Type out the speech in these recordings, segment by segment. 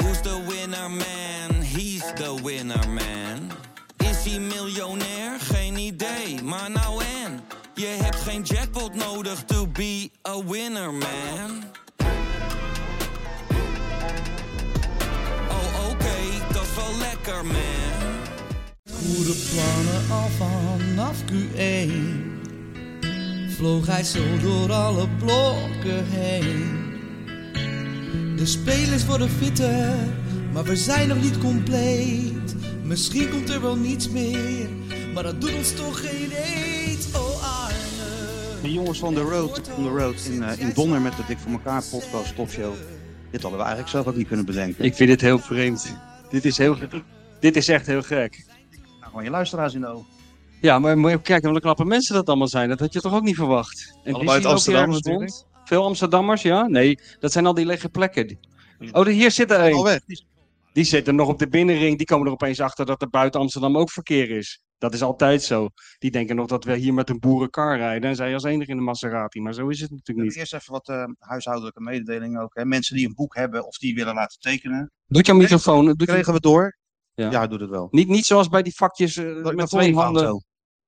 Who's the winner man? He's the winner man. Is hij miljonair? Geen idee, maar nou en. Je hebt geen jackpot nodig to be a winner man. Oh oké, dat is wel lekker man. Goede plannen al vanaf Q1 Vloog hij zo door alle blokken heen De spelers worden fitter, maar we zijn nog niet compleet Misschien komt er wel niets meer, maar dat doet ons toch geen eet Oh Arne De jongens van The Road, on the road in, eh, in Donner met de Dik voor elkaar podcast topshow. Dit hadden we eigenlijk zelf ook niet kunnen bedenken. Ik vind dit heel vreemd. Dit is, heel, dit is echt heel gek. Nou, gewoon je luisteraars in de ogen. Ja, maar moet je kijken wat knappe mensen dat allemaal zijn. Dat had je toch ook niet verwacht? En Allemaal uit zien ook hier Amsterdam ergens natuurlijk. rond. Veel Amsterdammers, ja? Nee, dat zijn al die lege plekken. Oh, de- hier zit er Al één. weg. Die zitten nog op de binnenring. Die komen er opeens achter dat er buiten Amsterdam ook verkeer is. Dat is altijd zo. Die denken nog dat we hier met een boerenkar rijden en zij als enige in de Maserati. Maar zo is het natuurlijk niet. Eerst even wat eh, huishoudelijke mededelingen ook. Hè. Mensen die een boek hebben of die willen laten tekenen. Doet jouw microfoon. Doet je, Kregen we door. Ja, Ja. doet het wel. niet, niet zoals bij die vakjes eh, Dat met vond ik twee fout handen. zo.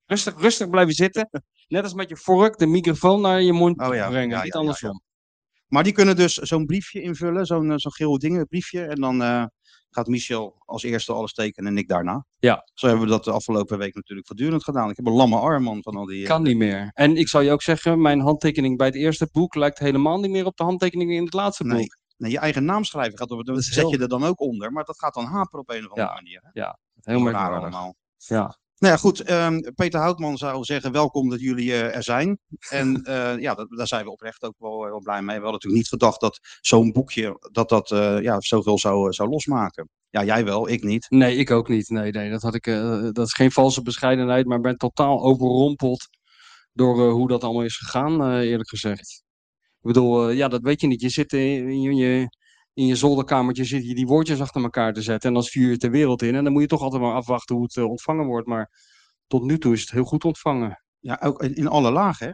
Rustig, rustig blijven zitten. Net als met je vork de microfoon naar je mond Oh ja, brengen. ja, niet ja, andersom. Maar die kunnen dus zo'n briefje invullen, zo'n eh, zo'n geel dingen briefje. En dan eh, gaat Michel als eerste alles tekenen en ik daarna. Ja. Zo hebben we dat de afgelopen week natuurlijk voortdurend gedaan. Ik heb een lamme arm man, van al die... eh, Kan niet meer. En ik zal je ook zeggen, mijn handtekening bij het eerste boek lijkt helemaal niet meer op de handtekening in het laatste Nee. boek. nee, je eigen naam schrijven gaat op, dat is zet heel- je er dan ook onder. Maar dat gaat dan haperen op een of andere Ja, manier. Hè? Heel Raar merkwaardig. allemaal. Ja. Nou ja, goed. ehm, Peter Houtman zou zeggen: welkom dat jullie eh, er zijn. En eh, ja, dat, daar zijn we oprecht ook wel, eh, wel blij mee. We hadden natuurlijk niet gedacht dat zo'n boekje dat dat eh, ja, zoveel zou, eh, zou losmaken. Ja, jij wel, ik niet. Nee, ik ook niet. Nee, nee dat, had ik, eh, dat is geen valse bescheidenheid, maar ben totaal overrompeld door eh, hoe dat allemaal is gegaan, eh, eerlijk gezegd. Ik bedoel, eh, ja, dat weet je niet. Je zit in, in je, in je zolderkamertje zit je die woordjes achter elkaar te zetten en dan stuur je het de wereld in. En dan moet je toch altijd maar afwachten hoe het eh, ontvangen wordt. Maar tot nu toe is het heel goed ontvangen. Ja, ook in in alle lagen. Hè?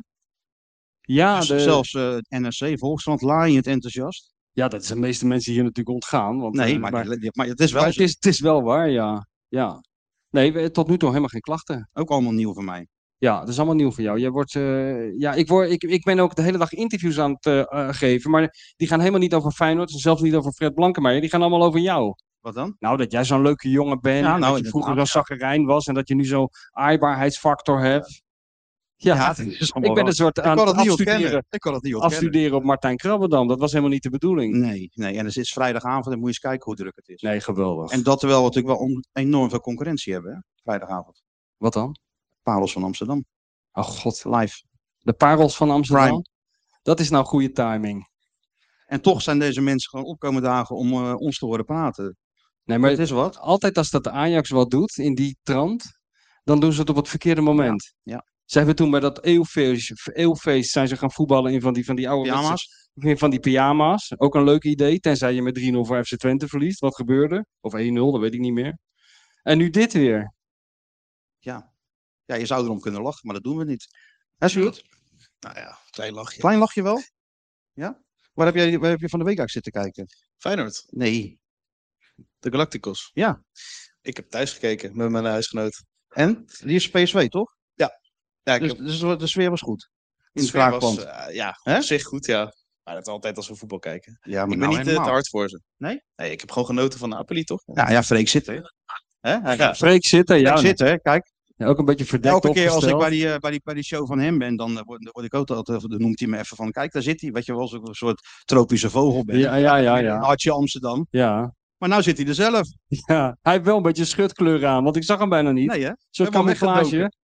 Ja, Dus de- Zelfs eh NRC, Volkskrant, laaiend enthousiast. ja, dat is de meeste mensen hier natuurlijk ontgaan. Want, Nee, eh, maar, maar- die- die- maar het is wel Maar het is, het is wel waar, ja. ja. Nee, we- tot nu toe helemaal geen klachten. ook allemaal nieuw voor mij. Ja, dat is allemaal nieuw voor jou. Jij wordt, eh, ja, ik, word, ik, ik ben ook de hele dag interviews aan het eh, eh, geven, maar die gaan helemaal niet over Feyenoord en zelfs niet over Fred Blankenmeijer. Die gaan allemaal over jou. Wat dan? Nou, dat jij zo'n leuke jongen bent, Ja, en nou, dat je vroeger inderdaad, zo'n zakkerijn was en dat je nu zo'n aaibaarheidsfactor hebt. Ja, is ik ben een soort ik aan kan het het niet afstuderen, ontkennen. Ik kan het niet ontkennen. Mm. afstuderen op Martijn Krabbendam. Dat was helemaal niet de bedoeling. Nee, nee, en het is vrijdagavond en moet je eens kijken hoe druk het is. Nee, geweldig. En dat terwijl we natuurlijk wel on- enorm veel concurrentie hebben, hè? vrijdagavond. Wat dan? Parels van Amsterdam, Oh god, live. de parels van Amsterdam. Prime. Dat is nou goede timing. En toch zijn deze mensen gewoon opkomende dagen om eh, ons te horen praten. Nee, maar het is wat. altijd als dat de Ajax wat doet in die trant, dan doen ze het op het verkeerde moment. ja. Ze hebben toen bij dat eeuwfeest, eeuwfeest zijn ze gaan voetballen in van die, van die oude Pyjama's. wedstrijden- Van die pyjama's. Ook een leuk idee, tenzij je met 3-0 voor FC Twente verliest. Wat gebeurde? Of 1-0, dat weet ik niet meer. En nu dit weer. Ja, je zou erom kunnen lachen, maar dat doen we niet. Hè, Sjoerd? Nou ja, klein lachje. Klein lachje wel? Ja? Waar heb, jij, waar heb je van de week uit zitten kijken? Feyenoord, Nee. de Galacticos. Ja. Ik heb thuis gekeken met mijn huisgenoot. En? Die is PSV, toch? Ja, ik Dus, heb- dus de sfeer was goed. de In het sfeer was, kraakpand. eh, ja, Hè? op zich goed, ja. Maar dat altijd als we voetbal kijken. Ja, ik ben nou niet eh, te helemaal. hard voor ze. Nee? Nee, ik heb gewoon genoten van Napoli, toch? Ja, ja, Freek zit er. Hè? Hij Ja. Freek zit er, ja. Freek zit er, kijk. Ja, ook een beetje verdekt Elke keer als ik opgesteld. bij die, eh, bij, die, bij die show van hem ben, dan eh, word, word ik ook altijd, dan noemt hij me even van, kijk daar zit hij, weet je wel, zo'n soort tropische vogel ben. Ja, ja, ja, Een ja. Hartje Amsterdam. ja. Maar nou zit hij er zelf. ja. Hij heeft wel een beetje schutkleur aan, want ik zag hem bijna niet. Nee hè? Zo'n Helemaal camouflage. weggedoken.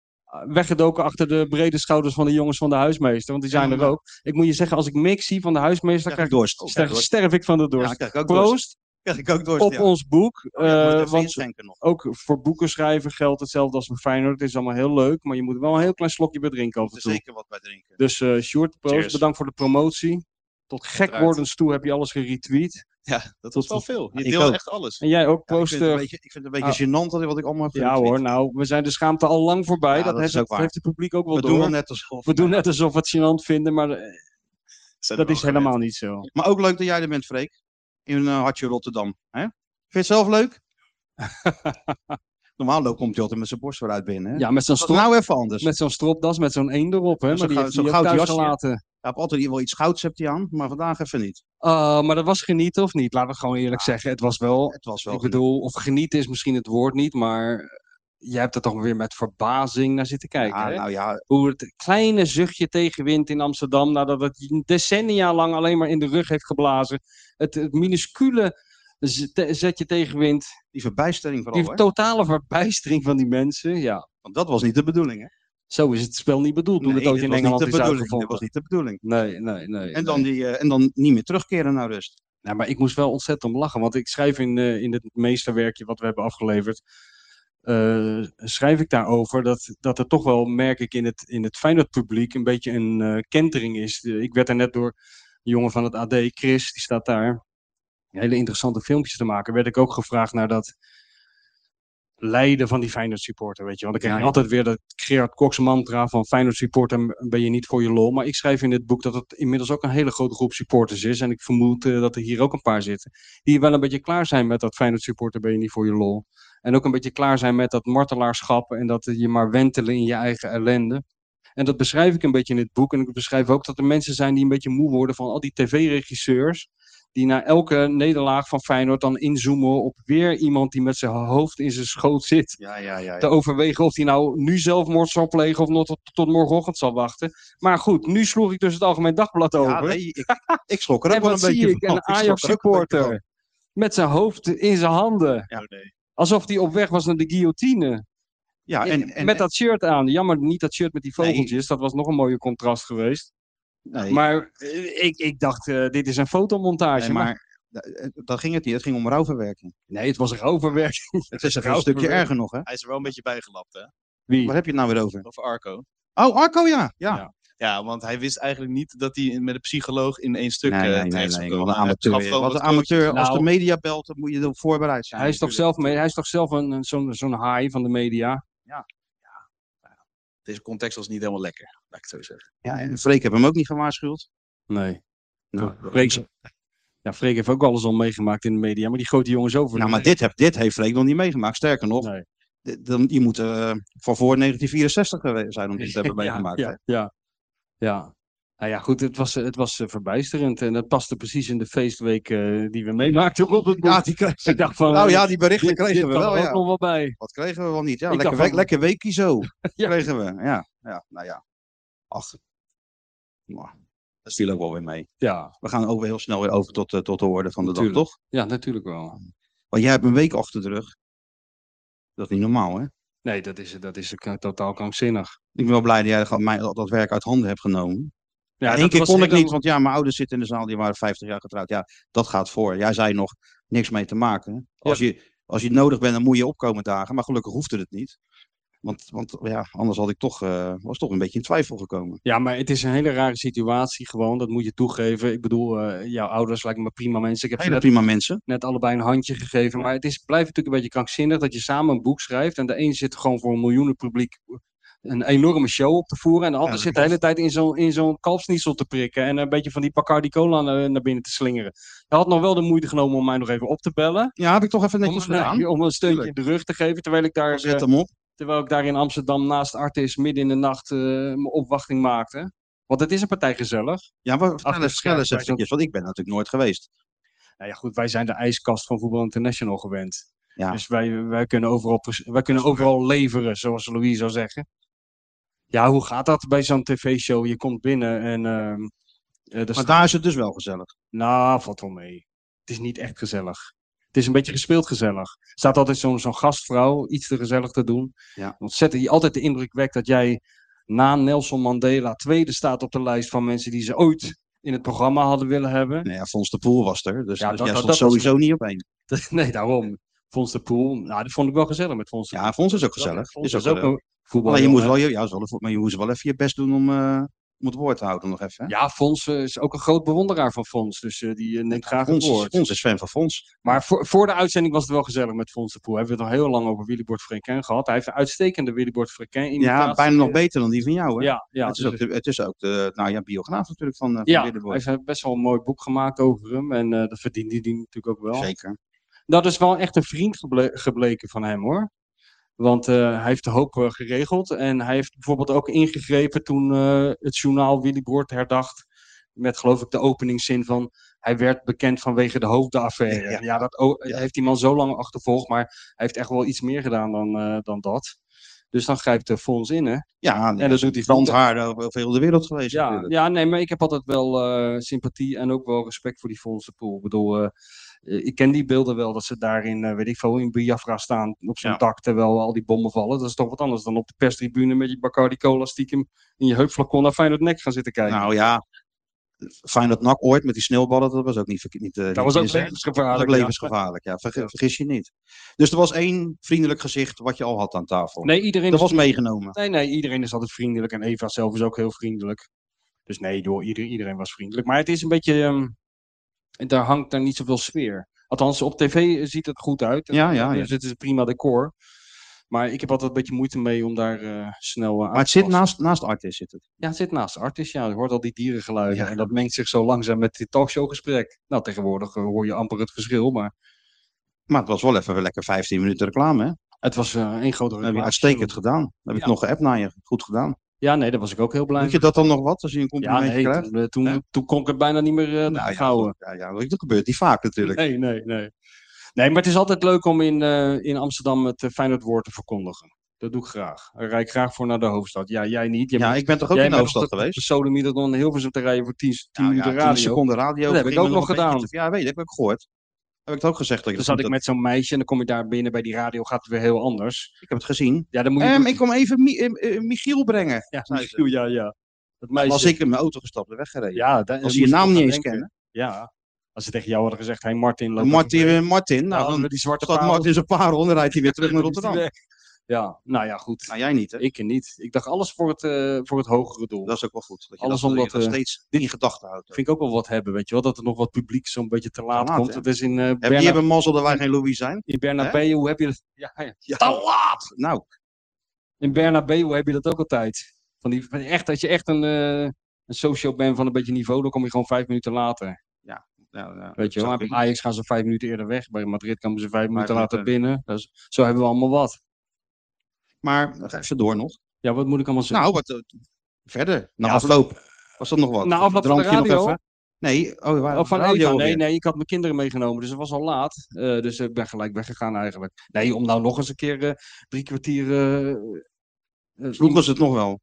uh, Weggedoken achter de brede schouders van de jongens van de huismeester. Want die Ja, zijn er maar- ook. Ik moet je zeggen, als ik mix zie van de huismeester, Krijg ik krijg, dorst. ster- sterf ik van de Ja, dorst. krijg ik ook dorst. Proost Krijg ik ook dorst, op ja. ons boek. Oh, ja, ik moet eh, het even want inschenken nog. ook voor boekenschrijven geldt hetzelfde als voor Feyenoord. Het is allemaal heel leuk, maar je moet wel een heel klein slokje bij drinken Er af en is toe. zeker wat bij drinken. Dus eh Sjoerd, proost. Cheers. Bedankt voor de promotie. Tot gek Uiteraard. wordens toe heb je alles geretweet. Ja, dat Tot- was wel veel. Je Ik deelt ook. echt alles. En jij ook, Ja, ik, proost. vind het een eh, beetje, ik vind het een beetje gênant dat wat ik allemaal heb Ja, getweet. hoor, nou, we zijn de schaamte al lang voorbij. Ja, dat dat is heeft, ook het, waar. heeft het publiek ook wel We Nou, door. doen wel net alsof. we doen net alsof we het gênant vinden, maar eh, Zijn er dat wel is gewend. helemaal niet zo. Maar ook leuk dat jij er bent, Freek. in eh, Hartje Rotterdam. Hè? Vind je het zelf leuk? Normaal loopt- komt hij altijd met zijn borst vooruit binnen. Hè? Ja, met zo'n Dat strop, is nou even anders. met zo'n stropdas, met zo'n eend erop. Hè? Zo'n Maar die goud- heeft zo'n hij ook goud thuis jasje. gelaten. Hij heeft altijd wel iets gouds hebt hij aan, maar vandaag even niet. Ah, maar dat was genieten of niet? Laten we gewoon eerlijk zeggen. Het was wel Het was wel Ik bedoel, of genieten is misschien het woord niet, maar jij hebt er toch weer met verbazing naar zitten genoeg. kijken. Ja, hè? nou ja, Hoe het kleine zuchtje tegenwind in Amsterdam, nadat het decennia lang alleen maar in de rug heeft geblazen. Het, het minuscule z- te- zetje tegenwind, die verbijstering vooral. die hè? totale verbijstering van die mensen. Ja, Want dat was niet de bedoeling. Hè? zo is het spel niet bedoeld toen Nee, het ook dit in was niet Engeland de is bedoeling. uitgevonden. Dat was niet de bedoeling. Nee, nee, nee. En nee. dan, die, eh, en dan niet meer terugkeren naar rust. Nou, maar ik moest wel ontzettend om lachen. Want ik schrijf in, eh, in het meesterwerkje wat we hebben afgeleverd. eh, schrijf ik daarover dat, dat er toch wel, merk ik, in het, in het Feyenoord-publiek een beetje een eh, kentering is. De- ik werd er net door een jongen van het AD, Chris, die staat daar hele interessante filmpjes te maken. Werd ik ook gevraagd naar dat lijden van die Feyenoord-supporter, weet je. Want dan krijg je altijd weer dat Gerard Cox-mantra van Feyenoord-supporter ben je niet voor je lol. Maar ik schrijf in dit boek dat het inmiddels ook een hele grote groep supporters is. En ik vermoed eh, dat er hier ook een paar zitten. Die wel een beetje klaar zijn met dat Feyenoord-supporter ben je niet voor je lol. En ook een beetje klaar zijn met dat martelaarschap en dat eh, je maar wentelen in je eigen ellende. En dat beschrijf ik een beetje in dit boek. En ik beschrijf ook dat er mensen zijn die een beetje moe worden van al die tv-regisseurs. Die na elke nederlaag van Feyenoord dan inzoomen op weer iemand die met zijn hoofd in zijn schoot zit Ja, ja, ja. te overwegen of hij nou nu zelfmoord zal plegen of nog tot, tot morgenochtend zal wachten. Maar goed, nu sloeg ik dus het Algemeen Dagblad over. Ja, nee, ik, ik schrok er ook en wel een wat zie beetje ik? van. Een Ik schrok er ook een beetje Ajax-supporter met zijn hoofd in zijn handen. Ja. Alsof hij op weg was naar de guillotine. van. Ja, en, en, met dat shirt aan. Jammer, niet dat shirt met die Nee. vogeltjes. Dat was nog een mooie contrast geweest. nee, Maar eh, ik, ik dacht, eh, dit is een fotomontage. nee, maar, maar da- daar ging het niet. Het ging om rouwverwerking. nee, het was een overwerking. Het is een rouwverwerking. stukje erger nog, hè? Hij is er wel een beetje bijgelapt, hè? Wie? Waar heb je het nou weer over? Over Arco. Oh, Arco, ja. Ja, Ja. Ja, want hij wist eigenlijk niet dat hij met een psycholoog in één stuk nee, eh, Nou, nee, nee, terecht zou nee, komen. Wat een Hij gaf amateur. gewoon Wat een wat amateur. Als Nou. de media belt, dan moet je erop voorbereid zijn. Hij is, toch natuurlijk. zelf, mee- hij is toch zelf een, een- zo'n zo'n haai van de media. coach- Deze context was niet Oh, helemaal lekker, laat ik het zo zeggen. Ja, en Freek heb hem ook niet gewaarschuwd. Nee. Nou, Freek, ja, Freek heeft ook alles al meegemaakt in de media, maar die grote jongens over. nou maar dit, heb, dit heeft Freek nog niet meegemaakt. Sterker nog, Nee. d- dan, je moet eh, van voor 1964 geweest zijn om dit te hebben meegemaakt. Ja, hè. ja, ja, ja. Nou ja, goed, het was, eh, het was eh, verbijsterend en dat paste precies in de feestweek eh, die we meemaakten op het boek. Ja, die kreeg- ik dacht van, nou eh, ja, die berichten dit, kregen dit we kan wel. er ook Ja. nog wel bij. Wat kregen we wel niet? Ja, Ik lekker, dacht week, van- lekker weekie zo. Ja. Kregen we. Ja, ja, nou ja. Ach. Nou, dat viel ook wel weer mee. Ja, We gaan ook weer heel snel weer over tot, eh, tot de orde van de Natuurlijk. dag, toch? ja, natuurlijk wel. Want jij hebt een week achter de rug. Dat is niet normaal, hè? Nee, dat is, dat is eh, totaal krankzinnig. Ik ben wel blij dat jij dat- mij dat, dat werk uit handen hebt genomen. Ja, Eén dat keer was kon ik helemaal- niet, want ja, mijn ouders zitten in de zaal, die waren 50 jaar getrouwd. Ja, dat gaat voor. Jij zei nog, niks mee te maken. Als, je, als je nodig bent, dan moet je opkomen dagen. Maar gelukkig hoefde het niet. Want, want ja, anders had ik toch, eh, was toch een beetje in twijfel gekomen. Ja, maar het is een hele rare situatie gewoon, dat moet je toegeven. Ik bedoel, eh, jouw ouders lijken me prima mensen. Ik heb ze Hele net prima mensen. net allebei een handje gegeven. Maar het is, blijft natuurlijk een beetje krankzinnig dat je samen een boek schrijft. En de een zit gewoon voor een miljoenen publiek een enorme show op te voeren. En de ander dat zit de hele tijd in zo'n in zo'n kalfsniesel te prikken. En een beetje van die Bacardi Cola na- naar binnen te slingeren. Hij had nog wel de moeite genomen om mij nog even op te bellen. Ja, heb ik toch even Om, netjes gedaan. nee, om een steuntje in Tuurlijk. de rug te geven. Terwijl ik daar, Zet eh, hem op. terwijl ik daar in Amsterdam naast Artis midden in de nacht eh, mijn opwachting maakte. Want het is een partij gezellig. Ja, maar vertel achter eens, vertel eens schermen, eventjes, want ik ben natuurlijk nooit geweest. Nou ja, goed, wij zijn de ijskast van Voetbal International gewend. Ja. Dus wij, wij kunnen overal, pres- wij kunnen overal leveren, zoals Louis zou zeggen. Ja, hoe gaat dat bij zo'n tv-show? Je komt binnen en... ehm eh, er Maar staat- daar is het dus wel gezellig. Nou, valt wel mee. Het is niet echt gezellig. Het is een beetje gespeeld gezellig. Er staat altijd zo'n zo'n gastvrouw iets te gezellig te doen. Ja. Ontzettend, die altijd de indruk wekt dat jij na Nelson Mandela tweede staat op de lijst van mensen die ze ooit in het programma hadden willen hebben. Nou ja, Fons de Poel was er, dus Ja, dat, dat- jij dat- stond dat was- sowieso niet op één. Nee, daarom. Fons de Poel. Nou, dat vond ik wel gezellig met Fons de Ja, Fons is ook gezellig. Fons is ook gezellig. een voetbal. Alleen je moest wel, je, ja, is wel een voet- maar je moest wel even je best doen om, eh, om het woord te houden nog even. Hè? Ja, Fons eh, is ook een groot bewonderaar van Fons. Dus eh, die eh, neemt graag het Fons, is- woord. Fons is fan van Fons. Maar voor, voor de uitzending was het wel gezellig met Fons de Poel. Hebben we het al heel lang over Willybord Frequin gehad. Hij heeft een uitstekende Willybord Frequin imitatie. eh, Ja, bijna nog beter dan die van jou. Hè? Ja, ja, het, is dus- ook de, het is ook de nou, ja, biograaf natuurlijk van, eh, van ja hij Willeboy. heeft eh, best wel een mooi boek gemaakt over hem. En eh, dat verdient hij natuurlijk ook wel. Zeker. Dat is wel echt een vriend geble- gebleken van hem hoor. Want eh, hij heeft de hoop eh, geregeld. En hij heeft bijvoorbeeld ook ingegrepen toen eh, het journaal Willy Boort herdacht. Met geloof ik de openingszin van hij werd bekend vanwege de hoofdaffaire. Ja, Ja. dat o- Ja. heeft die man zo lang achtervolgd. Maar hij heeft echt wel iets meer gedaan dan, eh, dan dat. Dus dan grijpt de fonds in hè. Ja, en dat doet hij goed. brandhaarden over over heel de wereld geweest. Ja, Dus natuurlijk. ja, nee, maar ik heb altijd wel eh, sympathie en ook wel respect voor die fondsenpool. Ik bedoel, eh, eh, ik ken die beelden wel dat ze daar in, eh, weet ik veel, in Biafra staan op zo'n Ja. dak terwijl al die bommen vallen. Dat is toch wat anders dan op de perstribune met je Bacardi Cola stiekem in je heupflacon naar Feyenoord nek gaan zitten kijken. Nou ja, fijn dat NAC ooit met die sneeuwballen, dat was ook niet... verke- niet eh, dat niet was ook mis, hè? Dat was levensgevaarlijk. ook levensgevaarlijk, ja. Verge- Vergis je niet. Dus er was één vriendelijk gezicht wat je al had aan tafel. ja. Nee, iedereen dat is, was meegenomen. nee, nee, iedereen is altijd vriendelijk en Eva zelf is ook heel vriendelijk. Dus nee, door iedereen, iedereen was vriendelijk. Maar het is een beetje, ehm, daar hangt daar niet zoveel sfeer. Althans, op tv ziet het goed uit. Ja, ja, ja. Dus het is een prima decor. Maar ik heb altijd een beetje moeite mee om daar eh, snel eh, aan Maar het te zit passen. naast, naast Artis. Zit het. Ja, het zit naast de artist. Ja, je hoort al die dierengeluiden. Ja. En dat mengt zich zo langzaam met dit talkshowgesprek. Nou, tegenwoordig eh, hoor je amper het verschil. Maar Maar het was wel even lekker 15 minuten reclame. Hè? Dat het was eh één grote heb je reclame. uitstekend gedaan. Dan heb ik Ja. nog geappt naar je. Goed gedaan. Ja, nee, daar was ik ook heel blij Moet je dat dan nog wat als je een mee. Ja, complimentje nee, krijgt? toen, eh, toen, Ja. toen kon ik het bijna niet meer eh Nou ja, houden. goed. ja, ja, dat gebeurt niet vaak natuurlijk. Nee, nee, nee. Nee, maar het is altijd leuk om in, eh, in Amsterdam het uh, Feyenoordwoord te verkondigen. Dat doe ik graag. Daar rijd ik graag voor naar de hoofdstad. Ja, jij niet. Jij ja, bent- ik ben toch ook jij in de bent hoofdstad op de- geweest? De Sodemieter dan heel veel te rijden voor 10 10 Nou ja, minuten 10 radio. seconden radio. Dat heb ging ik ook me nog een beetje gedaan. te- Dus Ja, weet ik, heb ik gehoord. Heb ik het ook gezegd. Dat ik, dat Dan zat moet- ik met zo'n meisje en dan kom je daar binnen bij die radio, gaat het weer heel anders. ik heb het gezien. Ja, dan moet je... Ehm, ik kom even Mi- eh, eh, Michiel brengen. ja, zei Michiel, ja, ja. Dat meisje... Als ik in mijn auto gestapt en weggereden. ja, daar- Als daar je je moest ik naam aan niet eens denken. kennen. Ja. Als ze tegen jou hadden gezegd, hey Martin, loop Martin, even- eh, Martin, Dan nou hadden we dan die zwarte staat parel. Martin zijn parel en dan rijdt hij weer terug naar Dan is die Rotterdam. weg. Ja, nou ja, goed. Nou, jij niet hè? Ik niet. Ik dacht alles voor het, eh, voor het hogere doel. Dat is ook wel goed. Dat je Alles dat, dat je omdat, dat eh, steeds in gedachten houdt. vind ik ook wel wat hebben, weet je wel. Dat er nog wat publiek zo'n beetje te laat, laat, komt. hè? Dat is in, eh Heb, Berna, die hebben mazzel dat wij geen Louis zijn. in Bernabeu heb je dat... Ja, ja. Te laat! Nou, In Bernabeu heb je dat ook altijd. Van die, van echt, als je echt een, eh een socio bent van een beetje niveau, dan kom je gewoon vijf minuten later. ja, ja, Weet je wel. zou Bij kunnen. Ajax gaan ze vijf minuten eerder weg. Bij Madrid komen ze vijf minuten minuten. later binnen. Dus, zo hebben we allemaal wat. Maar ga even door nog. Ja, wat moet ik allemaal zeggen? Nou, wat eh, verder. Na Ja, afloop. Was dat nog wat? Na afloop van de Drankje nog radio? even? Nee, oh, waar, Oh, van radio Eva. Nee, alweer. nee, ik had mijn kinderen meegenomen, dus het was al laat. Eh, dus ik ben gelijk weggegaan eigenlijk. Nee, om nou nog eens een keer eh, drie kwartier... eh, eh, Vroeg was het nog wel.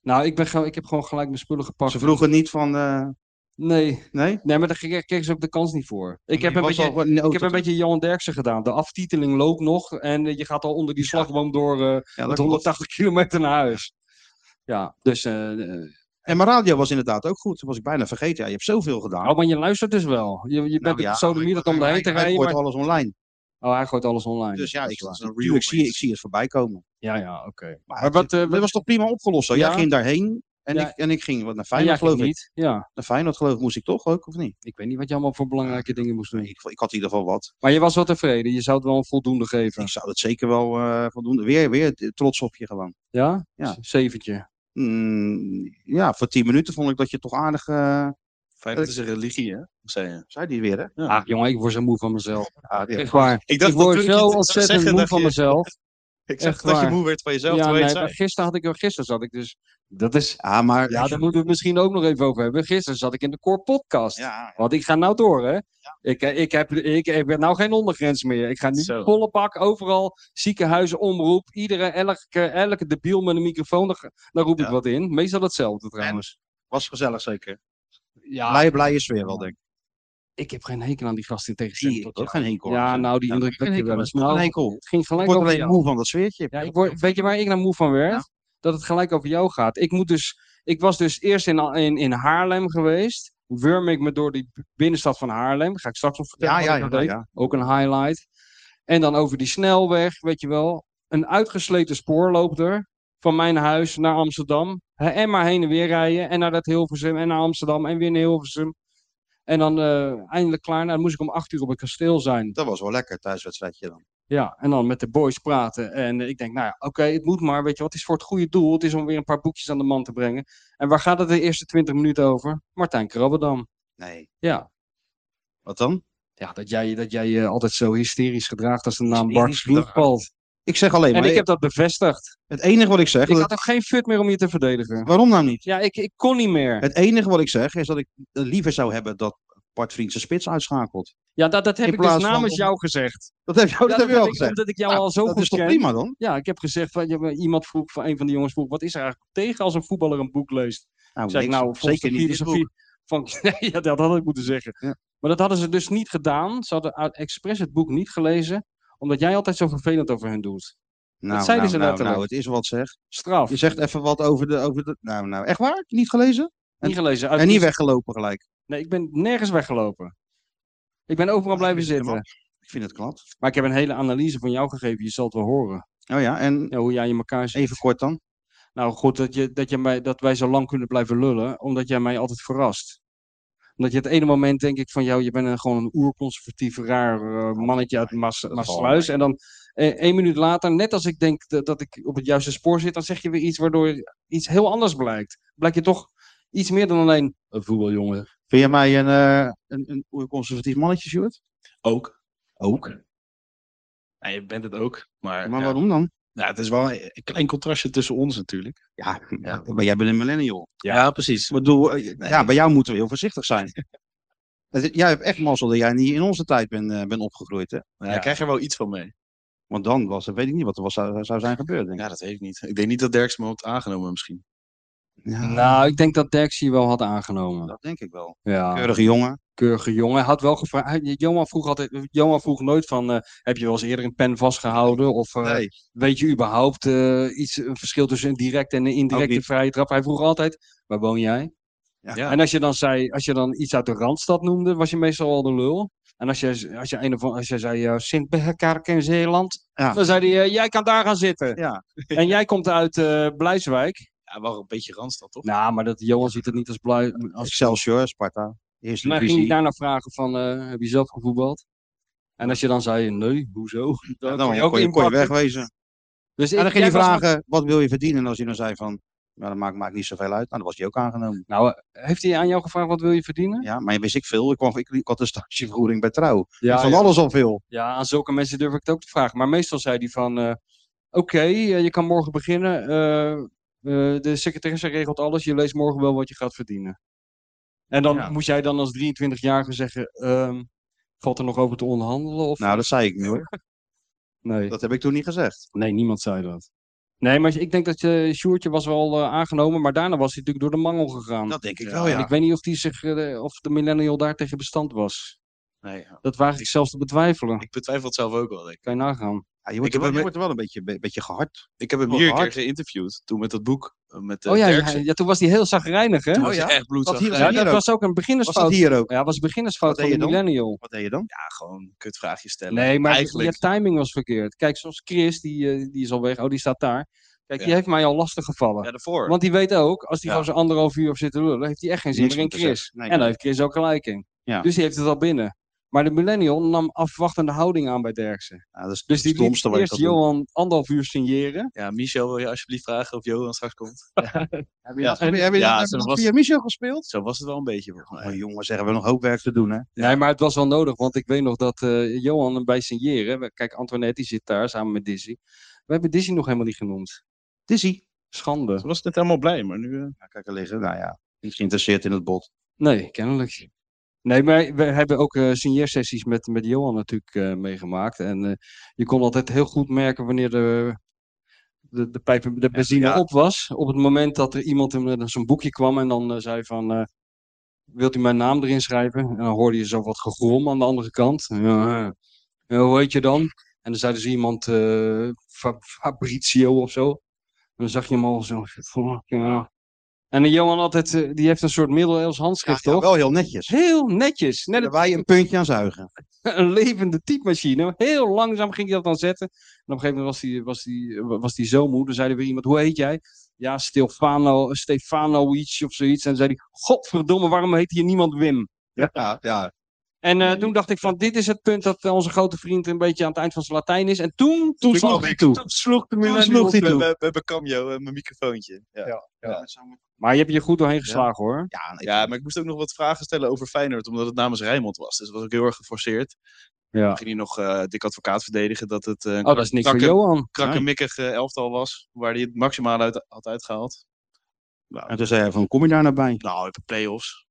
Nou, ik, ben, ge- ik heb gewoon gelijk mijn spullen gepakt. Ze vroegen niet van, eh, Nee, nee? nee maar daar kreeg- kregen ze ook de kans niet voor. Ik heb, een beetje, Oh, ik heb een beetje Johan Derksen gedaan. De aftiteling loopt nog en eh, je gaat al onder die slagboom door eh, Ja, met dat klopt. 180 kilometer naar huis. Ja, dus... eh, eh, En mijn radio was inderdaad ook goed. Dat was ik bijna vergeten. Ja, je hebt zoveel gedaan. oh, maar je luistert dus wel. Je, je bent Nou het ja, zo de dat om Hij- daarheen te hij rijden. gooit Maar... alles online. Oh, hij gooit alles online. Dus ja, dat ik, is waar. natuurlijk, ik, zie, ik zie het voorbij komen. Ja, ja, oké. Maar, Maar wat, het, eh, dat wat- was toch prima opgelost? Zo. Jij Ja. ging daarheen en, Ja. ik, en ik ging wat naar En jij Feyenoord, geloof ging ik. niet. Ja, Naar Feyenoord, geloof ik, moest ik toch ook, of niet? ik weet niet wat je allemaal voor belangrijke dingen moest doen. Ik, ik had in ieder geval wat. Maar je was wel tevreden. Je zou het wel een voldoende geven. Ik zou het zeker wel eh voldoende. Weer, weer trots op je gewoon. Ja? Ja. Z- Zeventje. Mm, ja, voor tien minuten vond ik dat je toch aardig. eh, Fijn, dat is een religie, hè? Zei je. zei die weer, hè? Ja. Ach, jongen, ik word zo moe van mezelf. Ja, Echt waar. Ik Ik word toen je zo het zou ontzettend zeggen, moe dacht van je- mezelf. Ik Echt waar. werd van jezelf. Ja, terwijl je nee, het maar zei. gisteren had ik, gisteren zat ik dus. Dat is. Ja, maar. Ja, daar moeten we het misschien ook nog even over hebben. Gisteren zat ik in de Core Podcast. ja, Want ik ga nou door, hè? Ik, eh, ik, heb, ik, ik ben nou geen ondergrens meer. Ik ga nu Zo. volle pak overal, ziekenhuizen, omroep. Iedere, elke, elke debiel met een microfoon, daar, daar roep ik Ja. wat in. Meestal hetzelfde trouwens. was gezellig zeker. Ja, Blij, blij is weer wel, denk ik. ik heb geen hekel aan die gast in tegenstelling Die tot heeft jou. ook geen hekel. Ja, aan. nou, die Ja, indruk geen heb je hekel wel eens. aan. Nou, Geen hekel. het ging Ik gelijk word over alleen jou. moe van dat sfeertje. Ja, ik word, weet je waar ik nou moe van werd? Ja. Dat het gelijk over jou gaat. Ik, moet dus, ik was dus eerst in, in, in Haarlem geweest. Wurm ik me door die binnenstad van Haarlem. Ga ik straks nog vertellen. Ja, wat ja, ik daar ja, deed. ja. Ook een highlight. En dan over die snelweg, weet je wel. Een uitgesleten spoor loopt er. van mijn huis naar Amsterdam. Hè, en maar heen en weer rijden. En naar dat Hilversum en naar Amsterdam en weer naar Hilversum. En dan eh, eindelijk klaar. Nou, dan moest ik om acht uur op het kasteel zijn. Dat was wel lekker, thuiswedstrijdje dan. Ja, en dan met de boys praten. En eh, ik denk, nou ja, oké, het moet maar. Weet je wat, het is voor het goede doel. Het is om weer een paar boekjes aan de man te brengen. En waar gaat het de eerste twintig minuten over? Martijn Krabbedam. Nee. Ja. Wat dan? Ja, dat jij, dat jij je altijd zo hysterisch gedraagt als de naam Bart Hysterisch Sloep gedragen. valt. Ik zeg alleen En maar, ik heb dat bevestigd. het enige wat ik zeg... Ik dat- had ook geen fut meer om je te verdedigen. Waarom nou niet? Ja, ik, ik kon niet meer. Het enige wat ik zeg is dat ik eh, liever zou hebben dat Bart Vriend zijn spits uitschakelt. Ja, dat, dat heb in ik dus plaats van namens om- jou gezegd. Dat heb, je, Ja, dat heb je wel ik- gezegd. Omdat ik jou Nou, al zo dat goed is toch ken. prima dan? Ja, ik heb gezegd, van, ja, iemand vroeg, van een van de jongens vroeg, wat is er eigenlijk tegen als een voetballer een boek leest? Nou, zeg ik, niks. nou, volgens zeker de niet dit filosofie boek. van... Nee, ja, dat had ik moeten zeggen. Ja. Maar dat hadden ze dus niet gedaan. Ze hadden uit- expres het boek niet gelezen, omdat jij altijd zo vervelend over hun doet. Nou, zeiden nou, ze nou, letterlijk. nou, het is wat zeg. Straf. Je zegt even wat over de, over de... Nou, nou, echt waar? Niet gelezen? niet gelezen. Uit En niet liefde- weggelopen gelijk. Nee, ik ben nergens weggelopen. Ik ben overal blijven Ja, maar- zitten. Ik vind het klad. Maar ik heb een hele analyse van jou gegeven. Je zal het wel horen. Oh ja, en Ja, hoe jij in elkaar zit. even kort dan. Nou goed, dat, je, dat, je mij, dat wij zo lang kunnen blijven lullen, omdat jij mij altijd verrast. Omdat je het ene moment denk ik van jou, je bent een, gewoon een oerconservatief raar eh, mannetje uit Maas, valt Maasluis. En dan eh, één minuut later, net als ik denk dat, dat ik op het juiste spoor zit, dan zeg je weer iets waardoor iets heel anders blijkt. Blijkt je toch iets meer dan alleen een voetbaljongen. Vind jij mij een, eh een, een oerconservatief mannetje, Stuart? Ook. Ook. Ja, je bent het ook. Maar, Maar ja. waarom dan? Nou, het is wel een een klein contrastje tussen ons natuurlijk. Ja, maar jij bent een millennial. Ja, precies. Ik bedoel, eh, ja, bij jou moeten we heel voorzichtig zijn. Het is- jij hebt echt mazzel dat jij niet in onze tijd bent eh, bent opgegroeid. Hè? Maar ja, Ik krijg er wel iets van mee. Want dan was, weet ik niet wat er was, zou, zou zijn gebeurd. Denk ik. Ja, dat weet ik niet. Ik denk niet dat Derks me had aangenomen misschien. Ja, Nou, ik denk dat Dex je wel had aangenomen. dat denk ik wel. Ja, Keurige jongen. keurige jongen. Hij had wel gevraagd. hij- Johan vroeg, altijd, Johan vroeg nooit van, eh, heb je wel eens eerder een pen vastgehouden? Of, eh, Nee. Weet je überhaupt eh, iets, een verschil tussen een directe en een indirecte niet. vrije trap? Hij vroeg altijd, waar woon jij? Ja. Ja. En als je dan zei, als je dan iets uit de Randstad noemde, was je meestal al de lul. En als je, als je, een of, an- als je zei, eh Sint-Bekerk in Zeeland, Ja. dan zei hij, eh, jij kan daar gaan zitten. Ja. En jij komt uit eh Blijswijk. Ja, wel een beetje Randstad, toch? Nou, maar dat, Johan ziet het niet als Bluis. Als, Excelsior, Sparta. Eerste maar ging hij divisie. daarna vragen van, eh, heb je zelf gevoetbald? En als je dan zei, nee, hoezo? Ja, kon dan kon je ook je, kon je inpakken. wegwezen. Dus En ik- dan ging jij hij was nog- vragen, wat wil je verdienen? En als hij dan zei van, nou, dat maakt, maakt niet zoveel uit. Nou, dan was hij ook aangenomen. Nou, eh, heeft hij aan jou gevraagd, wat wil je verdienen? Ja, maar wist ik veel. Ik, kwam, ik, ik had een stagevergoeding bij Trouw. Ja, van ja. alles al veel. Ja, aan zulke mensen durf ik het ook te vragen. Maar meestal zei hij van, eh, oké, eh, je kan morgen beginnen. eh, eh, de secretaresse regelt alles. Je leest morgen wel wat je gaat verdienen. En dan Ja. moest jij dan als 23-jarige zeggen, ehm, valt er nog over te onderhandelen? Of... Nou, dat zei ik nu hoor. nee. Dat heb ik toen niet gezegd. nee, niemand zei dat. Nee, maar ik denk dat je Sjoertje was wel eh, aangenomen, maar daarna was hij natuurlijk door de mangel gegaan. Dat denk ik Ja, wel, En ja. ik weet niet of, die zich, eh, of de millennial daar tegen bestand was. Nee, ja. Dat waag ik zelfs te betwijfelen. ik betwijfel het zelf ook wel. denk Ik, Kan je nagaan. Ja, je, Ik wordt er wel, heb je hem- wordt er wel een beetje, be- beetje gehard. ik heb hem Wel hier een keer hard. geïnterviewd. Toen met dat boek. eh, Met, eh, oh ja, ja, Derksen. ja, toen was hij heel zagrijnig, hè? Toen was Oh ja? hij echt bloedzak. Wat hier- Ja, Ja, dat ook. was ook Was een dat beginnersfout. hier ook? Ja, dat was een beginnersfout Wat van deed de je dan? millennial. Wat deed je dan? Ja, gewoon kutvraagjes stellen. Nee, maar Eigenlijk. je timing was verkeerd. Kijk, zoals Chris, die, eh, die is al weg. Oh, die staat daar. Kijk, die Ja. heeft mij al lastig gevallen. Ja, daarvoor. Want die weet ook, als die Ja. gewoon zo'n anderhalf uur op zit te lullen, heeft hij echt geen zin Niks meer in meer te Chris. zeggen. Nee, en daar nee. heeft Chris ook gelijk in. Ja. Dus die heeft het al binnen. Maar de millennial nam afwachtende houding aan bij Derksen. Ja, dat is Dus het die liet stomste wat ik kan eerst doen. Johan anderhalf uur signeren. Ja, Michel, wil je alsjeblieft vragen of Johan straks komt? Heb je Ja. dat- heb je- heb je Ja, dat- heb ze je dat was- via Michel gespeeld? Zo was het wel een beetje. volgens mij. Maar jongens, zeggen we nog hoop werk te doen, hè? Nee, maar het was wel nodig, want ik weet nog dat eh, Johan erbij signeren. we- Kijk, Antoinette die zit daar samen met Dizzy. We hebben Dizzy nog helemaal niet genoemd. Dizzy. Schande. Ze was net helemaal blij, maar nu... eh, Ja, kijk er liggen. Nou ja, niet geïnteresseerd in het bot. Nee, kennelijk. Nee, maar we hebben ook eh signeersessies met, met Johan natuurlijk eh, meegemaakt. En eh, je kon altijd heel goed merken wanneer de, de, de, pijp, de benzine ja. op was. Op het moment dat er iemand hem, met zo'n boekje kwam en dan eh, zei van... eh, wilt u mijn naam erin schrijven? En dan hoorde je zo wat gegrom aan de andere kant. Ja, eh, hoe heet je dan? En dan zeiden ze iemand eh, Fa- Fabrizio of zo. En dan zag je hem al zo. fuck, ja. En die Johan altijd, eh, die heeft een soort middeleeuws handschrift, Ja, toch? wel heel netjes. Heel netjes. Net Daar wij een puntje aan zuigen. een levende typemachine. Heel langzaam ging hij dat dan zetten. En op een gegeven moment was hij was die, was die zo moe. Dan zei er weer iemand, hoe heet jij? Ja, Stefano, Stefano iets of zoiets. En dan zei hij, godverdomme, waarom heet hier niemand Wim? Ja, ja. En eh, toen dacht ik van, dit is het punt dat eh, onze grote vriend een beetje aan het eind van zijn Latijn is. En toen, toen sloeg hij toe. Toen sloeg de millennial toe. We hebben cameo en mijn microfoontje. Ja. Ja. Maar je hebt je goed doorheen geslagen hoor. Ja, nee, maar ik moest ook nog wat vragen stellen over Feyenoord, omdat het namens Rijnmond was. Dus dat was ook heel erg geforceerd. Ja. Dan ging hij nog eh dik advocaat verdedigen dat het eh, een Oh, dat is niks voor Dank u. Johan. krakkemikkig eh, elftal was, waar hij het maximaal uit had uitgehaald. En toen zei hij van, kom je daar naar bij? Nou, de play-offs.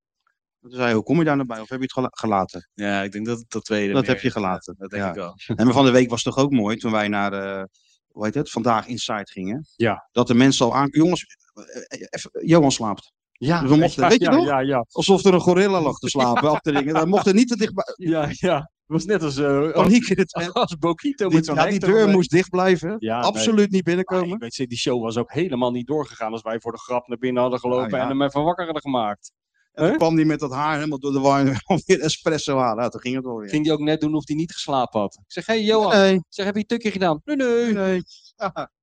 Toen zei hij, hoe kom je daar naar bij? Of heb je het gela- gelaten? Ja, ik denk dat dat tweede. Dat meer- heb je gelaten. Dat denk Ja. ik wel. En maar van de week was het toch ook mooi toen wij naar, eh, hoe heet het, vandaag Inside gingen. Ja. Dat de mensen al aan... Jongens, eh, eh, even- Johan slaapt. Ja, we mochten- ja, weet je ja, nog? Ja, ja, Alsof er een gorilla lag te slapen af te dingen. Daar mocht er niet te dichtbij. ja, ja. Het was net als, eh, als, Paniek in het tent. als Bokito Die, met zo'n ja, die hek deur eroverheen. moest dicht blijven. Ja, nee. Absoluut niet Maar binnenkomen. ik weet, zeker, die show was ook helemaal niet doorgegaan als wij voor de grap naar binnen hadden gelopen Nou ja. en hem even wakker hadden gemaakt. En toen Hè? kwam die met dat haar helemaal door de war. en weer espresso aan. Nou, toen ging het alweer. Ging hij ook net doen of hij niet geslapen had. Ik zeg, hé hey, Johan, Nee, Ik zeg, heb je een tukje gedaan? Nee, nee. nee.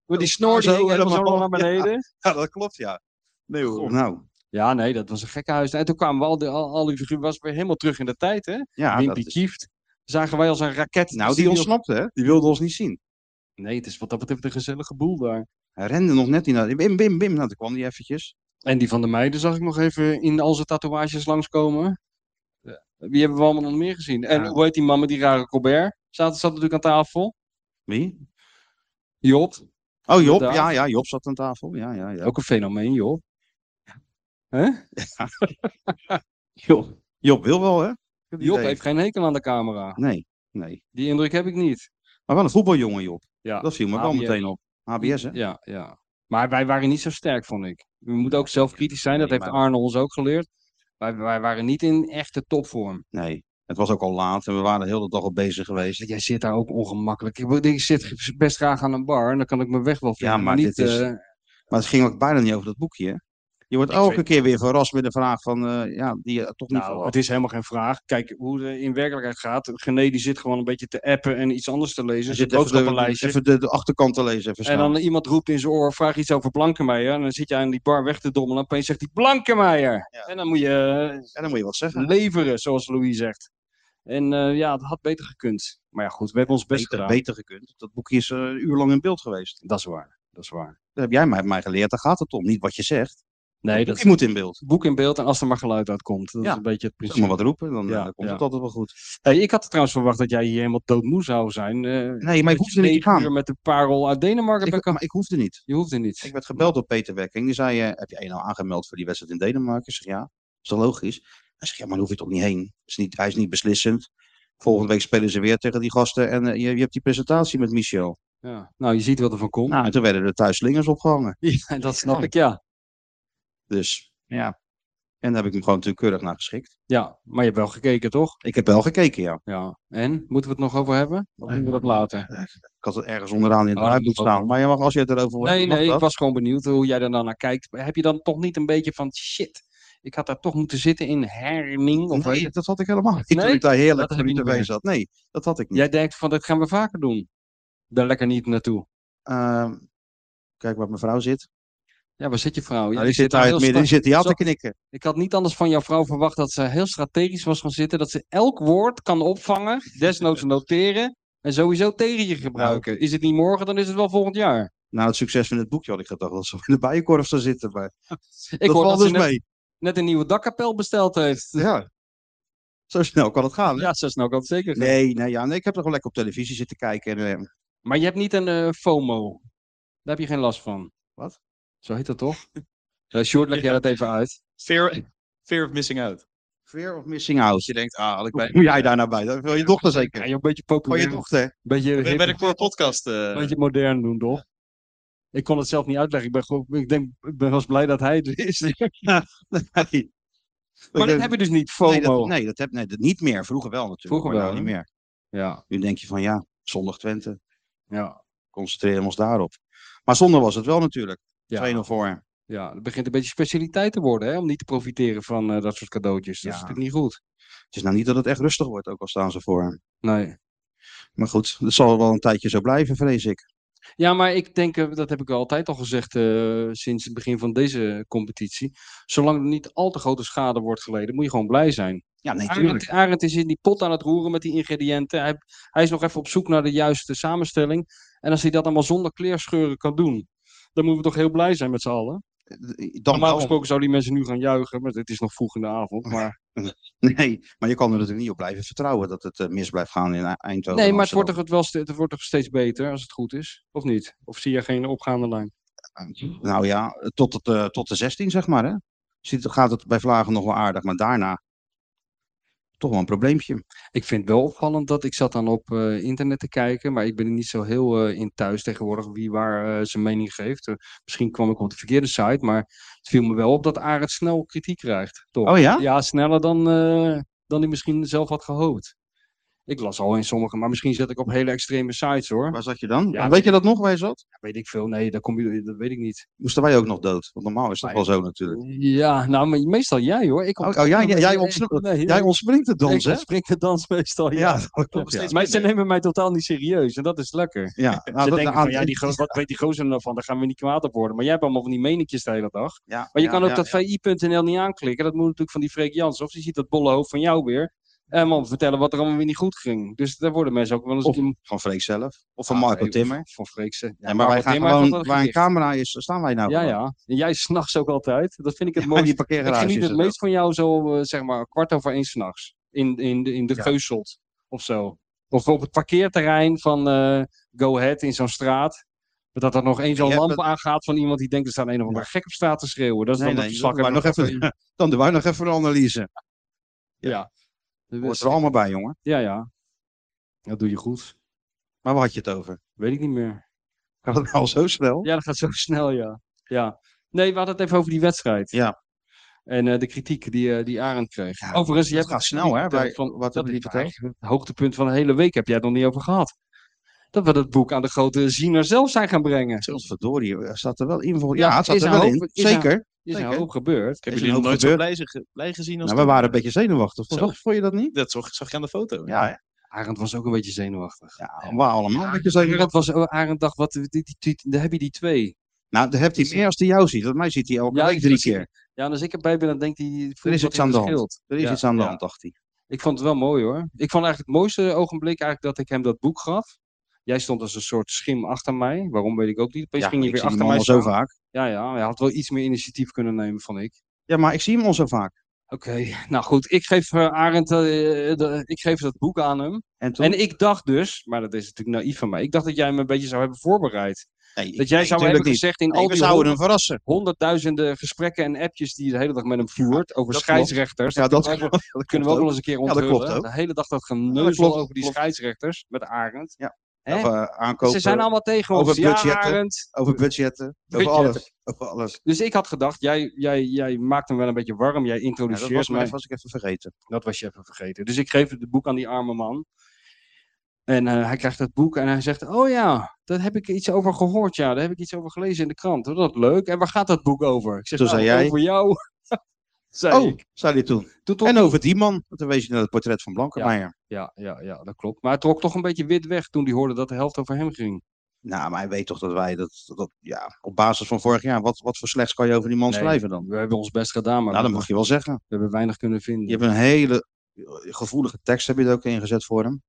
Want die snor die Zo, hing helemaal zo helemaal. lang naar beneden. Ja. Ja, dat klopt, ja. Nee hoor. Goh, nou, nee, dat was een gekke huis. En toen kwamen we al die, al, al die figuren, was weer helemaal terug in de tijd, hè? ja, dat Wimpy is- Kieft. Zagen wij als een raket. nou die de studio- ontsnapte, hè? Die wilde ons niet zien. Nee, het is wat dat betreft een gezellige boel daar. Hij rende nog net in. naar- Bim, bim, bim. Nou, toen kwam die eventjes. En die van de meiden zag ik nog even in al zijn tatoeages langskomen. Wie hebben we allemaal nog meer gezien? En Ja. hoe heet die man met die rare Colbert? Zat, zat natuurlijk aan tafel. Wie? Job. Oh, Job. Inderdaad. Ja, ja, Job zat aan tafel. Ja, ja, ja. Ook een fenomeen, joh. Hè? Job. Job wil wel, hè? Ik heb het Job idee. heeft geen hekel aan de camera. Nee, nee. Die indruk heb ik niet. Maar wel een voetbaljongen, Job. Ja. Dat viel me wel ABS. meteen op. ABS, hè? Ja, ja. Maar wij waren niet zo sterk, vond ik. We moeten ook zelfkritisch zijn, dat Nee, heeft maar- Arne ons ook geleerd. Wij, wij waren niet in echte topvorm. Nee. Het was ook al laat en we waren de hele dag al bezig geweest. Dus Jij zit daar ook ongemakkelijk. Ik, bedoel, ik zit best graag aan een bar en dan kan ik mijn weg wel vinden. maar niet, dit is- eh, Maar het ging ook bijna niet over dat boekje, hè? Je wordt Ik elke vind- keer weer verrast met de vraag van, eh, ja, die je toch niet nou, verwacht. het is helemaal geen vraag. Kijk, hoe het in werkelijkheid gaat. Gené die zit gewoon een beetje te appen en iets anders te lezen. Er Zijn zit even, de, boodschappenlijstje. even de, de achterkant te lezen. Even En snel. dan iemand roept in zijn oor, vraag iets over Blankenmeijer. En dan zit jij aan die bar weg te dommelen. En opeens zegt hij Blankenmeijer. Ja. En dan moet je en dan moet je wat eh, zeggen. leveren, zoals Louis zegt. En eh, ja, dat had beter gekund. Maar ja, goed, we hebben ons best Beter, gedaan. beter gekund. Dat boekje is eh, een uur lang in beeld geweest. Dat is waar. Dat is waar. Dat heb jij mij, mij geleerd. Daar gaat het om. Niet wat je zegt. Nee, dat Dat is moet in beeld. boek in beeld en als er maar geluid uitkomt. Dat Ja. is een beetje het Zeg principe. maar wat roepen, dan, Ja, eh, dan komt ja. het altijd wel goed. Hey, ik had trouwens verwacht dat jij hier helemaal doodmoe zou zijn. eh, Nee, maar ik dat hoefde je niet te negen uur gaan. met de parel uit Denemarken Ik, bent maar ik hoefde niet. Je hoeft er niet. Ik werd gebeld door Peter Wekking. Die zei, eh, heb je je nou aangemeld voor die wedstrijd in Denemarken? Ik zeg, ja, is toch logisch? Hij zegt, ja, maar dan hoef je toch niet heen. Is niet, hij is niet beslissend. Volgende week spelen ze weer tegen die gasten. En eh, je, je hebt die presentatie met Michel. Ja. Nou, je ziet wat er van komt. Nou, en toen werden er thuis slingers opgehangen. Ja, dat snap ik, ja. Dus, ja. En daar heb ik hem gewoon natuurlijk keurig naar geschikt. Ja, maar je hebt wel gekeken, toch? Ik heb wel gekeken, ja. Ja. En? Moeten we het nog over hebben? Of doen we dat Eh, later? Ik had het ergens onderaan in de Oh, dat ruimte moet ook staan. Maar je mag, als je het erover Nee, mag nee, ik dat. was gewoon benieuwd hoe jij er dan naar kijkt. Heb je dan toch niet een beetje van shit? Ik had daar toch moeten zitten in herning. Of weet Nee, je- dat had ik helemaal niet. toen Nee? ik daar Dat heerlijk heb voor u je te niet meer. wezen zat. Nee, dat had ik niet. Jij denkt van dat gaan we vaker doen. Daar lekker niet naartoe. Ehm, kijk waar mijn vrouw zit. Ja, waar zit je vrouw? Ja, Nou, die zit daar in het heel midden. Die stra- zit hier aan Zo- te knikken. Ik had niet anders van jouw vrouw verwacht dat ze heel strategisch was gaan zitten. Dat ze elk woord kan opvangen, desnoods noteren. En sowieso tegen je gebruiken. Is het niet morgen, dan is het wel volgend jaar. Na het succes van het boekje had ik gedacht dat ze in de bijenkorf zou zitten. Maar Ik dat hoor valt dat dus ze net, mee. net een nieuwe dakkapel besteld heeft. Ja. Zo snel kan het gaan. hè? Ja, zo snel kan het zeker. gaan. Nee, nee, ja, nee, ik heb er gewoon lekker op televisie zitten kijken. En, eh, Maar je hebt niet een eh, FOMO. Daar heb je geen last van. Wat? Zo heet dat toch? Eh Short, leg jij dat even uit. Fear, fear of missing out. fear of missing out. Als je denkt, ah, had ik Hoe bij... kom jij daar nou bij? Dat wil je dochter Ja, zeker. je een beetje Van populair. Oh, je dochter. beetje, Ben, hip, ben ik voor een podcast? eh, een beetje modern doen, toch? Ik kon het zelf niet uitleggen. Ik ben, gewoon- ik denk, ik ben wel eens blij dat hij er is. Nee. maar dat heb je dus niet, FOMO. Nee, dat, nee, dat heb nee, dat niet meer. Vroeger wel natuurlijk. Vroeger maar nou wel, niet hè? meer. Ja, Nu denk je van ja, zondag Twente. ja. Concentreren we ons daarop. Maar zondag was het wel natuurlijk. ja. 2-0 voor. Ja, het begint een beetje specialiteit te worden, hè? Om niet te profiteren van eh, dat soort cadeautjes. Dat is Ja. natuurlijk niet goed. Het is nou niet dat het echt rustig wordt, ook al staan ze voor. Nee. Maar goed, dat zal wel een tijdje zo blijven, vrees ik. Ja, maar ik denk, eh, dat heb ik altijd al gezegd eh, sinds het begin van deze competitie. Zolang er niet al te grote schade wordt geleden, moet je gewoon blij zijn. Ja, nee, tuurlijk. Arend, Arend is in die pot aan het roeren met die ingrediënten. Hij, hij is nog even op zoek naar de juiste samenstelling. En als hij dat allemaal zonder kleerscheuren kan doen, dan moeten we toch heel blij zijn met z'n allen. Eh, Dan Normaal wel. gesproken zouden die mensen nu gaan juichen, maar het is nog vroeg in de avond. Maar... Nee, maar je kan er natuurlijk niet op blijven vertrouwen dat het eh, mis blijft gaan in Eindhoven. Nee, en maar het wordt, Amsterdam. toch het wel, ste- het wordt toch steeds beter als het goed is? Of niet? Of zie je geen opgaande lijn? Nou ja, tot, het, eh, tot de 16, zeg maar. Hè? Ziet, gaat het bij Vlagen nog wel aardig, maar daarna toch wel een probleempje. Ik vind het wel opvallend dat ik zat dan op eh, internet te kijken, maar ik ben er niet zo heel eh, in thuis tegenwoordig wie waar eh, zijn mening geeft. Eh, misschien kwam ik op de verkeerde site, maar het viel me wel op dat Arend snel kritiek krijgt. Toch? Oh ja? Ja, sneller dan, eh, dan hij misschien zelf had gehoopt. Ik las al in sommige, maar misschien zet ik op hele extreme sites hoor. Waar zat je dan? Ja, weet je dat nog waar je zat? Ja, weet ik veel. Nee, daar kom je, dat weet ik niet. Moesten wij ook nog dood? Want normaal is dat Nee. wel zo natuurlijk. Ja, nou, maar meestal jij hoor. Ik Oh, oh, jij- jij- jij ontsnapt- nee, Jij ontspringt het dans, hè? Ik spring de dans meestal, ja. Ja, dat klopt. Ja, Maar ze nemen mij totaal niet serieus en dat is lekker. ja. Nou, ze dat- denken aan- van, ja, die gozer, wat weet die gozer nou van? Daar gaan we niet kwaad op worden. Maar jij hebt allemaal van die menetjes de hele dag. ja, Maar je ja, kan ook ja, dat vi.nl niet aanklikken. Dat moet natuurlijk van die Freek Jans. Of die ziet dat bolle hoofd van jou weer. En man, vertellen wat er allemaal weer niet goed ging. Dus daar worden mensen ook wel eens... Of in- Van Freek zelf. Of van Ah, Marco nee, Timmer. Van Freek ze. Ja, maar wij Marco gaan Timmer gewoon, had dat waar een gedicht. camera is, staan wij nou. Ja, gewoon. ja. En jij s'nachts ook altijd. Dat vind ik het Maar mooiste. die Ik parkeergarage geniet is het het meest van jou zo, eh, zeg maar, kwart over één s'nachts. In, in, de- in de Ja. Geuselt of zo. Of op het parkeerterrein van eh, Go Ahead in zo'n straat. Dat er nog één zo'n Je hebt lamp aangaat van iemand die denkt er staat een of andere gek op straat te schreeuwen. Dat is Nee, dan nee, dat verslag. maar heb ik nog even- gezien. ook. Dan doen wij nog even een analyse. Ja. Hoort er allemaal bij, jongen. Ja, ja. Dat doe je goed. Maar waar had je het over? Weet ik niet meer. Gaat het al zo snel? Ja, dat gaat zo snel, ja. ja. Nee, we hadden het even over die wedstrijd. Ja. En eh, de kritiek die, eh, die Arend kreeg. Ja, Overigens, je Het hebt gaat snel, hè? verteld Bij, van- wat dat hebben die is waar. verteld? het hoogtepunt van de hele week heb jij het nog niet over gehad. Dat we dat boek aan de grote ziener zelf zijn gaan brengen. Godverdorie, er staat er wel in. voor- Ja, Ja, het staat is er een wel hoop- in. is een- Zeker. Is een Zeker. hoop gebeurd. Ik heb Is jullie een nog hoop nooit zo gebeurd. blij, ge- blij gezien als Nou, we toen. waren een beetje zenuwachtig. Zo. Vond, vond je dat niet? Dat zag, zag je aan de foto. Ja, hè? Arend was ook een beetje zenuwachtig. ja we waren allemaal een beetje zenuwachtig. Arend, was, oh, Arend dacht, wat, die, die, die- daar heb je die twee. Nou, dan hebt hij meer als hij jou ziet. Want mij ziet hij elke Ja, week ik- drie keer. Ja, en als ik erbij ben, dan denkt hij... voelt is wat iets aan de hand. verschilt. Er is Ja, iets aan de ja. hand, dacht hij. Ik vond het wel mooi hoor. Ik vond eigenlijk het mooiste ogenblik eigenlijk dat ik hem dat boek gaf. Jij stond als een soort schim achter mij. Waarom weet ik ook niet. Opeens Ja, ging je ik weer zie achter hem mij al zo staan. vaak. Ja, ja. Hij had wel iets meer initiatief kunnen nemen, vond ik. Ja, maar ik zie hem al zo vaak. Oké, nou goed. Ik geef eh, Arend, eh, de- ik geef dat boek aan hem. En toen? En ik dacht dus, maar dat is natuurlijk naïef van mij. Ik dacht dat jij hem een beetje zou hebben voorbereid. Nee, Dat jij nee, zou tuurlijk hebben niet. gezegd in Nee, al we die zouden honderd, hem verrassen. honderdduizenden gesprekken en appjes die je de hele dag met hem voert over dat klopt. scheidsrechters. Ja, dat, kunnen we- dat kunnen we klopt ook nog eens een keer dat klopt onthullen. ook. De hele dag dat Ja, dat geneuzel klopt, over die klopt. scheidsrechters met Arend. Ja. Hè? Of, eh, aankopen, Ze zijn allemaal tegen ons. over Ja, budgetten. Arend. over budgetten, Budgetten. over alles. Over alles. Dus ik had gedacht, jij, jij, jij maakt hem wel een beetje warm. Jij Ja, dat introduceert was, maar mij. even, was ik even vergeten. Dat was je even vergeten. Dus ik geef het boek aan die arme man. En eh, hij krijgt dat boek en hij zegt: Oh ja, daar heb ik iets over gehoord. Ja, daar heb ik iets over gelezen in de krant. Oh, dat leuk. En waar gaat dat boek over? Ik zeg: Toen nou, zei jij- Over jou. zei Oh, ik. zei hij toen. Toen trok- En over die man. want Dan wees je naar het portret van Blankenmeijer. ja, ja, ja, dat klopt. Maar hij trok toch een beetje wit weg toen hij hoorde dat de helft over hem ging. Nou, maar hij weet toch dat wij dat, dat ja, op basis van vorig jaar, wat, wat voor slechts kan je over die man Nee, schrijven dan? We hebben ons best gedaan, maar Nou, dat we, mag je wel zeggen. we hebben weinig kunnen vinden. Je hebt een hele eh, gevoelige tekst, heb je er ook ingezet voor hem.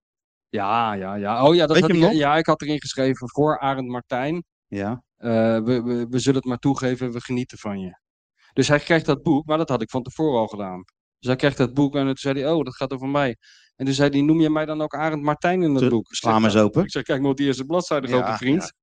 Ja, ja, ja. Oh ja, dat Weet je had hem ik, nog? ja, ik had erin geschreven voor Arend Martijn. Ja. Eh, we, we, we zullen het maar toegeven, we genieten van je. Dus hij krijgt dat boek, maar dat had ik van tevoren al gedaan. Dus hij krijgt dat boek en toen zei hij, oh, dat gaat over mij. En toen zei hij, noem je mij dan ook Arend Martijn in dat Toen- boek? Ik Sla zeg, hem eens "Nou." open. Ik zei, kijk maar op die eerste bladzijde, Ja, grote vriend.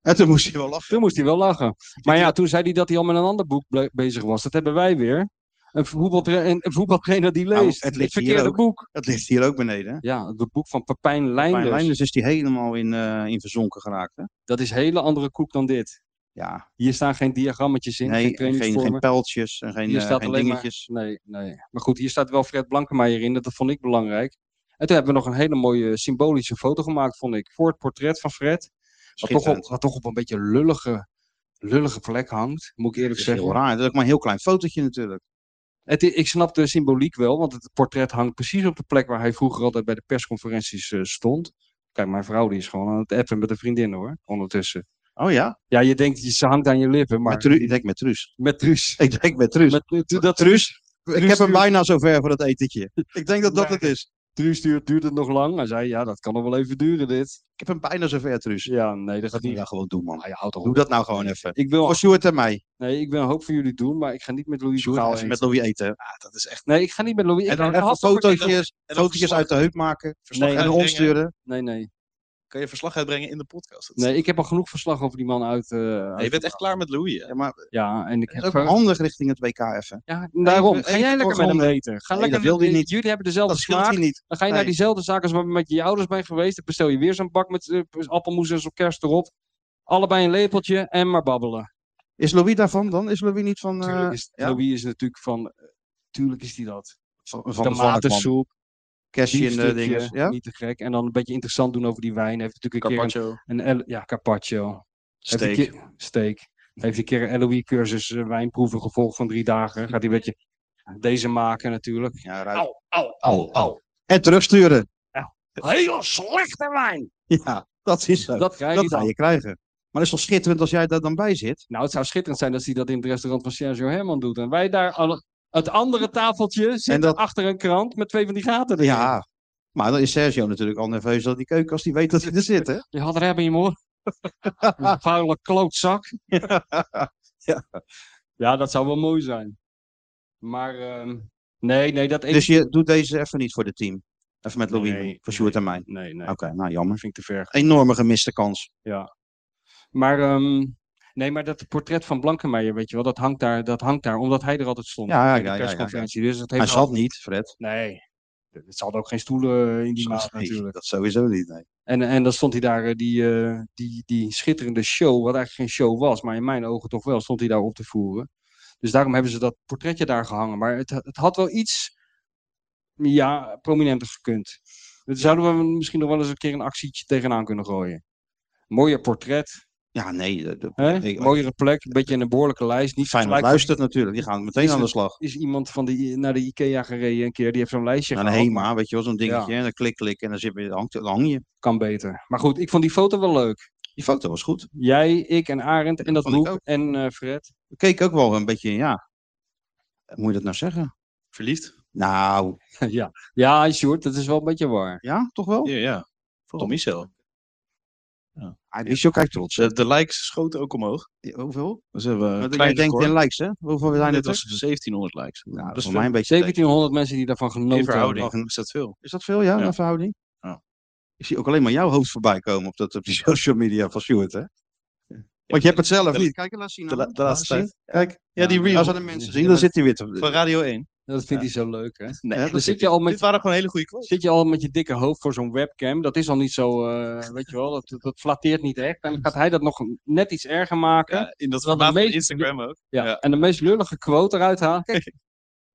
En toen moest je wel lachen. Toen moest hij wel lachen. Maar ja, toen zei hij dat hij al met een ander boek ble- bezig was. Dat hebben wij weer. Een, voetbaltra een voetbaltrainer die Nou, leest. het het, ligt hier verkeerde ook. boek. Dat ligt hier ook beneden. hè? Ja, het boek van Papijn Mijn Leinders. Leinders is die helemaal in, eh, in verzonken geraakt. Hè? Dat is een hele andere koek dan dit. Ja, Hier staan geen diagrammetjes in, nee, geen en geen, trainingsvormen. geen pijltjes en geen, Hier eh, staat geen alleen maar- dingetjes. Nee, nee. Maar goed, hier staat wel Fred Blankenmeijer in. Dat vond ik belangrijk. En toen hebben we nog een hele mooie symbolische foto gemaakt, vond ik. Voor het portret van Fred. Wat toch Schitterend. op, wat toch op een beetje lullige, lullige plek hangt, moet ik eerlijk is heel zeggen. raar. Dat is ook maar een heel klein fotootje natuurlijk. Het, i- ik snap de symboliek wel, want het portret hangt precies op de plek waar hij vroeger altijd bij de persconferenties eh, stond. Kijk, mijn vrouw die is gewoon aan het appen met een vriendin hoor, ondertussen. Oh ja, Ja, je denkt, je- ze hangt aan je lippen, maar met Tru- ik denk met Truus. met Truus. Ik denk met Truus. Met, met- dat Truus, ik heb hem stuurt- bijna zover voor dat etentje. Ik denk dat dat Nee. het is. Truus duurt, duurt het nog lang. Hij zei, ja, dat kan nog wel even duren dit. Ik heb hem bijna zover, Truus. Ja, nee, dat gaat Dat moet niet. je nou gewoon doen, man. Nou, je houdt Doe al. dat nou gewoon even. Ik wil, Voor Sjoerd en mij. nee, ik wil een hoop voor jullie doen, maar ik ga niet met Louis Sjoerd, Boergaal even eten. met Louis eten. Ah, dat is echt... Nee, ik ga niet met Louis. En Ik dan ga- even had- fotootjes, En dan fotootjes verslag- uit de heup maken. verslag Nee. En uitbrengen. ons sturen. Nee, nee. Kan je verslag uitbrengen in de podcast? Dat is- Nee, ik heb al genoeg verslag over die man uit. eh, Nee, uit- je bent echt klaar met Louis, hè? Ja, maar het Ja, en ik is heb ook ver- handig richting het WK even. Ja, daarom. even Ga jij lekker met hem voorgronden. eten. Ga Nee, lekker eh, dat wil met- hij niet. Jullie hebben dezelfde Dat scheelt smaak. hier niet. Dan ga je Nee. naar diezelfde zaak als waar we met je ouders bij geweest. Dan bestel je weer zo'n bak met eh, appelmoes en kerst erop. Allebei een lepeltje en maar babbelen. Is Louis daarvan dan? Is Louis niet van, eh, Tuurlijk is, ja. Louis is natuurlijk van... eh, Tuurlijk is die dat. van, van de varkman? Tomatensoep, Kerstje en eh, biefstukje, dinges. Ja? niet te gek. En dan een beetje interessant doen over die wijn. Heeft natuurlijk een keer Carpaccio, een, een El- ja, carpaccio. Heeft steak. een keer- steak. Heeft een keer een LOE-cursus eh, wijnproeven gevolgd van drie dagen. Gaat hij een beetje deze maken natuurlijk. Ja, ruikt. Au, au, Au, En terugsturen. Heel slechte wijn. Ja, dat is zo. Dat, Dat krijg je ga dan. je krijgen. Maar dat is toch schitterend als jij daar dan bij zit? Nou, het zou schitterend zijn als hij dat in het restaurant van Sergio Herman doet. En wij daar alle... Het andere tafeltje zit dat- achter een krant met twee van die gaten erin. Ja. Maar dan is Sergio natuurlijk al nerveus dat die keuken als die weet dat hij er zit, hè? Je had er hebben, hoor. Een vuile klootzak. ja. ja, dat zou wel mooi zijn. Maar ehm, nee, nee, dat Dus je doet deze even niet voor het team. Even met Louis, Nee, voor Sjoerd en mij. Nee, nee. Oké, nou jammer. Dat vind ik te ver. Enorme gemiste kans. Maar, ehm, nee, maar dat portret van Blankenmeijer, weet je wel, dat hangt daar, dat hangt daar omdat hij er altijd stond. Ja, ja, bij ja, ja, de ja, ja. persconferentie. Dus dat Hij heeft zat niet, Fred. al- Nee. Het zal ook geen stoelen eh, in die maat Nee, natuurlijk. Dat sowieso niet, nee. En, en dan stond hij daar, eh, die, eh, die, die schitterende show, wat eigenlijk geen show was, maar in mijn ogen toch wel, stond hij daar op te voeren. Dus daarom hebben ze dat portretje daar gehangen. Maar het, het had wel iets, ja, prominenters gekund. Daar zouden we misschien nog wel eens een keer een actietje tegenaan kunnen gooien. Mooier portret, Ja, nee. de- de- hè? Ik- mooiere plek, een beetje in een behoorlijke lijst. Niet Fijn dat vergelijkbaar- luistert natuurlijk. Die gaan meteen Is aan de het- slag. Is iemand van die, naar de Ikea gereden een keer, die heeft zo'n lijstje Naar de gehaald, maar HEMA, weet je wel, zo'n dingetje. En dan klik, klik en dan, zit, je- dan, hangt, dan hang je. Kan beter. Maar goed, ik vond die foto wel leuk. Die foto was goed. Jij, ik en Arend en dat vond ik boek ook. en eh, Fred. We keken ook wel een beetje, ja. Moet je dat nou zeggen? Verliefd? Nou, Ja, ja Sjoerd, dat is wel een beetje waar. ja, toch wel? Ja, ja. Tom Michel. Hij is ook kijk trots. De, de likes schoten ook omhoog. Hoeveel? Dus hebben we een Want klein jij denkt record. in likes, hè? Hoeveel zijn Dit het was er? 1700 likes. Nou, dat dat is is voor mij een beetje... tegen. 1700 mensen die daarvan genoten In hebben. verhouding is dat veel. Is dat veel, ja, Ja. naar verhouding? Ja. Ik zie ook alleen maar jouw hoofd voorbij komen op, dat, op die social media van Stuart, hè? Want je hebt het zelf de- niet. Kijk, laat zien. de la- aan. de Laat laatste eens Nou, zien. Kijk, Ja, die reel als aan de mensen zien, dan zit hij weer van te... Radio 1. Oh, Dat vindt hij zo leuk, hè? Nee, Ja, dat Dan is- zit je, al dit met, waren gewoon hele goede quotes. zit je al met je dikke hoofd voor zo'n webcam. Dat is al niet zo, eh, weet je wel, dat, dat flatteert niet echt. En dan gaat hij dat nog net iets erger maken. Ja, Ja, in dat Terwijl de formaat van meeste- Instagram ook. ja. En de meest lullige quote eruit halen. Kijk,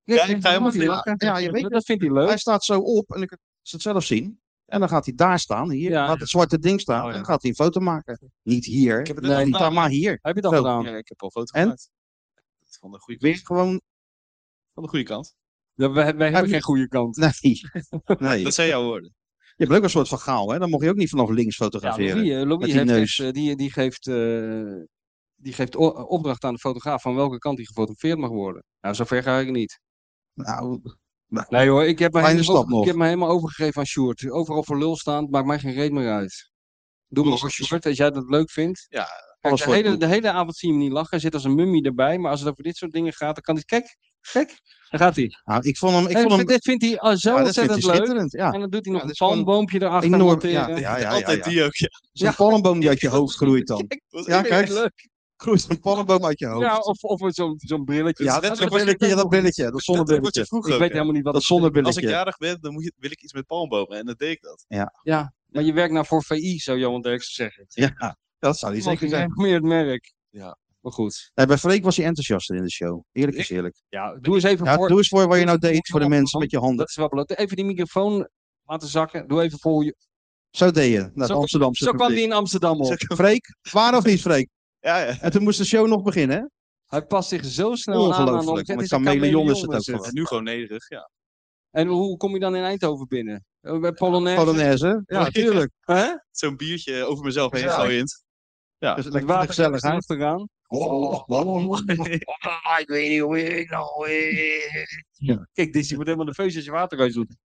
Ja, ik ga helemaal Ja, glimlachen. Ja, je weet dat vindt hij leuk. Hij staat zo op en ik kan het zelf zien. En dan gaat hij daar staan, hier, Ja. laat het zwarte ding staan. Oh, ja. En dan gaat hij een foto maken. Niet hier, Ik heb het Nee, net niet gedaan. daar, maar hier. Heb je dat Zo. gedaan? Ja, ik heb al een foto En? gemaakt. Dat is Van de goede Weer kant. gewoon, Van de goede kant. Ja, wij, wij hebben je- geen goede kant. nee. nee. Dat zijn jouw woorden. Je hebt ook een soort van gaal, hè? Dan mocht je ook niet vanaf links Ja, fotograferen. Louis, eh, Louis Met die heeft neus. dus, eh, die, die geeft, eh, die geeft o- opdracht aan de fotograaf van welke kant hij gefotografeerd mag worden. Nou, zover ga ik niet. Nou, nou, Nee hoor, ik heb me, Kleine helemaal, stap over- nog. Ik heb me helemaal overgegeven aan Sjoerd. Overal voor lul staan, maakt mij geen reet meer uit. Doe maar hoor, Sjoerd, als jij dat leuk vindt. Ja, Kijk, alles de, voor het hele, goed. de hele avond zie je hem niet lachen. Hij zit als een mummie erbij. Maar als het over dit soort dingen gaat, dan kan hij... Kijk, kijk, daar gaat hij. nou, ik vond hem... Ik Hey, vond hem Dit vindt hij al zo ja, dat vindt hij ontzettend leuk. schitterend. Ja, En dan doet hij Ja, nog dat een is gewoon palmboompje erachter enorm. monteren. Ja, ja, ja, ja, Altijd ja. die ook, ja. Zo'n palmboom die uit je hoofd groeit dan. Kijk, Dat was Ja, echt kijk. leuk. Groeit een palmboom uit je hoofd. Ja, of, of met zo'n zo'n brilletje. Ja, Dat dat, is dat net zo'n brilletje, dat brilletje, dat Dat moet je zonnebrilletje. vroeger Ik ook, weet ja. helemaal niet wat Dat het is. Als ik zonnebrilletje. jarig ben, dan moet je, wil ik iets met palmbomen. En dat deed ik dat. Maar je werkt nou voor VI, zou Johan Derksen zeggen. Ja, dat zou hij Die zeker zijn. meer het merk. Ja. Maar goed. Nee, bij Freek was hij enthousiaster in de show. Eerlijk is eerlijk. Ja, doe eens even Ja, voor. doe eens voor wat je nou doe deed eens voor de voor- mensen met je handen. Dat is wel belangrijk. Even die microfoon laten zakken. Doe even voor hoe je... Zo deed je, naar het Zo- Amsterdamse Zo kwam die publiek. in Amsterdam op. Freek, waar of niet Freek? Ja, ja. En toen moest de show nog beginnen, hè? Hij past zich zo snel aan aan Ongelooflijk, omzet. want is een chameleon is chameleon, het ook is gewoon. Nu gewoon nederig, ja. En hoe kom je dan in Eindhoven binnen? Eh, Bij Polonaise? Polonaise, hè? ja, Ja. tuurlijk. Hè? Zo'n biertje over mezelf heen Ja. gooiend. Dat is Met lekker Dus water gezellig, hè? eraan. Ik weet niet hoe ik nou... Kijk, Dizzy wordt helemaal nerveus als je water uit doet.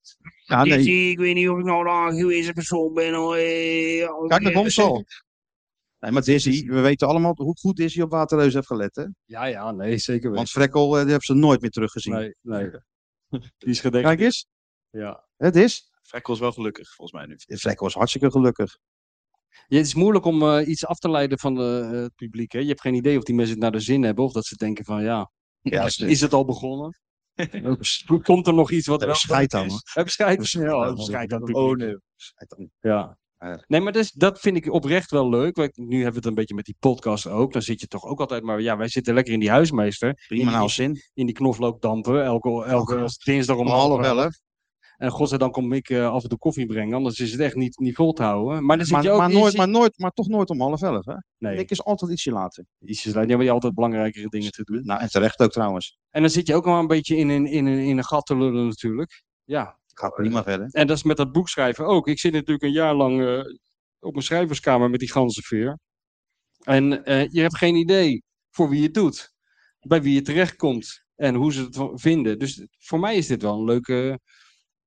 Ja, nee. ik weet niet of ik nou de aangewezen persoon ben. Hoor. Kijk, eh, dat komt zo. Nee, maar Dizzy, we weten allemaal hoe goed Dizzy op Waterreus heeft gelet, hè? Ja, ja, nee, zeker weten. Want Frekkel, eh, die hebben ze nooit meer teruggezien. Nee, nee. Die is gedekt. Kijk eens. Ja. Het is. Frekkel is wel gelukkig, volgens mij nu. Frekkel is hartstikke gelukkig. Ja, het is moeilijk om eh, iets af te leiden van eh, het publiek. Hè? Je hebt geen idee of die mensen het naar de zin hebben. Of dat ze denken van ja, Ja, is het al begonnen? Komt er nog iets wat wel... schijt aan, is? hoor. Heb scheid? Ja, Ja, scheid aan het publiek. Oh, nee. Schijt aan. Ja. Ja. Nee, maar dus, dat vind ik oprecht wel leuk. Want nu hebben we het een beetje met die podcast ook. Dan zit je toch ook altijd maar... Ja, wij zitten lekker in die huismeester. Prima nou zin. In die knoflookdampen. Elke, elke dinsdag om Oh, Om half elf. elf. En godzijdank kom ik eh, af en toe koffie brengen. Anders is het echt niet, niet vol te houden. Maar dan zit Maar, je ook... maar, je nooit, zit- maar, nooit, maar toch nooit om half elf, hè? Nee, Ik is altijd ietsje later. ietsjes later. Ja, maar je hebt altijd belangrijkere dingen te doen. Nou, en terecht ook trouwens. En dan zit je ook wel een beetje in een, in een, in een gat te lullen natuurlijk. Ja, Gaat prima verder. en dat is met dat boekschrijven ook. Ik zit natuurlijk een jaar lang eh, op mijn schrijverskamer met die ganzenveer. En eh, je hebt geen idee voor wie je het doet. Bij wie je terechtkomt. En hoe ze het v- vinden. Dus voor mij is dit wel een leuke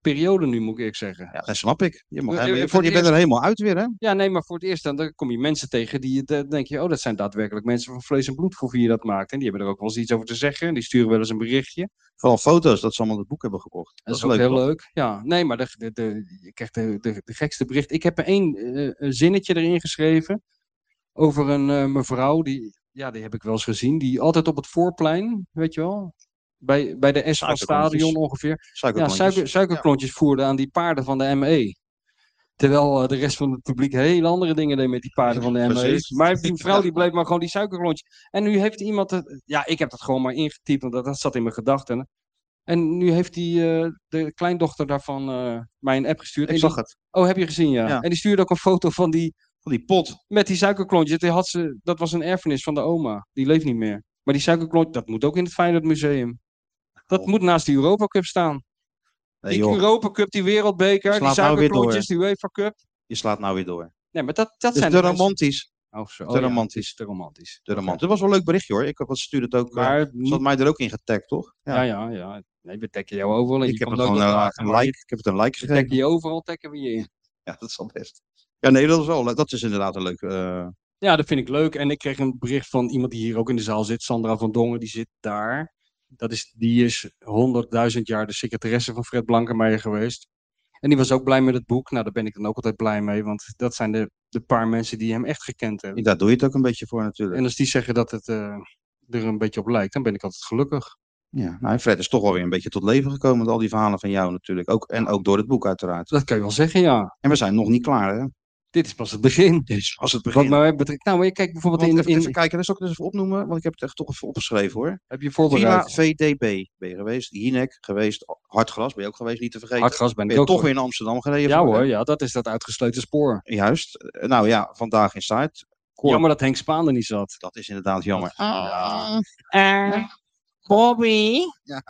periode nu, moet ik eerlijk zeggen. Ja, dat snap ik. Je, mag Eh, helemaal- eh, je- voor je het bent er helemaal uit weer, hè? Ja, nee, maar voor het eerst dan, dan kom je mensen tegen die je dan denk je, oh, dat zijn daadwerkelijk mensen van vlees en bloed voor wie je dat maakt. En die hebben er ook wel eens iets over te zeggen. En die sturen wel eens een berichtje. Vooral foto's dat ze allemaal het boek hebben gekocht. Dat, is, ook hoor. heel leuk. Ja, nee, maar de, de, de- je krijgt de, de, de gekste bericht. Ik heb er één eh, een zinnetje erin geschreven over een eh, mevrouw, die, ja, die heb ik wel eens gezien, die altijd op het voorplein, weet je wel, bij, bij de S van het Suikerklontjes. Stadion ongeveer, ja, Suikerklontjes. suiker, suikerklontjes voerde aan die paarden van de ME. Terwijl eh, de rest van het publiek heel andere dingen deed met die paarden van de ME. Precies. Maar die vrouw Ja. die bleef maar gewoon die suikerklontjes. En nu heeft iemand, het- ja, ik heb dat gewoon maar ingetypt, want dat, dat zat in mijn gedachten. En nu heeft die, eh, de kleindochter daarvan eh, mij een app gestuurd. Ik En die- zag het. Oh, heb je gezien, ja. Ja. En die stuurde ook een foto van die, Van die pot. met die suikerklontjes. Die had ze, dat was een erfenis van de oma. Die leeft niet meer. Maar die suikerklontjes, dat moet ook in het Feyenoord Museum. Dat Oh. moet naast die Europa Cup staan. Nee, die joh, Europa Cup, die Wereldbeker, die Slaat nou weer door. suikerklontjes, die UEFA Cup. je slaat nou weer door. Nee, maar dat, dat Het is zijn te de mensen- Dus romantisch. Oh, zo. te Oh, ja, romantisch. het is te romantisch. Te romantisch. Dat was wel een leuk berichtje hoor. Ik had- stuurde het ook. eh, Maar ze had niet, mij er ook in getagd, toch? Ja. ja, ja, ja. Nee, we tacken jou overal. in. ik Je heb komt het gewoon ook eh, wel een waar. like. Ik heb het een like We gegeven. tacken je overal, tacken we je in. Ja, dat is al best. Ja, nee, dat is wel. Dat is inderdaad een leuk. eh, Ja, dat vind ik leuk. En ik kreeg een bericht van iemand die hier ook in de zaal zit, Sandra van Dongen, die zit daar. Dat is, die is 100.000 jaar de secretaresse van Fred Blankenmeijer geweest. En die was ook blij met het boek. Nou, daar ben ik dan ook altijd blij mee, want dat zijn de, de paar mensen die hem echt gekend hebben. daar doe je het ook een beetje voor natuurlijk. En als die zeggen dat het eh, er een beetje op lijkt, dan ben ik altijd gelukkig. Ja, nou, en Fred is toch wel weer een beetje tot leven gekomen met al die verhalen van jou natuurlijk. Ook, en ook door het boek uiteraard. Dat kan je wel zeggen, ja. En we zijn nog niet klaar, hè? Dit is pas het begin. Als het Wat begint. mij betreft. Nou, maar je kijkt Want bijvoorbeeld in. even, even in kijken, dat zal ik dus even opnoemen, want ik heb het echt toch even opgeschreven hoor. heb je Villa voorbereid? VDB ben je geweest, Hinek geweest, Hartgras ben je ook geweest, niet te vergeten. Hartgras ben ben ik je ook. toch geweest. weer naar Amsterdam gereden. Ja voor, hè? hoor, ja, dat is dat uitgesleten spoor. Juist. Eh, Nou ja, vandaag in site. Cor- Jammer dat Henk Spaan er niet zat. Dat is inderdaad jammer. Ja. Eh, Bobby. Ja.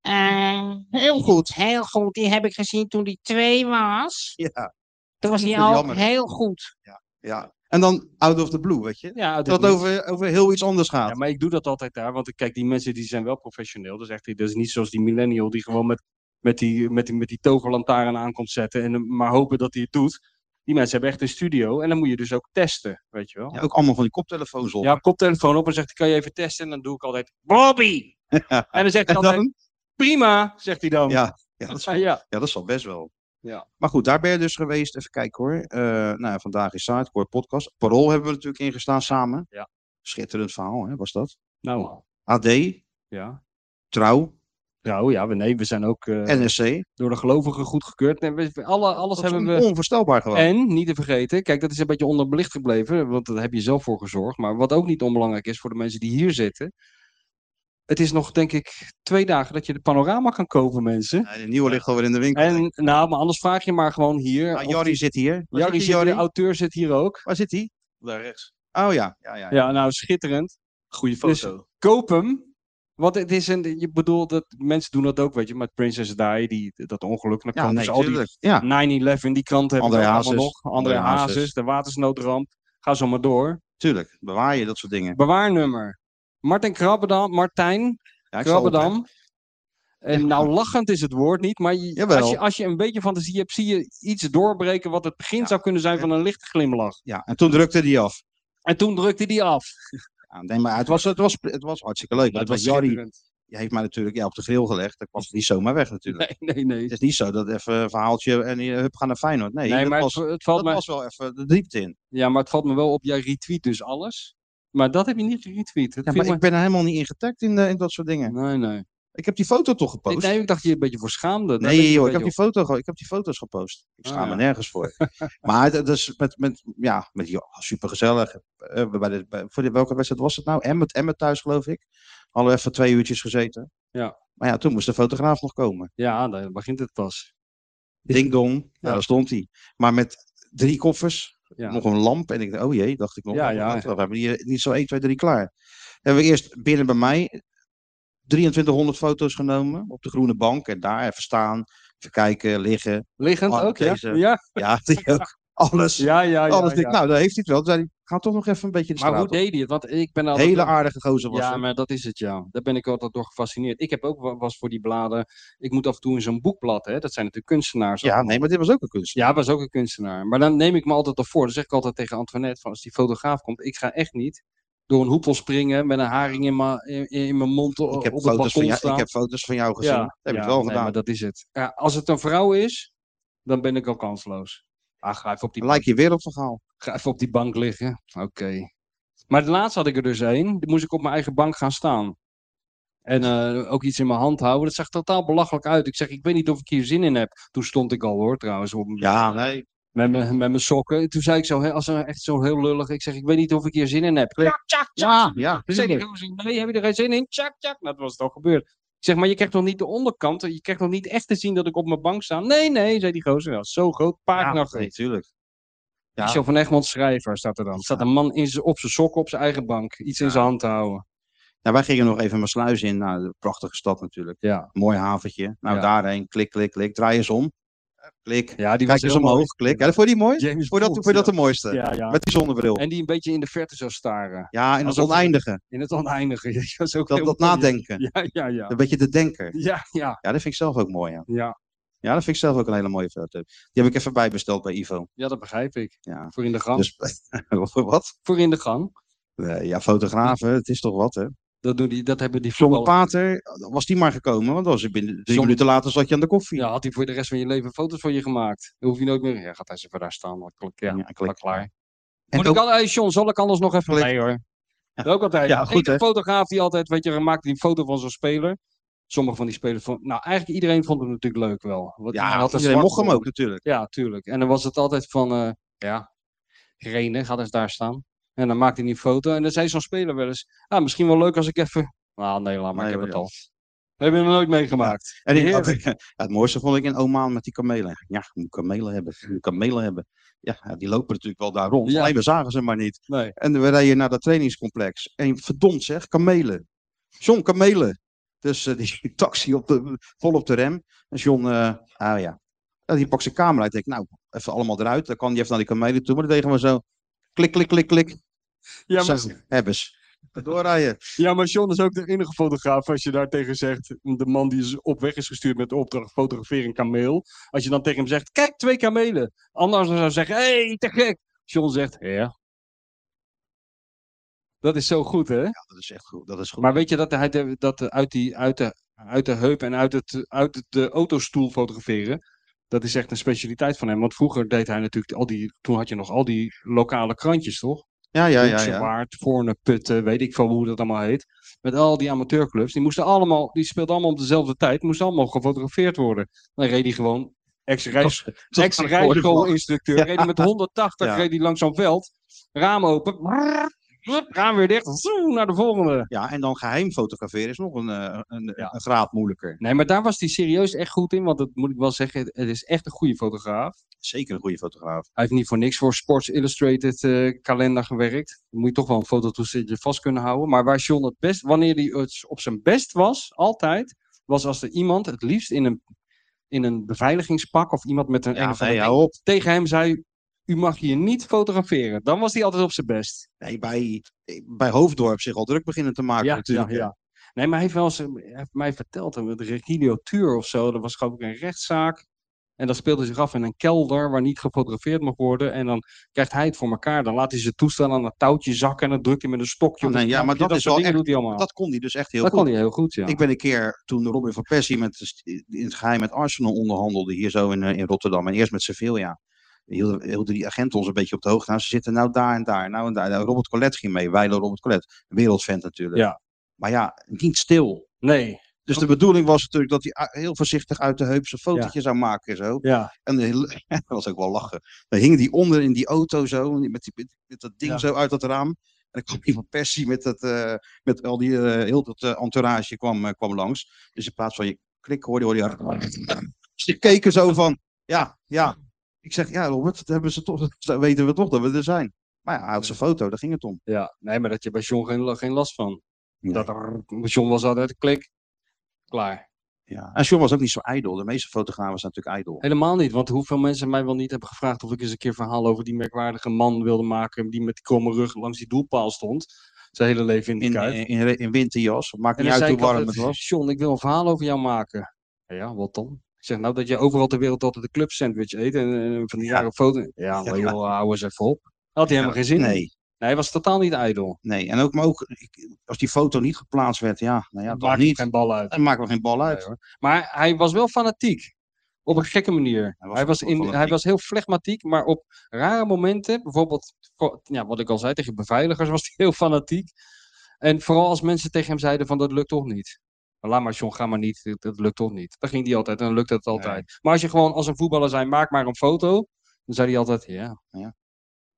eh, heel goed. Heel goed. Die heb ik gezien toen hij twee was. Ja. Toen was hij Dat is al jammer. heel goed. ja. En dan out of the blue, weet je? Ja, Dat het over, over heel iets anders gaat. Ja, maar ik doe dat altijd daar, want ik- kijk, die mensen die zijn wel professioneel. Dus echt, dat is niet zoals die millennial die gewoon met, met, die, met, die, met die toverlantaarn aankomt zetten en dan maar hopen dat hij het doet. Die mensen hebben echt een studio en dan moet je dus ook testen, weet je wel. Ja, ook allemaal van die koptelefoons op. Ja, koptelefoon op en zegt, kan je even testen? En dan doe ik altijd, Bobby! En dan zegt hij En altijd, dan? prima, zegt hij dan. Ja, Ja, dat is Ah, ja. Ja, dat zal best wel. Ja. Maar goed, daar ben je dus geweest. Even kijken hoor. Eh, nou ja, vandaag is Sidecore Podcast. Parool hebben we natuurlijk ingestaan samen. Ja. Schitterend verhaal, hè, was dat. Nou, AD, ja. Trouw, Nou ja, we, nee, we zijn ook eh, NSC. door de gelovigen goedgekeurd. Nee, we, alle, alles Dat is hebben on- we... onvoorstelbaar gewoon. En niet te vergeten, kijk, dat is een beetje onderbelicht gebleven, want daar heb je zelf voor gezorgd. Maar wat ook niet onbelangrijk is voor de mensen die hier zitten. Het is nog, denk ik, twee dagen dat je de panorama kan kopen, mensen. Ja, de nieuwe ligt alweer in de winkel. En, En nou, maar anders vraag je maar gewoon hier. of Jari die- zit hier. Waar Jarry zit die, zit hier, de Jarry? auteur zit hier ook. Waar zit hij? Daar rechts. Oh ja, ja, ja. Ja, nou schitterend. Goede foto. Dus- Koop hem. Want het is een, je bedoelt dat mensen doen dat ook, weet je, met Princess Di, die, dat ongeluk. Dan Ja, komen nee, ze dus al die Mm. tuurlijk. Ja, 9-11, die kranten hebben André we allemaal Hazes. nog. André André Hazes. Hazes, de watersnoodramp. Ga zo maar door. tuurlijk. Bewaar je dat soort dingen. Bewaarnummer. Martin Krabbedam, Martijn Ja, ik zal op- Krabbedam. En nou, lachend is het woord niet, maar je- Jawel. als je, als je een beetje fantasie hebt, zie je iets doorbreken wat het begin Ja. zou kunnen zijn van een lichte glimlach. Ja, en toen drukte die af. En toen drukte die af. Ja, nee, maar het was, het was, het was hartstikke leuk. Dat Het was was Jari schitterend. heeft mij natuurlijk ja, op de grill gelegd. Dat was niet zomaar weg natuurlijk. Nee, nee, nee. Het is niet zo dat even een verhaaltje en je hup, gaan naar Feyenoord. Nee, Nee, dat, maar het, was, v- het dat valt me, was wel even de diepte in. ja, maar het valt me wel op. Jij retweet dus alles. Maar dat heb je niet geretweet. Dat Ja, viel maar ik ben er helemaal niet in getagd in, eh, in dat soort dingen. Nee, nee. Ik heb die foto toch Nee, gepost? nee, ik dacht je een beetje voor schaamde. Daar ben Nee, joh, een ik heb, die beetje foto, ge- ik heb die foto's gepost. Ik Ah, schaam me ja. nergens voor. maar dat is met, met, ja, met die supergezellig. Eh, bij de, bij, voor de, welke wedstrijd was het nou? Emmet, Emmet thuis, geloof ik. Hadden we even twee uurtjes gezeten. Ja. Maar ja, toen moest de fotograaf nog komen. op. Ja, daar begint het pas. Ding dong, nou, Ja. daar stond hij. Maar met drie koffers, Ja. nog een lamp. En ik dacht, oh jee, dacht ik nog. Ja, nou, ja. laten We we hebben hier niet zo 1, 2, 3 klaar. Hebben we eerst binnen bij mij 2300 foto's genomen op de groene bank. En daar even staan, even kijken, liggen. Liggend Oh, ook, ja? deze. Ja, Ja, die ook. Alles. ja, ja. ja, alles. ja. dik. Nou, daar heeft hij het wel. Toen zei hij, ga toch nog even een beetje de Maar hoe straat op. deed hij het? Want ik ben altijd... Hele aardige gozer was Ja, hij. maar dat is het, ja. Daar ben ik altijd door gefascineerd. Ik heb ook wa- was voor die bladen... Ik moet af en toe in zo'n boekblad, hè. Dat zijn natuurlijk kunstenaars. Ja, nee, maar dit was ook een kunst. Ja, was ook een kunstenaar. Maar dan neem ik me altijd al voor. Dan zeg ik altijd tegen Antoinette: van als die fotograaf komt, ik ga echt niet door een hoepel springen met een haring in mijn in, in mijn mond o- Ik heb, op het foto's van balkon jou, staan. ik heb foto's van jou gezien. dat heb ik ja, wel nee, maar gedaan. dat is het. Ja, als het een vrouw is, dan ben ik al kansloos. Ah, ga even op die, bank, Lijkt je wereldverhaal. ga even op die bank liggen. Oké. Maar het laatst had ik er dus één. Die moest ik op mijn eigen bank gaan staan. En eh, ook iets in mijn hand houden. Dat zag totaal belachelijk uit. Ik zeg, ik weet niet of ik hier zin in heb. Toen stond ik al hoor, trouwens, op, Ja, nee. met mijn, met mijn sokken. Toen zei ik zo, hè, als een- echt zo heel lullig. Ik zeg, ik weet niet of ik hier zin in heb. Tjak, tjak, tjak. Ja, Ja, Toen zei die gozer, nee, heb je er geen Oh, zin in? Tjak, tjak. Nou, dat was het al gebeurd. Ik zeg, maar je krijgt nog niet de onderkant. Je krijgt nog niet echt te zien dat ik op mijn bank sta. Nee, nee, zei die gozer. Ja, zo groot, paardnacht. natuurlijk. tuurlijk. ja. Michel van Egmond schrijver staat er dan. Staat een man in z'n- op zijn sokken op zijn eigen bank. Iets in zijn hand te houden. Nou, wij gingen nog even mijn sluis in. Nou, de prachtige stad natuurlijk. Ja, Mooi haventje. Nou, Ja. daarheen. Klik, klik, klik. Draai eens om. Eh, Klik. ja die Kijk was eens heel mooi. omhoog. Klik. Ja, dat vond je die mooi? James Vond je dat, Bond, vond je dat ja. de mooiste? ja, ja. Met die zonnebril. En die een beetje in de verte zou staren. Ja, en dat Alsof- oneindige. In het oneindige. Dat, was ook Dat, heel dat mooi. nadenken. Ja, ja, ja. Een beetje de denker. Ja, ja, Ja, dat vind ik zelf ook mooi. Ja. ja. Ja, dat vind ik zelf ook een hele mooie foto. Die heb ik even bijbesteld bij Ivo. Ja, dat begrijp ik. Ja. Voor in de gang. Dus wat? Voor in de gang. Nee, ja, fotografen, het is toch wat, hè? Dat, doen die, dat hebben die John de voetballers. Pater, was die maar gekomen, want dan was hij binnen drie John- minuten later zat je aan de koffie. Ja, had hij voor de rest van je leven foto's van je gemaakt. Dan hoef je nooit meer. Ja, gaat hij ze voor daar staan. Dan klik, ja, Ja, ja, klik. klaar. En Moet ook- ik al, hey, John, zal ik anders nog even. Klik. Nee hoor. Dat ook altijd. Ja, goed, Eén hè? fotograaf die altijd, weet je, maakte die foto van zo'n speler. Sommige van die spelers vond, nou eigenlijk iedereen vond hem natuurlijk leuk wel. Want ja hij had een iedereen zwart mocht hem voor. ook natuurlijk. Ja, tuurlijk. En dan was het altijd van, eh, ja, Rene gaat eens daar staan. En dan maakte hij een foto. En dan zei zo'n speler wel eens, ah, misschien wel leuk als ik even... Nou, nee, laat maar, Nee, ik heb ja. het al. Dat heb je nog nooit meegemaakt. En die- Heerlijk. ja, het mooiste vond ik in Oman met die kamelen. Ja, je moet kamelen hebben, je moet kamelen hebben. Ja, ja, die lopen natuurlijk wel daar rond, Ja. alleen we zagen ze maar niet. Nee. En we rijden naar dat trainingscomplex. En verdomd zeg, kamelen. John, kamelen. Dus eh, die taxi op de, vol op de rem. En John, eh, ah ja. En die pakt zijn camera uit. Ik denk, nou, even allemaal eruit. Dan kan hij even naar die kamelen toe. Maar dan deden we zo. Klik, klik, klik, klik. Ja, Zo, hebben ze. Doorrijden. ja, maar John is ook de enige fotograaf, als je daar tegen zegt, de man die is op weg is gestuurd met de opdracht fotografeer een kameel. Als je dan tegen hem zegt, kijk, twee kamelen. Anders zou zeggen, hé, hey, te gek. John zegt, ja. Dat is zo goed, hè? Ja, dat is echt goed. Dat is goed. Maar weet je dat hij de- dat de- uit, die, uit, de, uit de heup en uit, het, uit het, de autostoel fotograferen. Dat is echt een specialiteit van hem. Want vroeger deed hij natuurlijk al die. Toen had je nog al die lokale krantjes, toch? ja, ja, ja. Hoekse ja. Waard, Voorne, Putten, weet ik veel hoe dat allemaal heet. Met al die amateurclubs. Die moesten allemaal. Die speelden allemaal op dezelfde tijd. Moesten allemaal gefotografeerd worden. Dan reed hij gewoon. Ex-reis- dat- dat- Ex-rijschool-instructeur. Reed hij met 180 Ja. reed hij langs zo'n veld. Raam open. brrr, Hup, Raam weer dicht. Zoe, naar de volgende. Ja, en dan geheim fotograferen is nog een, eh, een, Ja. een graad moeilijker. Nee, maar daar was hij serieus echt goed in. Want dat moet ik wel zeggen. Het is echt een goede fotograaf. Zeker een goede fotograaf. Hij heeft niet voor niks voor Sports Illustrated eh, kalender gewerkt. Dan moet je toch wel een fototoesteltje vast kunnen houden. Maar waar John het best, wanneer hij het op zijn best was, altijd, was als er iemand het liefst in een, in een beveiligingspak of iemand met een enge Ja, van nee, een- hou op. tegen hem zei, u mag hier niet fotograferen. Dan was hij altijd op zijn best. Nee, bij, bij Hoofddorp zich al druk beginnen te maken natuurlijk. ja. Nee, maar hij heeft, wel eens, eh, hij heeft mij verteld, eh, met Regilio Tuur of zo, dat was geloof ik een rechtszaak. En dat speelde zich af in een kelder waar niet gefotografeerd mag worden. En dan krijgt hij het voor elkaar. Dan laat hij zijn toestel aan dat touwtje zakken en dan drukt hij met een stokje. Oh, op nee, het ja, maar knopje. dat is wel soort dingen echt- doet hij allemaal. Dat kon hij dus echt heel Dat goed. kon hij heel goed, ja. Ik ben een keer toen Robin van Persie met, de st- in het geheim met Arsenal onderhandelde hier zo in, eh, in Rotterdam. En eerst met Sevilla. Hielden, hielden die agenten ons een beetje op de hoogte. Nou, ze zitten nou daar en daar, nou en daar. Nou, Robert Collet ging mee, Weilo Robert Collet. Wereldvent natuurlijk. Ja. Maar ja, niet stil. Nee, Dus de bedoeling was natuurlijk dat hij a- heel voorzichtig uit de heup zijn fotootje zou maken en zo. ja. En heel- dat was ook wel lachen. Dan hing die onder in die auto zo, met, die, met, met dat ding Ja. zo uit dat raam. En dan kwam die van Persie met, dat, eh, met al die, eh, heel dat eh, entourage kwam, eh, kwam langs. Dus in plaats van je klik hoorde, hoorde je... Dus die keken zo van, ja, ja. Ik zeg, ja Robert, dat hebben ze toch, dat weten we toch dat we er zijn. Maar ja, hij had zijn foto, daar ging het om. ja. Nee, maar dat je bij John geen, geen last van. Nee. Dat, John was altijd klik. Klaar. Ja. En John was ook niet zo ijdel. De meeste fotografen zijn natuurlijk ijdel. Helemaal niet, want hoeveel mensen mij wel niet hebben gevraagd of ik eens een keer verhaal over die merkwaardige man wilde maken die met die kromme rug langs die doelpaal stond. Zijn hele leven in de In, kuit. in, in, in winterjas, maakt en niet dan uit zei hoe ik altijd, warm het was. John, ik wil een verhaal over jou maken. Ja, ja, wat dan? Ik zeg nou dat je overal ter wereld altijd een club sandwich eet en, eh, van die Ja. jaren foto. Ja, maar joh, hou eens even op. Had hij helemaal geen zin in. Nee, Nee, hij was totaal niet ijdel. Nee, en ook, maar ook ik- als die foto niet geplaatst werd, ja, nou ja, Dat dan maakt niet. geen bal uit. Dan maken we geen bal uit. Nee, hoor. Maar hij was wel fanatiek. Op een gekke manier. Hij Hij was was, in, wel fanatiek. hij was heel flegmatiek, maar op rare momenten, bijvoorbeeld, voor- ja, wat ik al zei, tegen beveiligers was hij heel fanatiek. En vooral als mensen tegen hem zeiden van dat lukt toch niet. Laat maar John, ga maar niet, dat, dat lukt toch niet. Dan ging hij altijd en dan lukt het altijd. Maar als je gewoon als een voetballer zei, maak maar een foto, dan zei hij altijd, ja. Ja.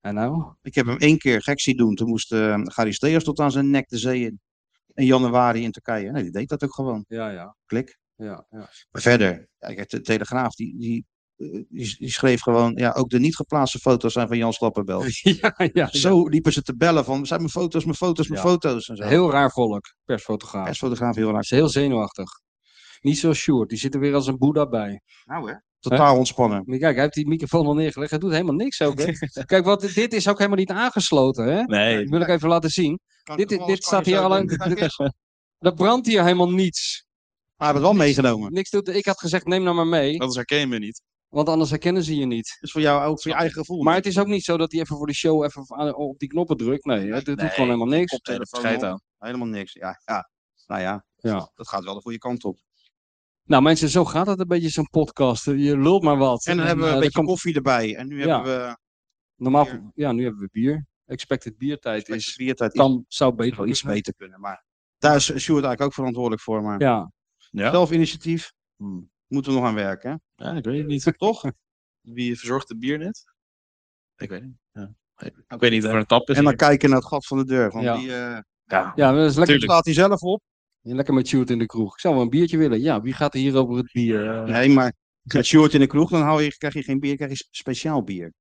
En nou? Ik heb hem één keer gek zien doen. Toen moest eh Charisteas tot aan zijn nek de zee in. In januari in Turkije. Nee, die deed dat ook gewoon. Ja, ja. Klik. ja, ja. Maar verder, ja, kijk, de Telegraaf, die, die, eh, die, die schreef gewoon, ja, ook de niet geplaatste foto's zijn van Jan Slappenbel. ja, ja. Zo liepen ze te bellen van, zijn mijn foto's, mijn foto's, mijn Ja. foto's. En zo. Heel raar volk, persfotograaf. persfotograaf heel Hij raar. is heel zenuwachtig. Niet zo Sjoerd, die zit er weer als een boeddha bij. Nou hè. Totaal ontspannen. Maar kijk, hij heeft die microfoon al neergelegd. Hij doet helemaal niks ook. Hè? kijk, wat, dit is ook helemaal niet aangesloten. Hè? Nee. Dat wil ik even laten zien. Kan Dit, ik nog wel dit eens staat hier zo al aan. doen? Er brandt hier helemaal niets. Maar hij heeft het wel meegenomen. Niks doet, ik had gezegd, neem nou maar mee. Oh. Anders herken je me niet. Want anders herkennen ze je niet. Dus voor jou ook voor je eigen gevoel. Maar het is ook niet zo dat hij even voor de show even aan- op die knoppen drukt. Nee, het, het doet Nee. gewoon helemaal niks. Koptelefoon Scheid op. aan. Helemaal niks. Ja, ja. Nou ja, Ja. dat gaat wel de goede kant op. Nou mensen, zo gaat het een beetje zo'n podcast. Je lult maar wat. En dan hebben we eh, een er beetje komt- koffie erbij. En nu Ja. hebben we Normaal, bier. ja, nu hebben we bier. Expected biertijd het is... is biertijd iets, Dan zou beter wel iets kunnen. beter kunnen. Maar daar is Sjoerd eigenlijk ook verantwoordelijk voor. Maar Ja, zelf initiatief moeten we nog aan werken. hè? Ja, ik weet het niet. Toch? Wie verzorgt de bier net? Ik weet het niet. Ja. Ik weet niet of er een tap is. En dan kijken naar het gat van de deur. Want Ja. die eh, ja dat is lekker, staat hij zelf op. lekker met Sjoerd in de kroeg. Ik zou wel een biertje willen. Ja, wie gaat er hier over het bier? eh? Nee, maar met Sjoerd in de kroeg, dan hou je, krijg je geen bier, krijg je speciaal bier.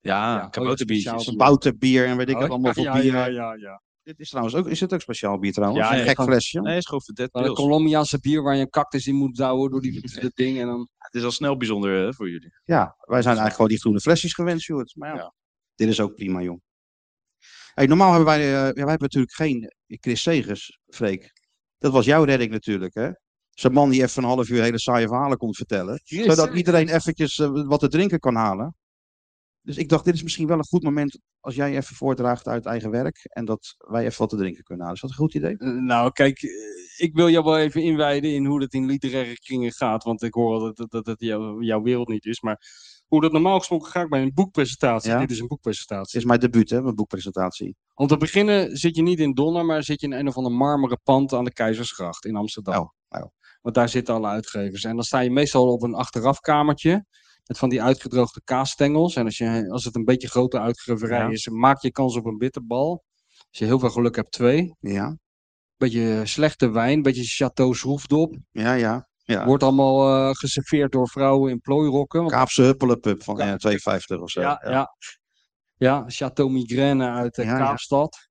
Ja, Ja, ja kabouterbiertjes. oh, speciaal Bouterbier en weet ik Oh, wat allemaal voor ja, bier. Ja, ja, ja. Dit is trouwens ook, is dit ook speciaal bier trouwens? Ja, een ja, gek gewoon- flesje. Nee, is gewoon verdet Maar Een pils. Colombiaanse bier waar je een cactus in moet douwen door die, dat ding. En dan... Het is al snel bijzonder eh, voor jullie. Ja, wij zijn eigenlijk gewoon die groene flesjes gewend, Sjoerd. Maar ja, Ja. dit is ook prima, jong. Hey, normaal hebben wij, eh, ja, wij hebben natuurlijk geen Chris Segers, Freek. Dat was jouw redding natuurlijk, hè? Zo'n man die even een half uur hele saaie verhalen komt vertellen. zodat iedereen eventjes eh, wat te drinken kan halen. Dus ik dacht, dit is misschien wel een goed moment als jij even voordraagt uit eigen werk. En dat wij even wat te drinken kunnen halen. Is dat een goed idee? Eh, Nou, kijk, eh, ik wil jou wel even inwijden in hoe dat in literaire kringen gaat. Want ik hoor al dat dat, dat, dat jouw, jouw wereld niet is. Maar hoe dat normaal gesproken gaat bij een boekpresentatie. Ja. Dit is een Het boekpresentatie. is mijn debuut, hè, mijn boekpresentatie. Om te beginnen zit je niet in Donner, maar zit je in een of ander marmeren pand aan de Keizersgracht in Amsterdam. Oh, oh. Want daar zitten alle uitgevers. En dan sta je meestal op een achterafkamertje met van die uitgedroogde kaasstengels. En als, je, als het een beetje grote uitgeverij Ja. is, maak je kans op een bitterbal. Als je heel veel geluk hebt, twee. Ja, Beetje slechte wijn, beetje Chateau Schroefdop. ja, ja. ja. Wordt allemaal eh, geserveerd door vrouwen in plooirokken. want- Kaapse huppelepup van ja, 2,50 of zo. ja, ja. ja. Chateau Migraine uit eh, Ja, ja. Kaapstad.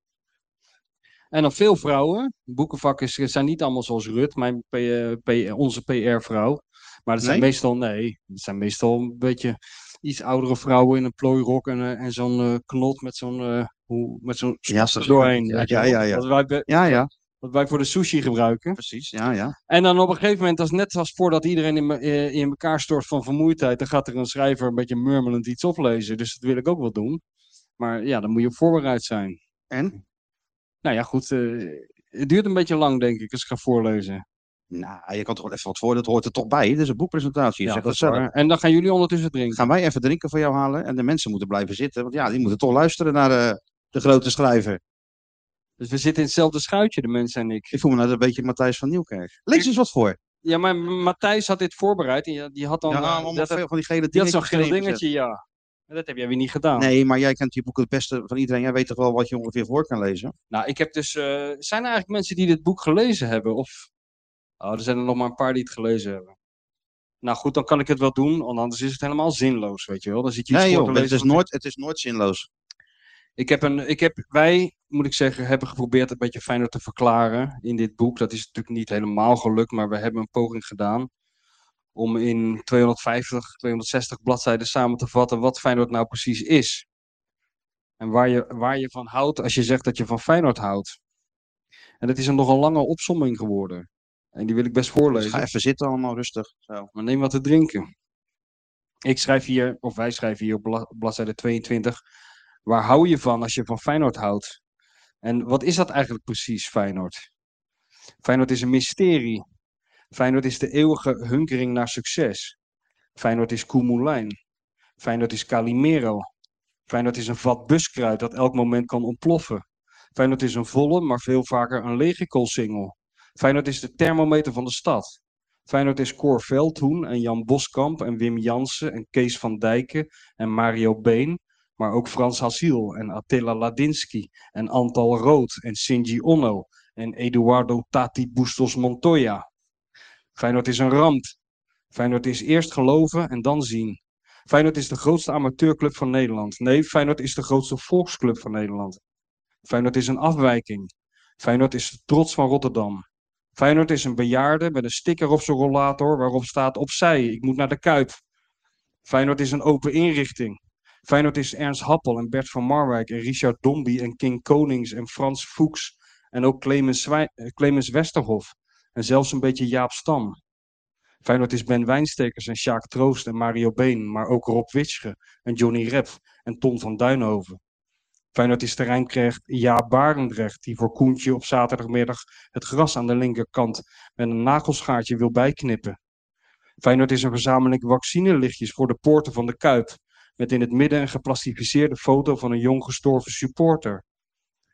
En dan veel vrouwen. Boekenvakkers zijn niet allemaal zoals Rut, mijn P- eh, P- onze PR-vrouw. Maar dat zijn Nee? meestal, nee, dat zijn meestal een beetje iets oudere vrouwen in een plooirok en, eh, en zo'n eh, knot met zo'n eh, hoe- met zo'n Ja, stok zo- er doorheen. ja, weet je ja, wel. ja, ja. Wat, wij, be- Ja, ja, wat wij voor de sushi gebruiken. precies. Ja, ja. En dan op een gegeven moment, dat is net als voordat iedereen in, me- eh, in elkaar stort van vermoeidheid, dan gaat er een schrijver een beetje murmelend iets oplezen. Dus dat wil ik ook wel doen. Maar ja, dan moet je op voorbereid zijn. En? Nou ja, goed. eh, het duurt een beetje lang, denk ik, als ik ga voorlezen. Nou, je kan toch wel even wat voor, dat hoort er toch bij. Dit is een boekpresentatie, je ja, zegt dat dat is zelf. waar. En dan gaan jullie ondertussen drinken. Gaan wij even drinken voor jou halen en de mensen moeten blijven zitten. Want ja, die moeten toch luisteren naar eh, de grote schrijver. Dus we zitten in hetzelfde schuitje, de mensen en ik. Ik voel me nou een beetje Matthijs van Nieuwkerk. Lees eens wat voor. Ja, maar Matthijs had dit voorbereid. En ja, die had dan. Ja, eh, allemaal dat, veel van die gele die had dingetjes zo'n geel erin gezet. dingetje, ja. Maar dat heb jij weer niet gedaan. Nee, maar jij kent die boeken het beste van iedereen. Jij weet toch wel wat je ongeveer voor kan lezen? Nou, ik heb dus. eh, zijn er eigenlijk mensen die dit boek gelezen hebben? Of. Oh, er zijn er nog maar een paar die het gelezen hebben. Nou goed, dan kan ik het wel doen, want anders is het helemaal zinloos, weet je wel. Dan zit je iets Nee voor joh, te het lezen. is, nooit, het is nooit zinloos. Ik heb een, ik heb, wij, moet ik zeggen, hebben geprobeerd een beetje fijner te verklaren in dit boek. Dat is natuurlijk niet helemaal gelukt, maar we hebben een poging gedaan om in 250, 260 bladzijden samen te vatten wat Feyenoord nou precies is. En waar je, waar je van houdt als je zegt dat je van Feyenoord houdt. En dat is een nogal lange opsomming geworden. En die wil ik best Dus ga voorlezen. even zitten allemaal rustig. Zo. Maar neem wat te drinken. Ik schrijf hier, of wij schrijven hier op bla- bladzijde 22. Waar hou je van als je van Feyenoord houdt? En wat is dat eigenlijk precies, Feyenoord? Feyenoord is een mysterie. Feyenoord is de eeuwige hunkering naar succes. Feyenoord is Koemoelijn. Feyenoord is Calimero. Feyenoord is een vat buskruid dat elk moment kan ontploffen. Feyenoord is een volle, maar veel vaker een lege koolsingel. Feyenoord is de thermometer van de stad. Feyenoord is Cor Veldhoen en Jan Boskamp en Wim Jansen en Kees van Dijken en Mario Been. Maar ook Frans Haziel en Attila Ladinsky en Antal Rood en Sinji Onno en Eduardo Tati Bustos Montoya. Feyenoord is een ramp. Feyenoord is eerst geloven en dan zien. Feyenoord is de grootste amateurclub van Nederland. Nee, Feyenoord is de grootste volksclub van Nederland. Feyenoord is een afwijking. Feyenoord is de trots van Rotterdam. Feyenoord is een bejaarde met een sticker op zijn rollator waarop staat opzij, ik moet naar de Kuip. Feyenoord is een open inrichting. Feyenoord is Ernst Happel en Bert van Marwijk en Richard Dombie en King Konings en Frans Fuchs en ook Clemens, Zwij- eh, Clemens Westerhof en zelfs een beetje Jaap Stam. Feyenoord is Ben Wijnstekers en Sjaak Troost en Mario Been, maar ook Rob Witsche en Johnny Rep en Ton van Duinhoven. Feyenoord is terreinkrecht Jaap Barendrecht, die voor Koentje op zaterdagmiddag het gras aan de linkerkant met een nagelschaartje wil bijknippen. Feyenoord is een verzameling vaccinelichtjes voor de poorten van de Kuip, met in het midden een geplastificeerde foto van een jong gestorven supporter.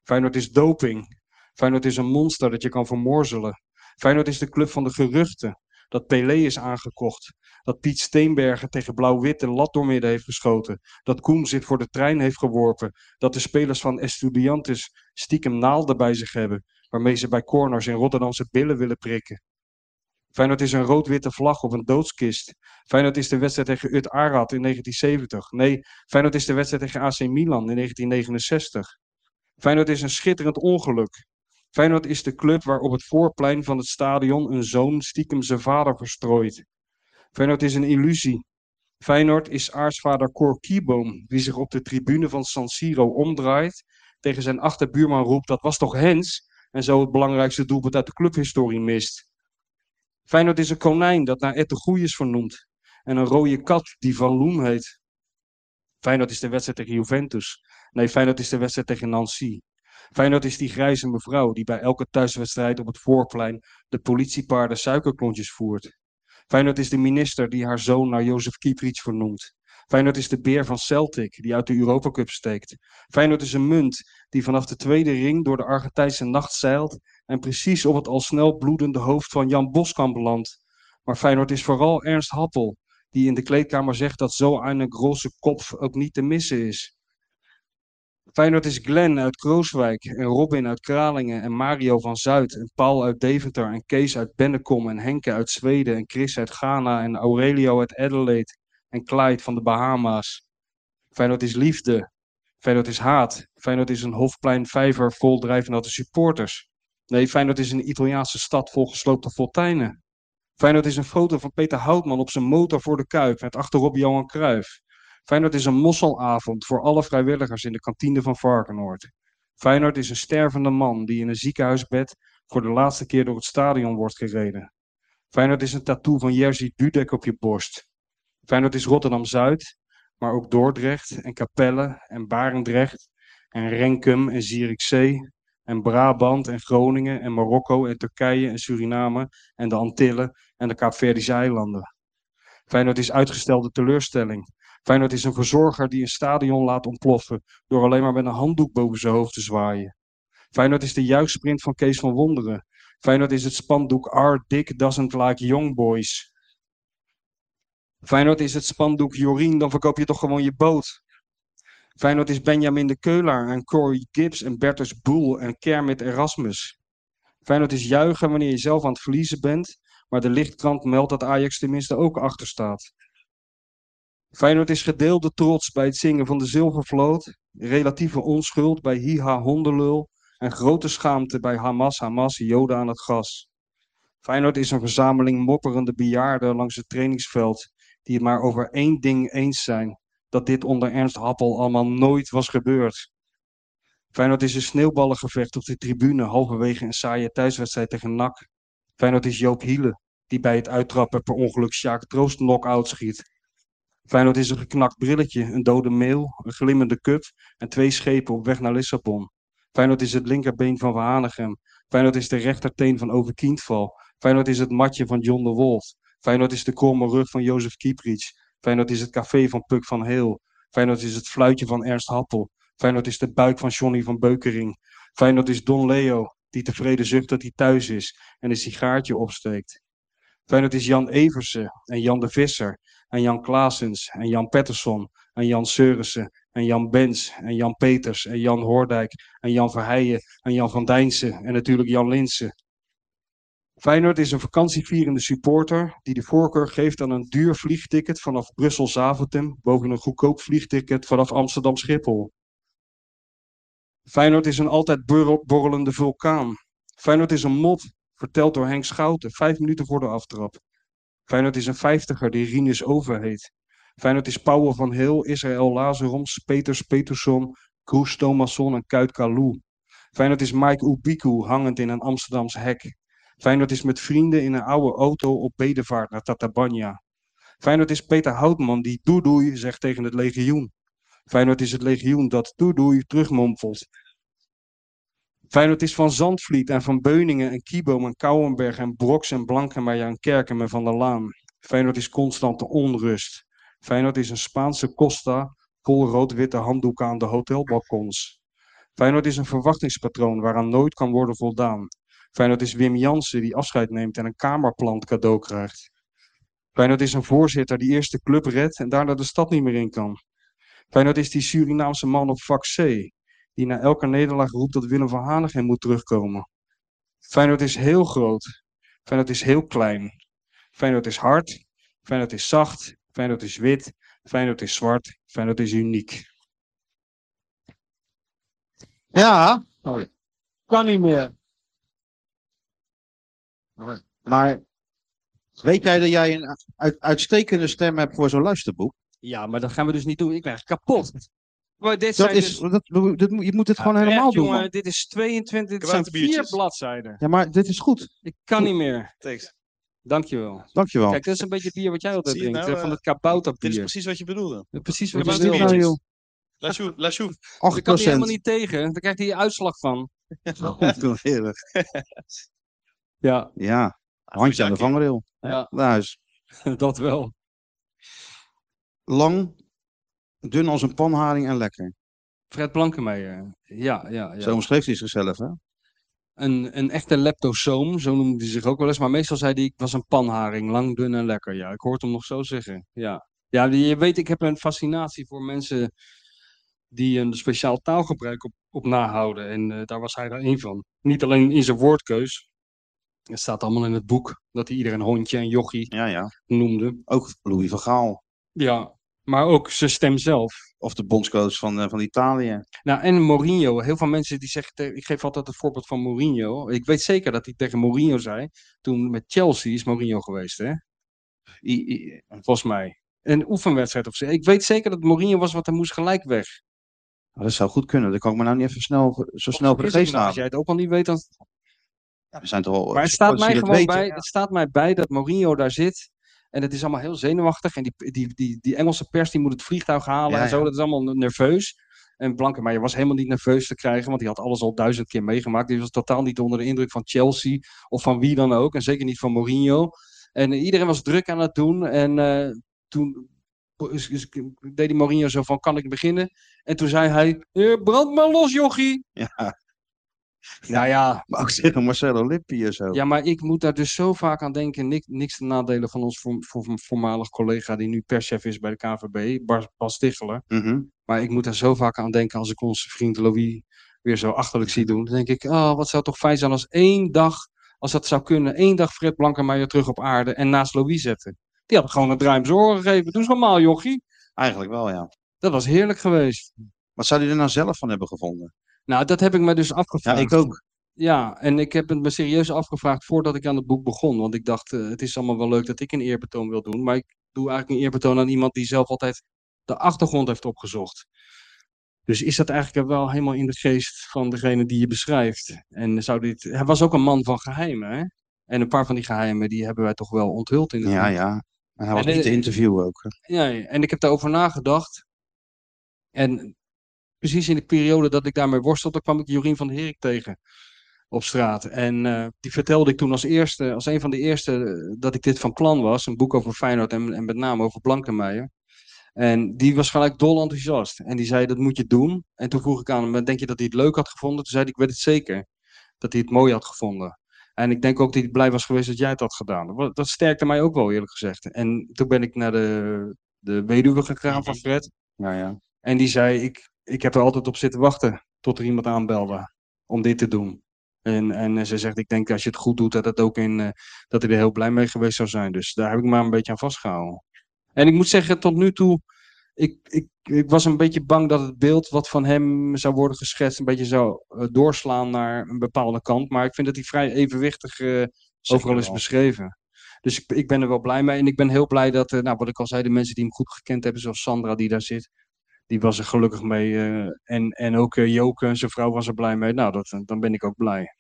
Feyenoord is doping. Feyenoord is een monster dat je kan vermorzelen. Feyenoord is de club van de geruchten, dat Pelé is aangekocht, dat Piet Steenbergen tegen Blauw-Wit de lat doormidden heeft geschoten, dat Koem zich voor de trein heeft geworpen, dat de spelers van Estudiantes stiekem naalden bij zich hebben waarmee ze bij corners in Rotterdamse billen willen prikken. Feyenoord is een rood-witte vlag op een doodskist. Feyenoord is de wedstrijd tegen Ut Arad in 1970. Nee, Feyenoord is de wedstrijd tegen AC Milan in 1969. Feyenoord is een schitterend ongeluk. Feyenoord is de club waar op het voorplein van het stadion een zoon stiekem zijn vader verstrooit. Feyenoord is een illusie. Feyenoord is aartsvader Cor Kieboom, die zich op de tribune van San Siro omdraait, tegen zijn achterbuurman roept dat was toch Hens? en zo het belangrijkste doelpunt uit de clubhistorie mist. Feyenoord is een konijn dat naar Ed de Goeie is vernoemd en een rode kat die Van Loen heet. Feyenoord is de wedstrijd tegen Juventus. Nee, Feyenoord is de wedstrijd tegen Nancy. Feyenoord is die grijze mevrouw die bij elke thuiswedstrijd op het voorplein de politiepaarden suikerklontjes voert. Feyenoord is de minister die haar zoon naar Jozef Kietrich vernoemt. Feyenoord is de beer van Celtic die uit de Europa Cup steekt. Feyenoord is een munt die vanaf de tweede ring door de Argentijnse nacht zeilt en precies op het al snel bloedende hoofd van Jan Boskamp landt. Maar Feyenoord is vooral Ernst Happel, die in de kleedkamer zegt dat zo een grote kop ook niet te missen is. Feyenoord is Glenn uit Krooswijk en Robin uit Kralingen en Mario van Zuid en Paul uit Deventer en Kees uit Bennekom en Henke uit Zweden en Chris uit Ghana en Aurelio uit Adelaide en Clyde van de Bahama's. Feyenoord is liefde. Feyenoord is haat. Feyenoord is een hofplein vijver vol drijfnatte supporters. Nee, Feyenoord is een Italiaanse stad vol gesloopte fonteinen. Feyenoord is een foto van Peter Houtman op zijn motor voor de Kuip met achterop Johan Cruijff. Feyenoord is een mosselavond voor alle vrijwilligers in de kantine van Varkenoord. Feyenoord is een stervende man die in een ziekenhuisbed voor de laatste keer door het stadion wordt gereden. Feyenoord is een tattoo van Jerzy Dudek op je borst. Feyenoord is Rotterdam-Zuid, maar ook Dordrecht en Capelle en Barendrecht en Renkum en Zierikzee en Brabant en Groningen en Marokko en Turkije en Suriname en de Antillen en de Kaapverdische eilanden. Feyenoord is uitgestelde teleurstelling. Feyenoord is een verzorger die een stadion laat ontploffen door alleen maar met een handdoek boven zijn hoofd te zwaaien. Feyenoord is de juichsprint van Kees van Wonderen. Feyenoord is het spandoek Our Dick Doesn't Like Young Boys. Feyenoord is het spandoek Jorien, dan verkoop je toch gewoon je boot. Feyenoord is Benjamin de Keular en Corey Gibbs en Bertus Boel en Kermit Erasmus. Feyenoord is juichen wanneer je zelf aan het verliezen bent, maar de lichtkrant meldt dat Ajax tenminste ook achter staat. Feyenoord is gedeelde trots bij het zingen van de Zilvervloot, relatieve onschuld bij Hiha Hondelul en grote schaamte bij Hamas Hamas Joden aan het gas. Feyenoord is een verzameling mopperende bejaarden langs het trainingsveld die het maar over één ding eens zijn, dat dit onder Ernst Happel allemaal nooit was gebeurd. Feyenoord is een sneeuwballengevecht op de tribune halverwege een saaie thuiswedstrijd tegen NAC. Feyenoord is Joop Hiele, die bij het uittrappen per ongeluk Sjaak Troost knock-out schiet. Feyenoord is een geknakt brilletje, een dode meel, een glimmende cup en twee schepen op weg naar Lissabon. Feyenoord is het linkerbeen van Verhanegem. Feyenoord is de rechterteen van Overkindval. Feyenoord is het matje van John de Wolf. Feyenoord is de kromme rug van Jozef Kieprits. Feyenoord is het café van Puk van Heel. Feyenoord is het fluitje van Ernst Happel. Feyenoord is de buik van Johnny van Beukering. Feyenoord is Don Leo, die tevreden zucht dat hij thuis is en een sigaartje opsteekt. Feyenoord is Jan Eversen en Jan de Visser en Jan Klaasens en Jan Pettersson en Jan Seurissen en Jan Bens en Jan Peters en Jan Hoordijk en Jan Verheijen en Jan van Dijnsen en natuurlijk Jan Linsen. Feyenoord is een vakantievierende supporter die de voorkeur geeft aan een duur vliegticket vanaf Brussel-Zaventem boven een goedkoop vliegticket vanaf Amsterdam-Schiphol. Feyenoord is een altijd borrel- borrelende vulkaan. Feyenoord is een mop, verteld door Henk Schouten, vijf minuten voor de aftrap. Feyenoord is een vijftiger die Rinus Over heet. Feyenoord is Pauwel van Heel, Israël Lazaroms, Peters Peterson, Kroes Thomasson en Kuit Kalou. Feyenoord is Mike Ubiku hangend in een Amsterdams hek. Feyenoord is met vrienden in een oude auto op bedevaart naar Tatabanya. Feyenoord is Peter Houtman die doei doei zegt tegen het legioen. Feyenoord is het legioen dat doei doei terugmompelt. Feyenoord is van Zandvliet en van Beuningen en Kieboom en Kouwenberg en Broks en Blankenmeijer en Kerkem en Van der Laan. Feyenoord is constante onrust. Feyenoord is een Spaanse costa vol rood-witte handdoeken aan de hotelbalkons. Feyenoord is een verwachtingspatroon waaraan nooit kan worden voldaan. Feyenoord is Wim Jansen die afscheid neemt en een kamerplant cadeau krijgt. Feyenoord is een voorzitter die eerst de club redt en daarna de stad niet meer in kan. Feyenoord is die Surinaamse man op vak C die na elke nederlaag roept dat Willem van Hanegem moet terugkomen. Feyenoord is heel groot. Feyenoord is heel klein. Feyenoord is hard. Feyenoord is zacht. Feyenoord is wit. Feyenoord is zwart. Feyenoord is uniek. Ja. Kan niet meer. Maar weet jij dat jij een uit- uitstekende stem hebt voor zo'n luisterboek? Ja, maar dat gaan we dus niet doen. Ik ben echt kapot. Maar dit Dat zijn is, dus- dat, dat, moet- je moet het gewoon Echt, helemaal doen. jongen, man. dit is 22, dit zijn Kabouterbiertjes. vier bladzijden. Ja, maar dit is goed. Ik kan niet meer. Thanks. Dankjewel. Dankjewel. Kijk, dat is een beetje bier wat jij altijd Zie je drinkt. nou, hè, van eh, het Dit is kabouterbier. precies wat je bedoelde. Dat is precies Wat wat Wat je is is dit wil. nou, joh? La Chouf, La Chouf. Ik kan hier 8%. helemaal niet tegen. Daar krijgt hij uitslag van. Heerlijk. Ja, Ja, handje aan de vangrail. Ah, Ja. Nou, is dat wel. lang, dun als een panharing en lekker. Fred Blankenmeijer. Ja, ja, ja. Zo omschreef hij zichzelf, hè? Een, een echte leptosoom, zo noemde hij zich ook wel eens. Maar meestal zei hij, ik was een panharing, lang, dun en lekker. Ja, ik hoort hem nog zo zeggen. Ja, ja die- je weet, ik heb een fascinatie voor mensen die een speciaal taalgebruik op, op nahouden. En eh, daar was hij er één van. Niet alleen in zijn woordkeus. Het staat allemaal in het boek dat hij iedereen hondje en jochie Ja, ja. noemde. Ook Louis van Gaal. Ja, maar ook zijn stem zelf. Of de bondscoach van, eh, van Italië. Nou, en Mourinho. Heel veel mensen die zeggen, tegen- ik geef altijd het voorbeeld van Mourinho. Ik weet zeker dat hij tegen Mourinho zei, toen met Chelsea is Mourinho geweest, hè? I- I- Volgens mij. Een oefenwedstrijd of zo. Ik weet zeker dat Mourinho was, want hij moest gelijk weg. dat zou goed kunnen. Dat kan ik me nou niet even snel, zo Of snel voor de vergis ik me geest nou? halen. Als jij het ook al niet weet, dan... We zijn toch al. Maar het staat mij supporters die dat gewoon weten. bij, het staat mij bij dat Mourinho daar zit. En het is allemaal heel zenuwachtig. En die, die, die, die Engelse pers die moet het vliegtuig halen Ja, en zo. ja. Dat is allemaal nerveus. En Blanke, maar je was helemaal niet nerveus te krijgen, want die had alles al duizend keer meegemaakt. Die was totaal niet onder de indruk van Chelsea of van wie dan ook. En zeker niet van Mourinho. En iedereen was druk aan het doen. En eh, toen is- is- deed die Mourinho zo van, kan ik beginnen? En toen zei hij, "Eh, brand maar los, jochie. Ja, Nou ja, maar ook tegen Marcelo Lippi en zo. ja, maar ik moet daar dus zo vaak aan denken. Niks, niks te nadelen van ons voor, voor, voormalig collega die nu perschef is bij de KVB, Bas, Bas Ticheler. Mhm. Maar ik moet daar zo vaak aan denken als ik onze vriend Louis weer zo achterlijk zie doen. Dan denk ik, oh, wat zou toch fijn zijn als één dag, als dat zou kunnen, één dag Fred Blankenmeijer terug op aarde en naast Louis zetten. Die had gewoon een draai om zijn oren gegeven. Doe eens normaal, jochie. Eigenlijk wel, ja. Dat was heerlijk geweest. Wat zou hij er nou zelf van hebben gevonden? Nou, dat heb ik me dus Ja, afgevraagd. ik ook. Ja, en ik heb het me serieus afgevraagd voordat ik aan het boek begon. Want ik dacht, eh, het is allemaal wel leuk dat ik een eerbetoon wil doen. Maar ik doe eigenlijk een eerbetoon aan iemand die zelf altijd de achtergrond heeft opgezocht. Dus is dat eigenlijk wel helemaal in de geest van degene die je beschrijft? En zou dit... Hij was ook een man van geheimen, hè? En een paar van die geheimen, die hebben wij toch wel onthuld in de Ja, ja. En hij was En, niet te eh, interviewen ook. hè. ja, ja. en ik heb daarover nagedacht. En precies in de periode dat ik daarmee worstelde, kwam ik Jorien van Herik tegen op straat. En eh, die vertelde ik toen als eerste, als een van de eerste, eh, dat ik dit van plan was. Een boek over Feyenoord en, en met name over Blankenmeijer. En die was gelijk dol enthousiast. En die zei, dat moet je doen. En toen vroeg ik aan hem, denk je dat hij het leuk had gevonden? Toen zei hij, ik weet het zeker, dat hij het mooi had gevonden. En ik denk ook dat hij blij was geweest dat jij het had gedaan. Dat- Dat sterkte mij ook wel, eerlijk gezegd. En toen ben ik naar de de weduwe gegaan van Fred. Ja, ja. En die zei, ik, ik heb er altijd op zitten wachten tot er iemand aanbelde om dit te doen. En, en eh, ze zegt, ik denk als je het goed doet, dat, het ook in, eh, dat hij er heel blij mee geweest zou zijn. Dus daar heb ik maar een beetje aan vastgehouden. En ik moet zeggen, tot nu toe, ik, ik, ik was een beetje bang dat het beeld wat van hem zou worden geschetst, een beetje zou eh, doorslaan naar een bepaalde kant. Maar ik vind dat hij vrij evenwichtig eh, overal is wel. beschreven. Dus ik, ik ben er wel blij mee. En ik ben heel blij dat, eh, nou, wat ik al zei, de mensen die hem goed gekend hebben, zoals Sandra die daar zit, die was er gelukkig mee. eh, en, en ook eh, Joke en zijn vrouw was er blij mee. Nou, dat, dan ben ik ook blij.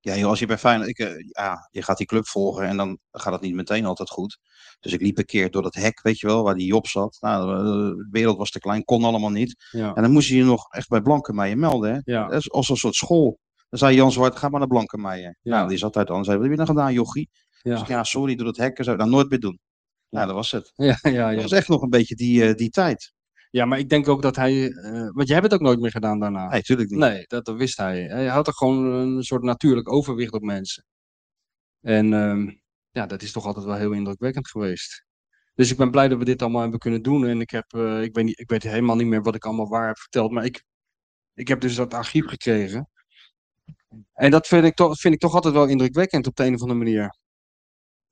Ja, joh, als je bij Feyenoord... Ik, eh, ja, je gaat die club volgen en dan gaat het niet meteen altijd goed. Dus ik liep een keer door dat hek, weet je wel, waar die Job zat. Nou, de wereld was te klein, kon allemaal niet. Ja. En dan moest je je nog echt bij Blankenmeijer melden, hè. Ja, Dat is als een soort school. Dan zei Jan Zwart, ga maar naar Blankenmeijer. Ja. Nou, die zat daar dan. Zei, wat heb je dan gedaan, jochie? Ja. Ja, ja sorry, doe dat hekken. Zou ik nou nooit meer doen. Nou, dat was het. ja, ja, ja. Dat was echt nog een beetje die, eh, die tijd. ja, maar ik denk ook dat hij. eh, want jij hebt het ook nooit meer gedaan daarna. Nee, tuurlijk niet. Nee, dat, dat wist hij. Hij had er gewoon een soort natuurlijk overwicht op mensen. En ehm, ja, dat is toch altijd wel heel indrukwekkend geweest. Dus ik ben blij dat we dit allemaal hebben kunnen doen. En ik, heb, eh, ik, weet, niet, ik weet helemaal niet meer wat ik allemaal waar heb verteld. Maar ik, ik heb dus dat archief gekregen. En dat vind ik, toch, vind ik toch altijd wel indrukwekkend op de een of andere manier.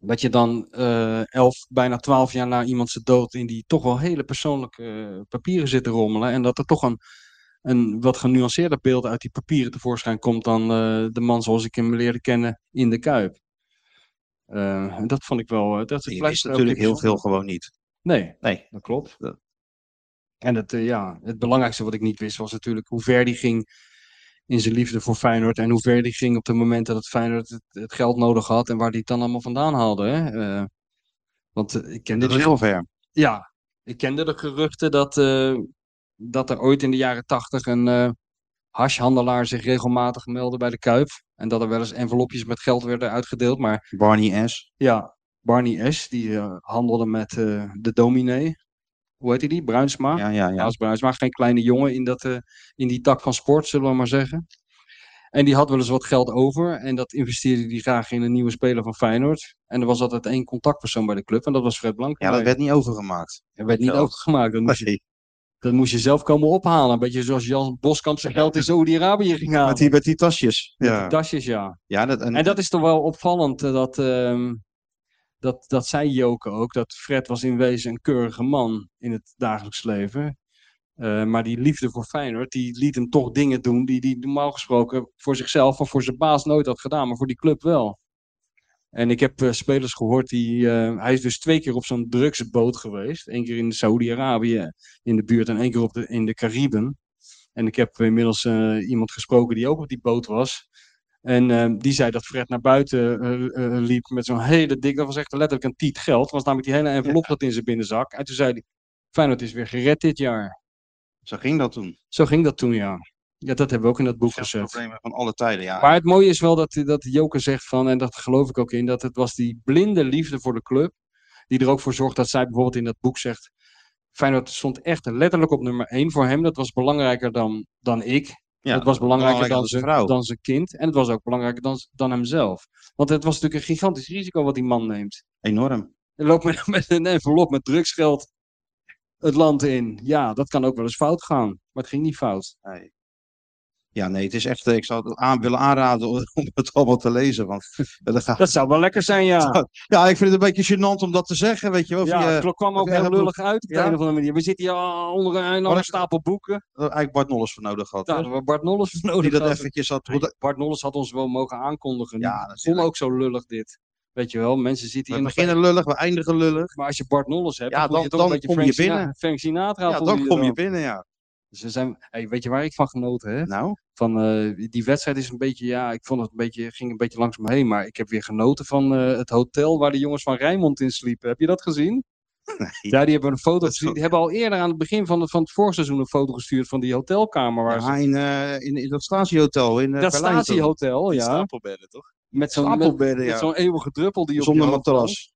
Dat je dan eh, elf, bijna twaalf jaar na iemand zijn dood in die toch wel hele persoonlijke eh, papieren zit te rommelen. En dat er toch een een wat genuanceerder beeld uit die papieren tevoorschijn komt dan eh, de man zoals ik hem leerde kennen in de Kuip. Eh, en dat vond ik wel. eh, dat Je blijft wist ook natuurlijk heel veel bijzonder. gewoon niet. Nee, Nee. dat klopt. Dat- En het, eh, ja, het belangrijkste wat ik niet wist was natuurlijk hoe ver die ging in zijn liefde voor Feyenoord. En hoe ver die ging op de momenten dat Feyenoord het, het geld nodig had. En waar die het dan allemaal vandaan haalde. Hè? Eh, want eh, ik kende Dat is de- heel ver. ja, ik kende de geruchten dat, eh, dat er ooit in de jaren tachtig een eh hashhandelaar zich regelmatig meldde bij de Kuip. En dat er wel eens envelopjes met geld werden uitgedeeld. Maar Barney S. ja, Barney S. die eh, handelde met eh, de dominee. Hoe heet hij die? Bruinsma. Ja, ja, ja. Als Bruinsma, geen kleine jongen in, dat, eh, in die tak van sport, zullen we maar zeggen. En die had wel eens wat geld over. En dat investeerde hij graag in een nieuwe speler van Feyenoord. En er was altijd één contactpersoon bij de club. En dat was Fred Blank. Ja, dat werd niet overgemaakt. werd niet geld. overgemaakt. Dan moest je Nee. Dat moest je zelf komen ophalen. Een beetje zoals Jan Boskamp zijn geld in Saudi-Arabië ging halen. Met die, met die tasjes. Met Ja. die tasjes, ja. Ja, dat, en, En dat is toch wel opvallend, eh, dat, ehm, dat, dat zei Joke ook, dat Fred was in wezen een keurige man in het dagelijks leven. Eh, maar die liefde voor Feyenoord, die liet hem toch dingen doen die hij normaal gesproken voor zichzelf of voor zijn baas nooit had gedaan, maar voor die club wel. En ik heb eh, spelers gehoord die. eh, hij is dus twee keer op zo'n drugsboot geweest. Eén keer in Saudi-Arabië in de buurt en één keer op de, in de Cariben. En ik heb inmiddels eh, iemand gesproken die ook op die boot was. En ehm, die zei dat Fred naar buiten eh, eh, liep met zo'n hele dik. Dat was echt letterlijk een tiet geld. Dat was namelijk die hele envelop dat in zijn binnenzak. En toen zei hij: Feyenoord is weer gered dit jaar. zo ging dat toen. Zo ging dat toen, ja. Ja, dat hebben we ook in dat boek gezet. Problemen van alle tijden, ja. Maar het mooie is wel dat, dat Joker zegt van, en dat geloof ik ook in, dat het was die blinde liefde voor de club. Die er ook voor zorgt dat zij bijvoorbeeld in dat boek zegt. Feyenoord stond echt letterlijk op nummer 1 voor hem. Dat was belangrijker dan, dan ik. ja. Het was belangrijker, belangrijker dan dan, zijn zijn, vrouw. dan zijn kind. En het was ook belangrijker dan, dan hemzelf. Want het was natuurlijk een gigantisch risico wat die man neemt. Enorm. Hij loopt met, met een envelop met drugsgeld het land in. Ja, dat kan ook wel eens fout gaan. Maar het ging niet fout. Nee. Ja, nee, het is echt. eh, Ik zou het aan, willen aanraden om om het allemaal te lezen. Want eh, dat gaat... Dat zou wel lekker zijn, ja. Ja, ik vind het een beetje gênant om dat te zeggen, weet je wel. Ja, Via, het klok kwam ook via heel dat boek. lullig uit op de Ja. een of andere manier. We zitten hier al onder een enorme Maar- stapel boeken. eh, eigenlijk Bart Nolles voor nodig had. Daar hè? hadden we Bart Nolles voor nodig. die dat gehad. eventjes had. Nee, Bart Nolles had ons wel mogen aankondigen. Ja, Ja, dat natuurlijk. ook zo lullig dit. Weet je wel, mensen zitten We hier nog beginnen lullig, we eindigen lullig. Maar als je Bart Nolles hebt, Ja, dan, voel dan- je toch dan een beetje kom je Frank Sina- binnen. Frank Sinatra. Ja, voel dan kom je dan. binnen, ja. Ze zijn, hey, weet je waar ik van genoten heb? Nou, Van, eh, die wedstrijd is een beetje, ja, ik vond het een beetje, ging een beetje langs me heen. Maar ik heb weer genoten van eh, het hotel waar de jongens van Rijnmond in sliepen. Heb je dat gezien? Ja, die hebben een foto Dat is gezien. wel- Die hebben al eerder aan het begin van, het- van het voorseizoen een foto gestuurd van die hotelkamer. Waar ze, ja, in, eh, in, in dat statiehotel in eh, Berlijn. dat toch? Oh, statiehotel, Die ja. Stapelbedden, toch? Met zo'n met- Stapelbedden, met ja. zo'n eeuwige druppel die op je Zonder hoofd matras.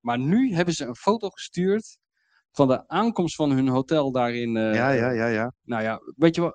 Maar nu hebben ze een foto gestuurd van de aankomst van hun hotel daarin. eh Ja, ja, ja, ja. Nou ja, weet je wel,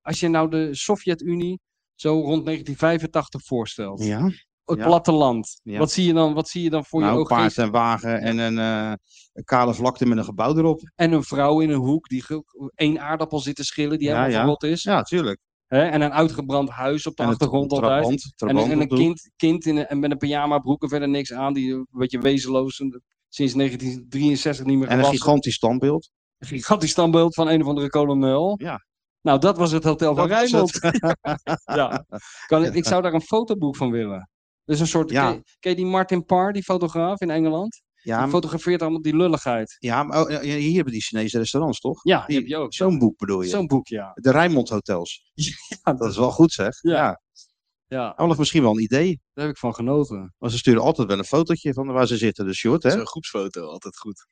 als je nou de Sovjet-Unie zo rond 1985 voorstelt, Ja, het ja. platteland, Ja. wat, zie je dan, wat zie je dan voor je nou, ogen? paard en wagen en een, eh, een kale vlakte met een gebouw erop. En een vrouw in een hoek die ge- één aardappel zit te schillen die Ja, helemaal ja. verrot is. Ja, tuurlijk. Hè? En een uitgebrand huis op de En het achtergrond altijd. trabant, En, trabant en een op de kind, kind in een, en met een pyjama broek en verder niks aan, die een beetje wezenloos en sinds 1963 niet meer hoek. en een gewassen. gigantisch standbeeld. Een gigantisch standbeeld van een of andere kolonel. Ja. Nou, dat was het hotel van Dat was Rijnmond. ja. kan, ik- ik zou daar een fotoboek van willen. Dus een soort. Ja. Ken, ken je die Martin Parr, die fotograaf in Engeland? Ja, die maar, fotografeert allemaal die lulligheid. ja, maar oh, ja, hier hebben die Chinese restaurants, toch? Ja, die die- heb je ook. Zo'n boek bedoel je? Zo'n boek, ja. De Rijnmond Hotels. Ja, Dat is wel goed, zeg. Ja. Ja. ja, Olaf, misschien wel een idee. daar heb ik van genoten. Want ze sturen altijd wel een fotootje van waar ze zitten. Dus short, hè? Zo'n groepsfoto, altijd goed.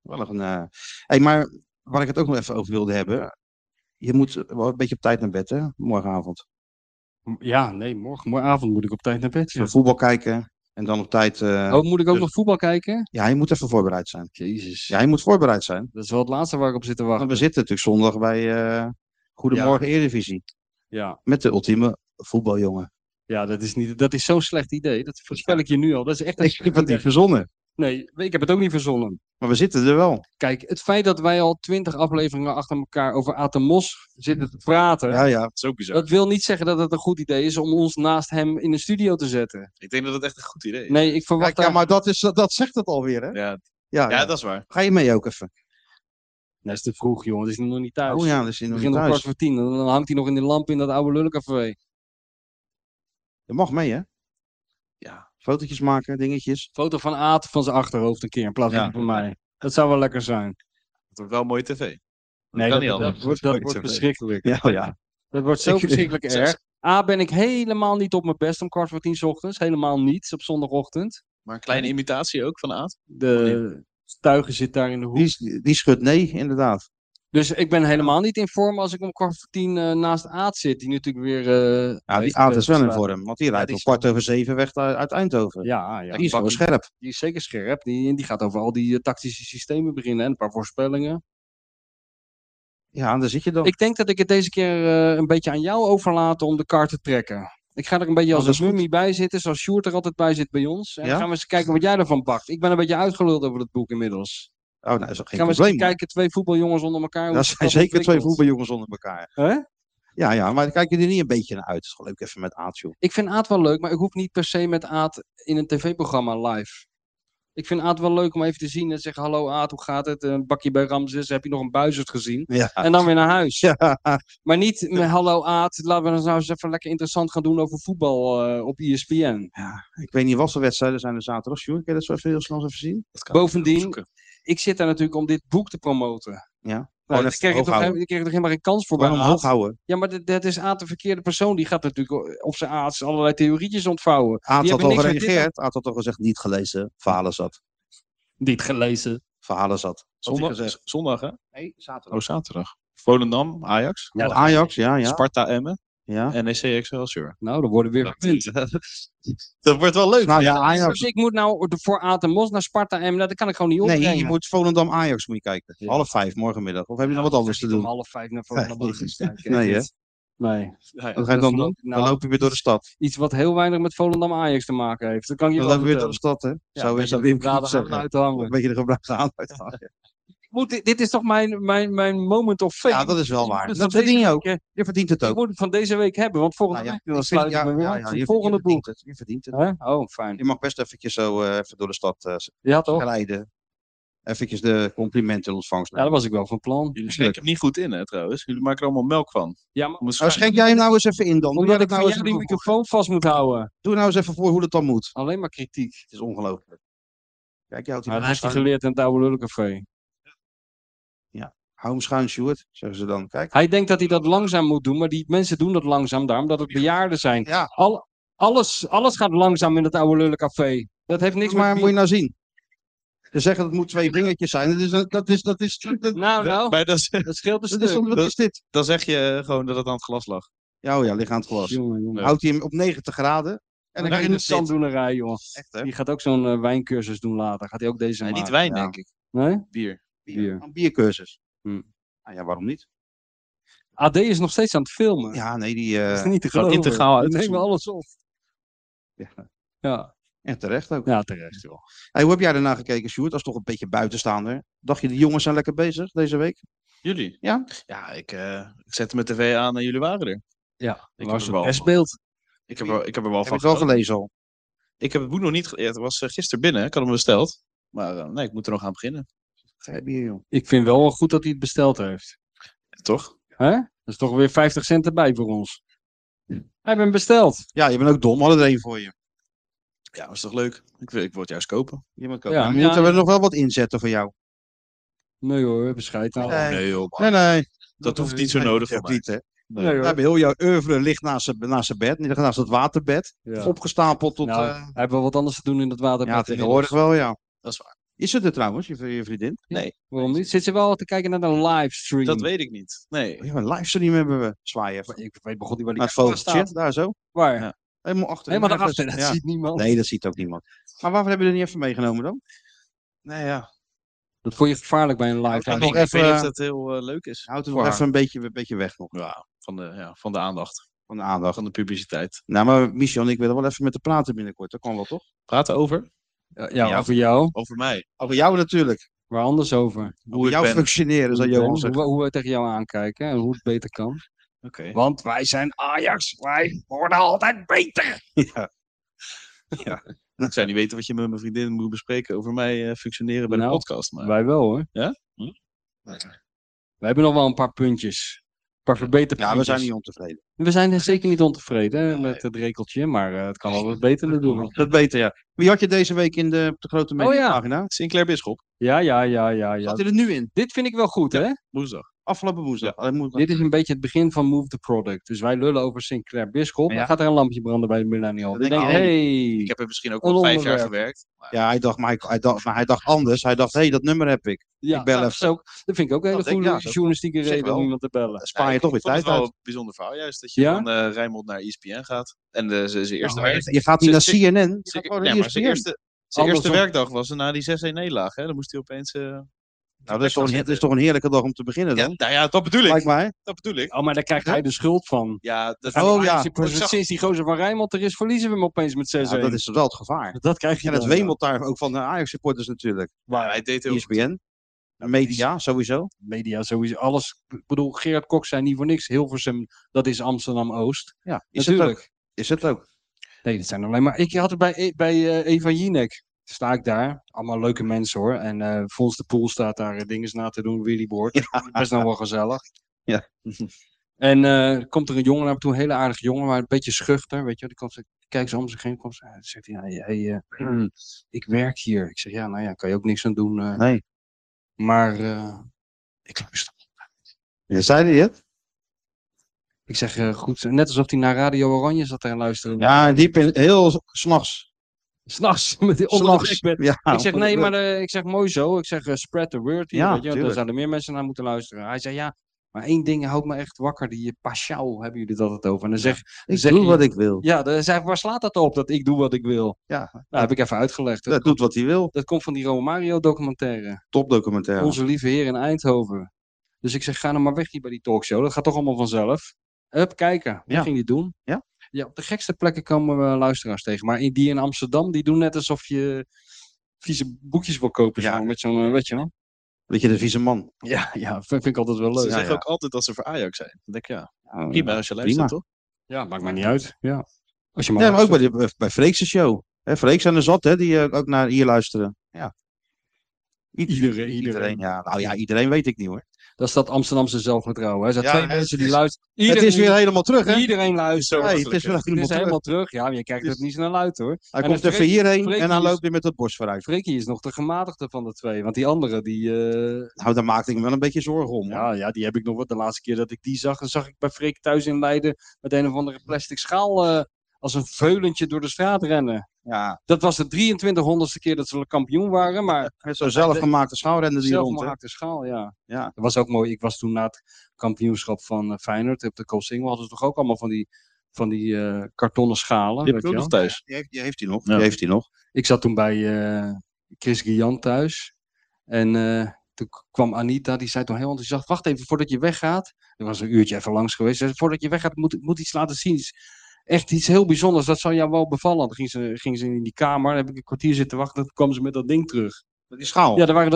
Wel een, eh, Hey, maar waar ik het ook nog even over wilde hebben. Je moet wel een beetje op tijd naar bed, hè? Morgenavond. M- Ja, nee, morgen, morgenavond moet ik op tijd naar bed. ja. Voetbal kijken en dan op tijd. eh, Oh, moet ik ook dus- nog voetbal kijken? Ja, je moet even voorbereid zijn. Jezus. Ja, je moet voorbereid zijn. Dat is wel het laatste waar ik op zit te wachten. Want we zitten natuurlijk zondag bij eh, Goedemorgen Eredivisie. Ja, Met de ultieme voetbaljongen. ja dat is, niet- dat is zo'n slecht idee. Dat voorspel ik je nu al. Dat is echt een Ik heb het niet idee. verzonnen. Nee, ik heb het ook niet verzonnen. Maar we zitten er wel. Kijk, het feit dat wij al twintig afleveringen achter elkaar over Atemos zitten te praten. Ja, ja. Dat is ook bizar. Dat wil niet zeggen dat het een goed idee is om ons naast hem in de studio te zetten. Ik denk dat het echt een goed idee is. Nee, ik verwacht Kijk, ja maar dat, is, dat zegt het alweer, hè? Ja, Ja, ja, Ah, ja. dat is waar. Ga je mee ook even? Dat is te vroeg, jongen. Het is nog niet thuis. Oh ja, dat is in het nog begint niet om kwart thuis. voor tien. Dan hangt hij nog in de lamp in dat oude lullencafé. Je mag mee, hè? Ja. Fotootjes maken, dingetjes. Foto van Aad van zijn achterhoofd een keer in plaats van Ja. van mij. Dat zou wel lekker zijn. Het wordt wel mooi tv. Nee, kan dat, niet dat, anders. wordt, Dat dat is wordt mooi tv. verschrikkelijk. Ja, ja. Dat wordt zo Ik- verschrikkelijk ik- erg. A, ben ik helemaal niet op mijn best om kwart voor tien 's ochtends. Helemaal niet op zondagochtend. Maar een kleine imitatie ook van Aad. De stuiger zit daar in de hoek. Die, is- die schudt nee, inderdaad. Dus ik ben helemaal niet in vorm als ik om kwart voor tien eh, naast Aad zit. Die natuurlijk weer... eh, Ja, heeft, die aard eh, is wel in gestaan. vorm. Want die rijdt die om is- kwart over zeven weg uit uit Eindhoven. Ja, ja. Die is gewoon Bakker, scherp. die is zeker scherp. Die, die gaat over al die eh, tactische systemen beginnen en een paar voorspellingen. Ja, daar zit je dan. Ik denk dat ik het deze keer eh, een beetje aan jou overlaat om de kar te trekken. Ik ga er een beetje Oh, als dat een mummie bij zitten, zoals Sjoerd er altijd bij zit bij ons. En Ja? dan gaan we eens kijken wat jij ervan pakt. Ik ben een beetje uitgeluld over het boek inmiddels. Oh, nou, is ook geen Gaan we eens probleem. kijken, twee voetbaljongens onder elkaar. hoe Dat zich zijn zeker twee ontwikkelt. voetbaljongens onder elkaar. Hè? Ja, ja, maar dan kijk je er niet een beetje naar uit. Het is gewoon leuk even met Aad, joh. Ik vind Aad wel leuk, maar ik hoef niet per se met Aad in een tv-programma live. Ik vind Aad wel leuk om even te zien en te zeggen: Hallo Aad, hoe gaat het? Een bakje bij Ramses, heb je nog een buizerd gezien? Ja. En dan weer naar huis. Ja, Maar niet met hallo Aad, laten we dan nou eens even lekker interessant gaan doen over voetbal eh, op ESPN. ik weet niet wat voor wedstrijden zijn er zaterdag, joh. Kun je dat zo even heel snel eens even zien? Dat kan ik Bovendien, opzoeken. ik zit daar natuurlijk om dit boek te promoten. Ja. Nou, Gewoon dan even kreeg hoog ik, toch, houden. he- ik kreeg toch helemaal geen kans voor bij Gewoon Oh, Aad? omhoog houden. Ja, maar dat- dat is Aad de verkeerde persoon. Die gaat natuurlijk op zijn Aad allerlei theorietjes ontvouwen. Aad Die had hebben al niks met dit gereageerd. Aad had al gezegd, niet gelezen. Verhalen zat. Niet gelezen. Verhalen zat. Had hij Zondag, gezegd. z- zondag, hè? Nee, zaterdag. Oh, zaterdag. Volendam, Ajax. Ja, dat- Ajax, ja, ja. Sparta Emmen. ja. En E NEC Excelsior. Nou, dan worden we weer gepunt. dat wordt wel leuk. Nou ja, Dus Ajax. ik moet nou de- voor Aad en Mos naar Sparta en Nou, dat kan ik gewoon niet opbrengen. Nee, je moet Volendam Ajax moet je kijken. Half vijf morgenmiddag. Of heb je nog wat anders te Om doen? half vijf naar Volendam Nee. te staan. Nee, hè? Nee. Ja, ja. Wat ga je Dat dan is doen? lo- Dan nou, loop je weer door de stad. Iets wat heel weinig met Volendam Ajax te maken heeft. Dat kan ik je Dan wel loop je weer door de vertellen. stad, hè? eh, Ja, Zo een is dat beetje Wim de bladen Kiep gaan zeggen. eruit te hangen. Een beetje de gebruikte aandacht. Ik moet, dit, dit is toch mijn, mijn, mijn moment of fame? Ja, dat is wel Dus waar. moet Dat van verdien je deze ook. week, Je verdient het eh, Ik ook. moet het van deze week hebben, want volgende Nou ja, week ik dan vind- sluit ik me weer ja, af. ja, Het je- je volgende verdient boek. het, Je verdient het. Hè? Oh, fijn. Je mag best eventjes zo eh, even door de stad eh, Ja, toch? glijden. Eventjes de complimenten in ontvangst Ja, nemen. dat was ik wel van plan. Jullie schenken hem niet goed in, hè, trouwens. Jullie maken er allemaal melk van. Ja, maar Om het Nou, schijn- schenk jij hem nou eens even in dan. Doe, omdat dat ik nou van eens jou die even voor. microfoon vast moet houden. Doe nou eens even voor hoe dat dan moet. Alleen maar kritiek. Het is ongelooflijk. Kijk, jij houdt die Maar dat heeft hij schuin. geleerd in het oude lullencafé. Hou hem schuin, Stuart, zeggen ze dan. Kijk. Hij denkt dat hij dat langzaam moet doen, maar die mensen doen dat langzaam daarom dat het bejaarden zijn. Ja, Al, alles, alles gaat langzaam in het oude lullencafé. Dat heeft niks niks maar met... moet je nou zien. Ze zeggen dat het moet twee vingertjes zijn. Dat is, dat is, dat is, dat, dat Nou, nou, Maar dat, is- dat scheelt een is, stuk. wat is dit? dan zeg je gewoon dat het aan het glas lag. Ja, oh ja, ligt aan het glas. Jongen, jongen. Houdt hij hem op 90 graden. En dan Daar kan je in de dus dit. zanddoenerij, jongen. Echt, hè? Die gaat ook zo'n eh, wijncursus doen later. Gaat hij ook deze Nee, maken? niet wijn, ja. denk ik. Nee? Bier. Bier. Een biercursus. Hm. Nou ja, waarom niet? AD is nog steeds aan het filmen. Ja, nee, die... eh, dat is niet te gewoon geloven. integraal Die uitgezonden. nemen alles op. Ja. Ja, En terecht ook. ja terecht, joh. Hey, hoe heb jij daarna gekeken, Sjoerd? Dat is toch een beetje buitenstaander. Dacht je, de jongens zijn lekker bezig deze week? Jullie? Ja. Ja, ik, eh, ik zette mijn tv aan en jullie waren er. Ja, Ik was heb er wel- het speelt. Ik heb er, ik heb er wel Heb van ik wel genoten. gelezen al. Ik heb het boek nog niet... ge- ja, het was eh, gisteren binnen. Ik had hem besteld. Maar eh, nee, ik moet er nog aan beginnen. Heb je, joh. Ik vind wel goed dat hij het besteld heeft. Toch? Hè? Dat is toch weer 50 cent erbij voor ons. Hij bent besteld. Ja, je bent ook dom. Hadden er één voor je. Ja, was toch leuk? Ik wil, ik wil het juist kopen. Je moet Ja, kopen. maar ja, moeten ja. we er nog wel wat inzetten voor jou? Nee hoor, bescheid nou. Nee. joh. man. Nee, nee. Dat hoeft niet zo Nee, nodig dat voor mij. niet, hè. Nee. Nee, We hoor. hebben heel jouw oeuvre ligt naast zijn, naast zijn bed. Ligt naast het waterbed. Ja. Opgestapeld tot... Nou, eh, Hij heeft wel wat anders te doen in dat water. ja, tegenwoordig wel, ja. Dat is waar. Is het er trouwens, je, je vriendin? Waarom niet? Zit ze wel te kijken naar een livestream? Dat weet ik niet. Nee. Oh, ja, een livestream hebben we. Zwaai even. ik. weet begon niet waar die Naar het camera vogeltje, daar zo. Waar? Ja. Helemaal achter. Helemaal ergens. daarachter, dat Ja. ziet niemand. Nee, dat ziet ook niemand. Maar waarvoor hebben we er niet even meegenomen dan? Nee, Nou ja. Dat vond je gevaarlijk bij een Ja, live. dat uitzending. nog Ik, ik weet even- niet of dat heel eh, leuk is. Houd het Voor nog haar. even een beetje, een beetje weg nog Ja, van de, ja, van de aandacht. van de aandacht. Van de publiciteit. Nou, maar Michel en ik willen wel even met te praten binnenkort. Dat kan wel, toch? Praten over? Ja, Eh, ja, Ja. over jou. Over mij. Over jou natuurlijk. Waar anders over. Hoe Over ik jouw ben. functioneren, zou Johan hoe, zeggen. we- hoe we tegen jou aankijken en hoe het beter kan. Oké. Want wij zijn Ajax. Wij worden altijd beter. Ik zou niet weten wat je met mijn vriendin moet bespreken over mij eh, functioneren bij Nou, de podcast. Maar Wij wel hoor. Ja? Hm? Wij hebben nog wel een paar puntjes. Een paar verbeterpunten. Ja, we zijn niet ontevreden. we zijn er zeker niet ontevreden hè, met het rekeltje. Maar eh, het kan wel wat beter doen. Dat beter, ja. Wie had je deze week in de, op de grote ja. mediapagina? Sinclair Bisschop, Ja, ja, ja, ja. ja. Zat hij er nu in? Dit vind ik wel goed hè. woensdag. Afgelopen woensdag. Alleen moet Dit is een beetje het begin van Move the Product. Dus wij lullen over Sinclair Bisschop. Ja. Dan gaat er een lampje branden bij de Millennial. Dan Dat denk denk je, ik ook. hey. Ik heb er misschien ook Een al vijf jaar onderwerp. gewerkt. Ja, hij dacht, maar hij, hij dacht, maar hij dacht anders. Hij dacht, hé, hey, dat nummer heb ik. Ja, Ik bel nou, even. dat, is ook, dat vind ik ook een hele Dat denk ik, goede ja, dat- journalistieke op zich reden om wel. iemand te bellen. Dan spaar je toch weer Ik vond tijd het wel uit. een bijzonder verhaal juist. Dat je Ja? van eh Rijnmond naar ESPN gaat. En eh, zijn zijn eerste... Nou, je gaat niet naar Ze- ze- CNN. Je zijn- gaat gewoon ja, naar E maar zijn ESPN. eerste, zijn eerste Andersom. werkdag was er na die 6-1-nederlaag. hè. Dan moest hij opeens... eh, Nou, dat is, toch een, dat is toch een heerlijke dag om te beginnen ja, dan? nou ja, dat bedoel ik. Lijkt mij. Dat bedoel ik. Oh, maar daar krijgt hij de schuld van. Ja, dat Oh, ja. Ajax, Ik zag- Sinds die gozer van Rijnmond er is, verliezen we hem opeens met 6-1. Ja, dat is wel het gevaar. Dat krijg je En het dan, wemelt daar ook van de Ajax-supporters natuurlijk. E Maar hij deed heel ESPN. Media, sowieso. media sowieso, alles. Ik bedoel, Gerard Kok zei niet voor niks. Hilversum, dat is Amsterdam-Oost. Ja, is het ook. Natuurlijk. Is het ook. Nee, dat zijn alleen maar... Ik had het bij, E- bij eh, Eva Jinek. Sta ik daar. Allemaal leuke mensen hoor. En eh Fons de Poel staat daar eh, dingen na te doen. Willy Boord. Best nou wel gezellig. Ja. En eh, komt er een jongen naar me toe. Een hele aardige jongen. Maar een beetje schuchter. Weet je wel. Die komt, kijkt zo om zich heen. Komt, ze- hij zegt hij, ja, hey, eh, ik werk hier. Ik zeg, ja, nou ja, kan je ook niks aan doen. eh. Nee. Maar eh, ik luister. Ja, zei hij het? Ik zeg eh, goed, net alsof hij naar Radio Oranje zat te luisteren. Ja, diep in, heel s'nachts. S'nachts met die onder de S'nachts. dekbed. Ja, ik zeg nee, maar eh, ik zeg mooi zo. Ik zeg eh, spread the word hier. Ah, Ja, weet je, want daar tuurlijk. zouden meer mensen naar moeten luisteren. Hij zei ja, maar één ding houdt me echt wakker. Die Pashao hebben jullie dat het over. En dan zeg Ik zeg doe je- wat ik wil. ja, dan zei hij, waar slaat dat op dat ik doe wat ik wil? Ja. Nou, heb ik even uitgelegd. Dat, Dat doet wat hij wil. dat komt van die Romario documentaire. Topdocumentaire. Onze lieve heer in Eindhoven. Dus ik zeg ga nou maar weg hier bij die talkshow. Dat gaat toch allemaal vanzelf. Hup, kijken. Wat Ja. ging die doen? Ja. Ja, op de gekste plekken komen we luisteraars tegen. Maar in- die in Amsterdam, die doen net alsof je vieze boekjes wil kopen. Ja. zo, met zo'n, eh, weet je wel. Weet je, de vieze man. Ja, ja, vind, vind ik altijd wel Ze leuk. Ja, Oh, zeggen ja. ook altijd dat ze voor Ajax zijn. Dan denk ik, ja, Ja, prima als je luistert, toch? Ja, maakt mij niet uit. Ja. Als je maar Nee, maar ook luistert. bij, die- bij Freekse show. Hè, Freek zijn er zat, hè, die eh, ook naar hier luisteren. Ja. Iedereen, Iedereen. Ja, nou ja, iedereen weet ik niet hoor. Dat is dat Amsterdamse zelfvertrouwen. Hè. Er zijn Ja, twee het mensen is- die luisteren. Het is weer Iedereen- helemaal terug, hè? Iedereen luistert. Nee, het is weer Het helemaal is terug. helemaal terug. Ja, maar je kijkt Dus- het niet snel uit hoor. Hij En komt dan even Freek- hierheen Freek en dan is- loopt hij met het borst vooruit. Frikkie is nog de gematigde van de twee. Want die andere, die, eh, Nou, daar maakte ik me wel een beetje zorgen om. hoor. ja, ja, die heb ik nog wat. De laatste keer dat ik die zag, dan zag ik bij Freek thuis in Leiden met een of andere plastic schaal eh, als een veulentje door de straat rennen. Ja, Dat was de 2300ste keer dat ze kampioen waren, maar met zo'n zelfgemaakte schouwrender die rond. hè. Zelfgemaakte schaal, ja. Ja. Dat was ook mooi. Ik was toen na het kampioenschap van eh, Feyenoord op de Koolsingel. Hadden ze toch ook allemaal van die, van die eh, kartonnen schalen. Die weet heb ik je ook wel? nog thuis. Die heeft, die heeft hij nog. Ja. Die heeft hij nog. Ik zat toen bij eh, Chris Guillan thuis. En eh, toen k- kwam Anita, die zei toen heel enthousiast: Wacht even voordat je weggaat. Er was een uurtje even langs geweest. Ze zei, voordat je weggaat, moet ik moet iets laten zien. Iets- Echt iets heel bijzonders. Dat zou jou wel bevallen. Dan ging ze, ging ze in die kamer. Dan heb ik een kwartier zitten wachten. Toen kwam ze met dat ding terug. Die schaal. Ja, daar waren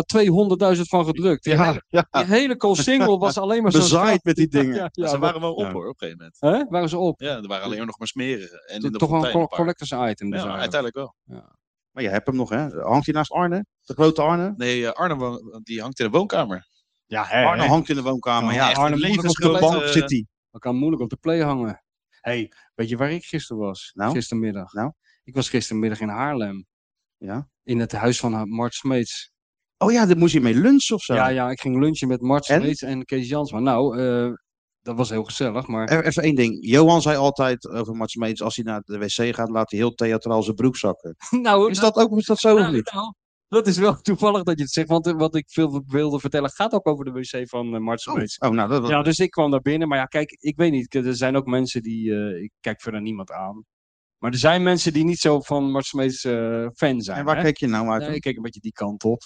er 200.000 van gedrukt. Die ja, ja. Die hele single was alleen maar zo. bezaaid met die dingen. Ja, ja, ze waren, waren wel op ja. hoor, op een gegeven moment. hè? waren ze op? Ja, er waren alleen nog maar smerigen. En in de Toch wel een fontein col- een paar. collectors item. Dus Ja, eigenlijk. uiteindelijk wel. Maar je hebt hem nog, hè? Hangt hij naast Arne? De grote Arne? Nee, eh, Arne wo- die hangt in de woonkamer. ja hè, Arne hè. hangt in de woonkamer. Ja, Ja, echt Arne een eh, moet op de levensgrote- bank zit hij. Dat kan moeilijk op de play hangen. hey, weet je waar ik gisteren was? Nou? Gistermiddag. Nou? Ik was gistermiddag in Haarlem. Ja. In het huis van Mart Smeets. Oh ja, daar moest hij mee lunchen of zo. Ja, ja, ik ging lunchen met Mart En? Smeets en Kees Jansma. Nou, eh, dat was heel gezellig, maar... E- Even één ding. Johan zei altijd over Mats Meets, als hij naar de wc gaat, laat hij heel theatraal zijn broek zakken. nou, Is dat ook is dat zo of Nou, niet? nou, dat is wel toevallig dat je het zegt, want eh, wat ik veel wilde vertellen gaat ook over de wc van eh, Mart Oh, Smeets. oh, nou, dat, Ja, dus ik kwam daar binnen. Maar ja, kijk, ik weet niet. Er zijn ook mensen die. eh, ik kijk verder niemand aan. Maar er zijn mensen die niet zo van Mart Smeets eh, fan zijn. en waar hè? kijk je nou uit? Nee, ik kijk een beetje die kant op.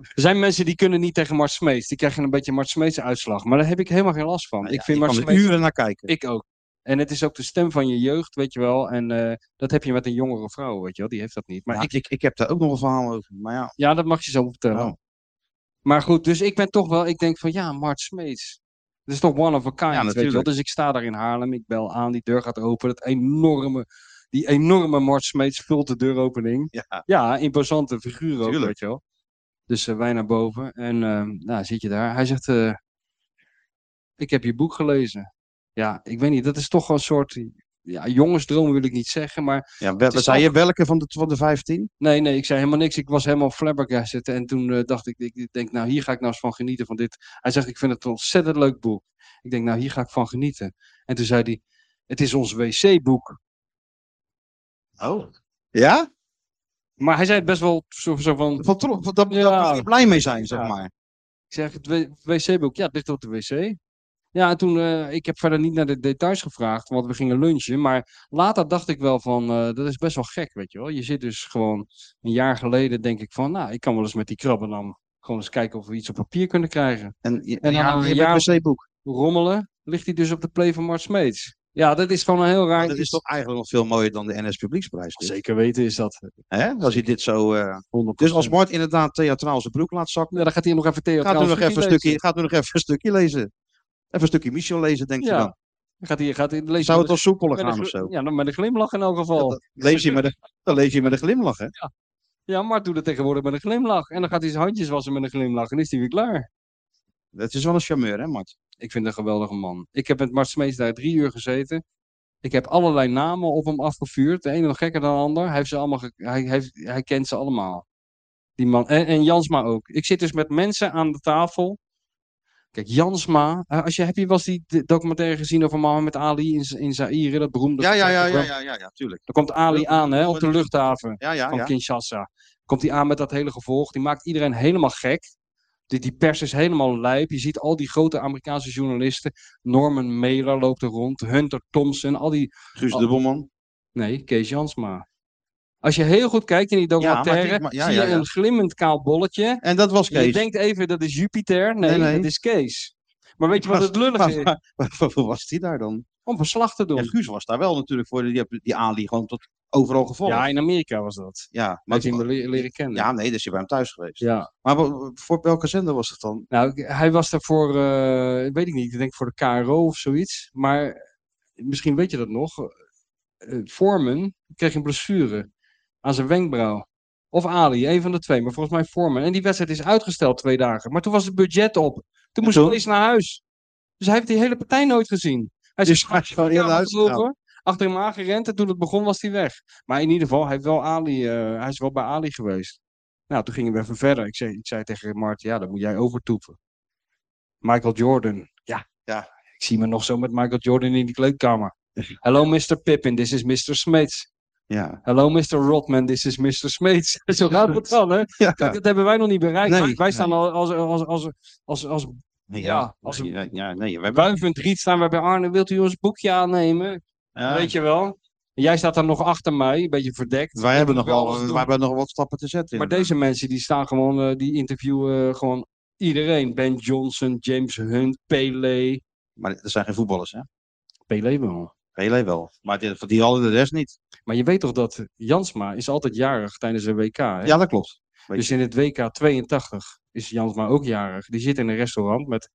Er zijn mensen die kunnen niet tegen Mart Smeets. Die krijgen een beetje Mart Smeets uitslag. Maar daar heb ik helemaal geen last van. Nou ik ja, vind je Mart kan er Smeets... uren naar kijken. Ik ook. En het is ook de stem van je jeugd, weet je wel. En eh, dat heb je met een jongere vrouw, weet je wel. Die heeft dat niet. Maar maar ik, ik, ik, ik heb daar ook nog een verhaal over. Maar ja, ja, dat mag je zo vertellen. Oh. Maar goed, dus ik ben toch wel, ik denk van ja, Mart Smeets. Dat is toch one of a kind, weet je wel. natuurlijk. Dus ik sta daar in Haarlem, ik bel aan, die deur gaat open. Dat enorme, die enorme Mart Smeets vult de deuropening. ja. Ja, imposante figuur ook, Tuurlijk. weet je wel. Dus eh, wij naar boven en ehm, nou, zit je daar. Hij zegt, eh, ik heb je boek gelezen. Ja, ik weet niet, dat is toch wel een soort, ja, jongensdroom wil ik niet zeggen, maar ja wel, is zei al- je welke van de, van de 15? Nee, nee, ik zei helemaal niks. Ik was helemaal flabbergasted. En toen eh, dacht ik, ik, ik denk, nou hier ga ik nou eens van genieten van dit. Hij zegt, ik vind het een ontzettend leuk boek. Ik denk, nou hier ga ik van genieten. En toen zei hij, het is ons wc-boek. Oh. Ja? Maar hij zei het best wel zo, zo van, Van, tro- van, dat Ja. daar moet je blij mee zijn, zeg Ja. maar. ik zeg, het w- wc-boek, ja, het ligt op de wc. Ja, en toen, eh, ik heb verder niet naar de details gevraagd, want we gingen lunchen. Maar later dacht ik wel van, eh, dat is best wel gek, weet je wel. Je zit dus gewoon een jaar geleden, denk ik van, nou, ik kan wel eens met die krabbenam gewoon eens kijken of we iets op papier kunnen krijgen. En, je- En dan ja, een je jaar- hebt een wc-boek. rommelen, ligt hij dus op de play van Mart Smeets. Ja, dat is gewoon een heel raar Dat is iets. toch eigenlijk nog veel mooier dan de NS Publieksprijs. dit? Zeker weten is dat. Hè? Als je dit zo... eh, 100%. Dus als Mart inderdaad theatraal zijn broek laat zakken, Ja, dan gaat hij nog even Theo gaat u, Trouwens nog even een lezen. stukje, gaat u nog even een stukje lezen. Even een stukje Michel lezen, denk je Ja. dan. Dan Gaat hij, gaat hij lezen Zou met het als soepeler een- met gaan een of gl- zo? Ja, dan met een glimlach in elk Ja, geval. Ja, dat- lees je met een, dan lees je met een glimlach, hè? maar doe dat tegenwoordig met een glimlach. En dan gaat hij zijn handjes wassen met een glimlach. En is hij weer klaar. Dat is wel een charmeur, hè, Mart? Ik vind het een geweldige man. Ik heb met Mart Smeets daar drie uur gezeten. Ik heb allerlei namen op hem afgevuurd. De ene nog gekker dan de ander. Hij, heeft ze allemaal ge- hij, heeft, hij kent ze allemaal. Die man. En, en Jansma ook. Ik zit dus met mensen aan de tafel. Kijk, Jansma. eh, Als je, heb je wel eens die d- documentaire gezien over Mohammed Ali in, Z- in Zaire? Dat beroemde Ja, ja, ja, ja, programma? ja, ja, ja, tuurlijk. Dan komt Ali aan hè, op de luchthaven Ja, ja, van ja. Kinshasa. Komt hij aan met dat hele gevolg. Die maakt iedereen helemaal gek. Die, die pers is helemaal lijp. Je ziet al die grote Amerikaanse journalisten. Norman Mailer loopt er rond. Hunter Thompson. Al die... Guus Dubbelman. Nee, Kees Jansma. Als je heel goed kijkt in die maar die- documentaire... maar- ja, zie ja, je ja. een glimmend kaal bolletje. En dat was En Je Kees. denkt even, dat is Jupiter. Nee, Nee, nee. dat is Kees. Maar weet je wat Was- het lullige Maar is? waar- waarvoor was die daar dan? Om verslag te Ja, doen. Guus was daar wel natuurlijk voor. Die, heb- die Ali gewoon tot overal gevolgd. Ja, Ja, in Amerika was dat. Maar maar, ik hem leren leren kennen. ja nee, dus je bij hem thuis geweest. ja. Maar wa- wa- voor welke zender was het dan? Nou, ik- hij was daarvoor, eh weet ik niet, ik denk voor de KRO of zoiets. Maar misschien weet je dat nog. eh Foreman kreeg een blessure aan zijn wenkbrauw. Of Ali, een van de twee. Maar volgens mij Foreman. En die wedstrijd is uitgesteld twee dagen. Maar toen was het budget op. Toen moest hij eens naar huis. Dus hij heeft die hele partij nooit gezien. Hij is Dus hij is gewoon heel naar huis gegaan. vroeger achter hem aangerend. En toen het begon was hij weg. Maar in ieder geval, hij, heeft wel Ali, eh, hij is wel bij Ali geweest. Nou, toen gingen we even verder. Ik zei, ik zei tegen Mart, ja, dan moet jij overtoepen. Michael Jordan. Ja, Ja. ik zie me nog zo met Michael Jordan in die kleedkamer. Hello Mr. Pippin, this is Mr. Smeets. Ja. Hello Mr. Rodman, this is Mr. Smeets. Zo gaat het dan, hè? Ja. Kijk, dat hebben wij nog niet bereikt. Nee, Wij- wij nee. staan al als, als, als, als, als ja, als nee, ja, ja, nee, we hebben... buivend riet staan wij bij Arne. Wilt u ons boekje aannemen? Ja, Weet je wel? En jij staat dan nog achter mij, een beetje verdekt. wij hebben nog wel wel, alles doen. wij hebben nog wat stappen te zetten. Maar inderdaad. deze mensen die staan gewoon, eh, die interviewen gewoon iedereen. Ben Johnson, James Hunt, Pele. maar er zijn geen voetballers, hè? Pele wel. Pelé wel. Maar die, die hadden de rest niet. Maar je weet toch dat Jansma is altijd jarig tijdens een WK. Hè? Ja, dat klopt. dus in het WK 82 is Jansma ook jarig. Die zit in een restaurant met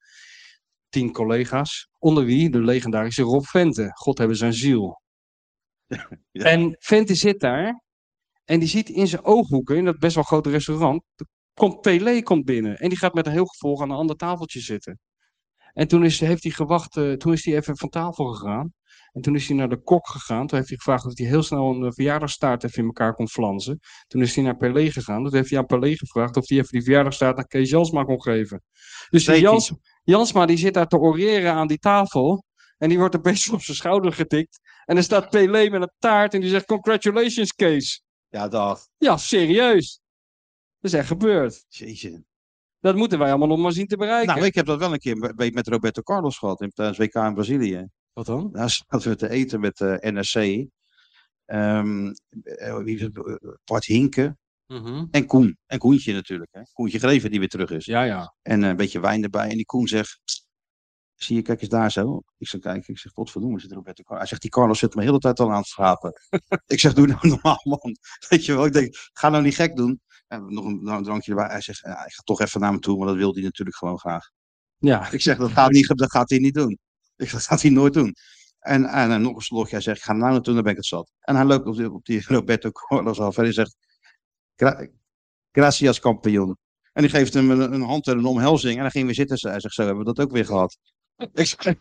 tien collega's. Onder wie de legendarische Rob Vente. God hebben zijn ziel. Ja. En Vente zit daar. En die ziet in zijn ooghoeken, in dat best wel grote restaurant, komt Pelé komt binnen. En die gaat met een heel gevolg aan een ander tafeltje zitten. En toen is, heeft hij gewacht, eh, toen is hij even van tafel gegaan. En toen is hij naar de kok gegaan. Toen heeft hij gevraagd of hij heel snel een eh, verjaardagstaart even in elkaar kon flansen. Toen is hij naar Pelé gegaan. Toen heeft hij aan Pelé gevraagd of hij even die verjaardagstaart aan Kees Jansma kon geven. Dus die Deed hij. Jans, Jansma die zit daar te oreren aan die tafel. En die wordt een beetje op zijn schouder getikt. En er staat Pelé met een taart en die zegt congratulations Kees. Ja, dag. Ja, serieus. Dat is echt gebeurd. Jezus. Dat moeten wij allemaal nog maar zien te bereiken. Nou, ik heb dat wel een keer be- met Roberto Carlos gehad in- tijdens WK in Brazilië. Wat dan? Daar zaten we te eten met eh, de NSC. Ehm, eh, wie is het? Eh, Bart Hinken en Koen. En Koentje natuurlijk. Hè? Koentje Greven die weer terug is. Ja, ja. En eh, een beetje wijn erbij. En die Koen zegt, "Psst, zie je, kijk eens daar zo. Ik zeg, kijk, ik zeg, godverdomme zit Roberto Carlos. Hij zegt, die Carlos zit me de hele tijd al aan het schrapen. ik zeg, doe nou normaal man. Weet je wel, ik denk, ga nou niet gek doen. En nog een, nog een drankje erbij. Hij zegt, "Ja, ik ga toch even naar hem toe, want dat wil hij natuurlijk gewoon graag. Ja, Ik zeg, dat gaat, niet, dat gaat hij niet doen. Ik zeg, dat gaat hij nooit doen. En, en, eh, nog een slokje, hij zegt, ik ga nou naartoe, dan ben ik het zat. En hij loopt op die, op die Roberto Carlos af en hij zegt, "Gra- gracias kampioen. En die geeft hem een, een hand en een omhelzing en hij ging weer zitten. Hij zegt, zo hebben we dat ook weer gehad. Ik zeg,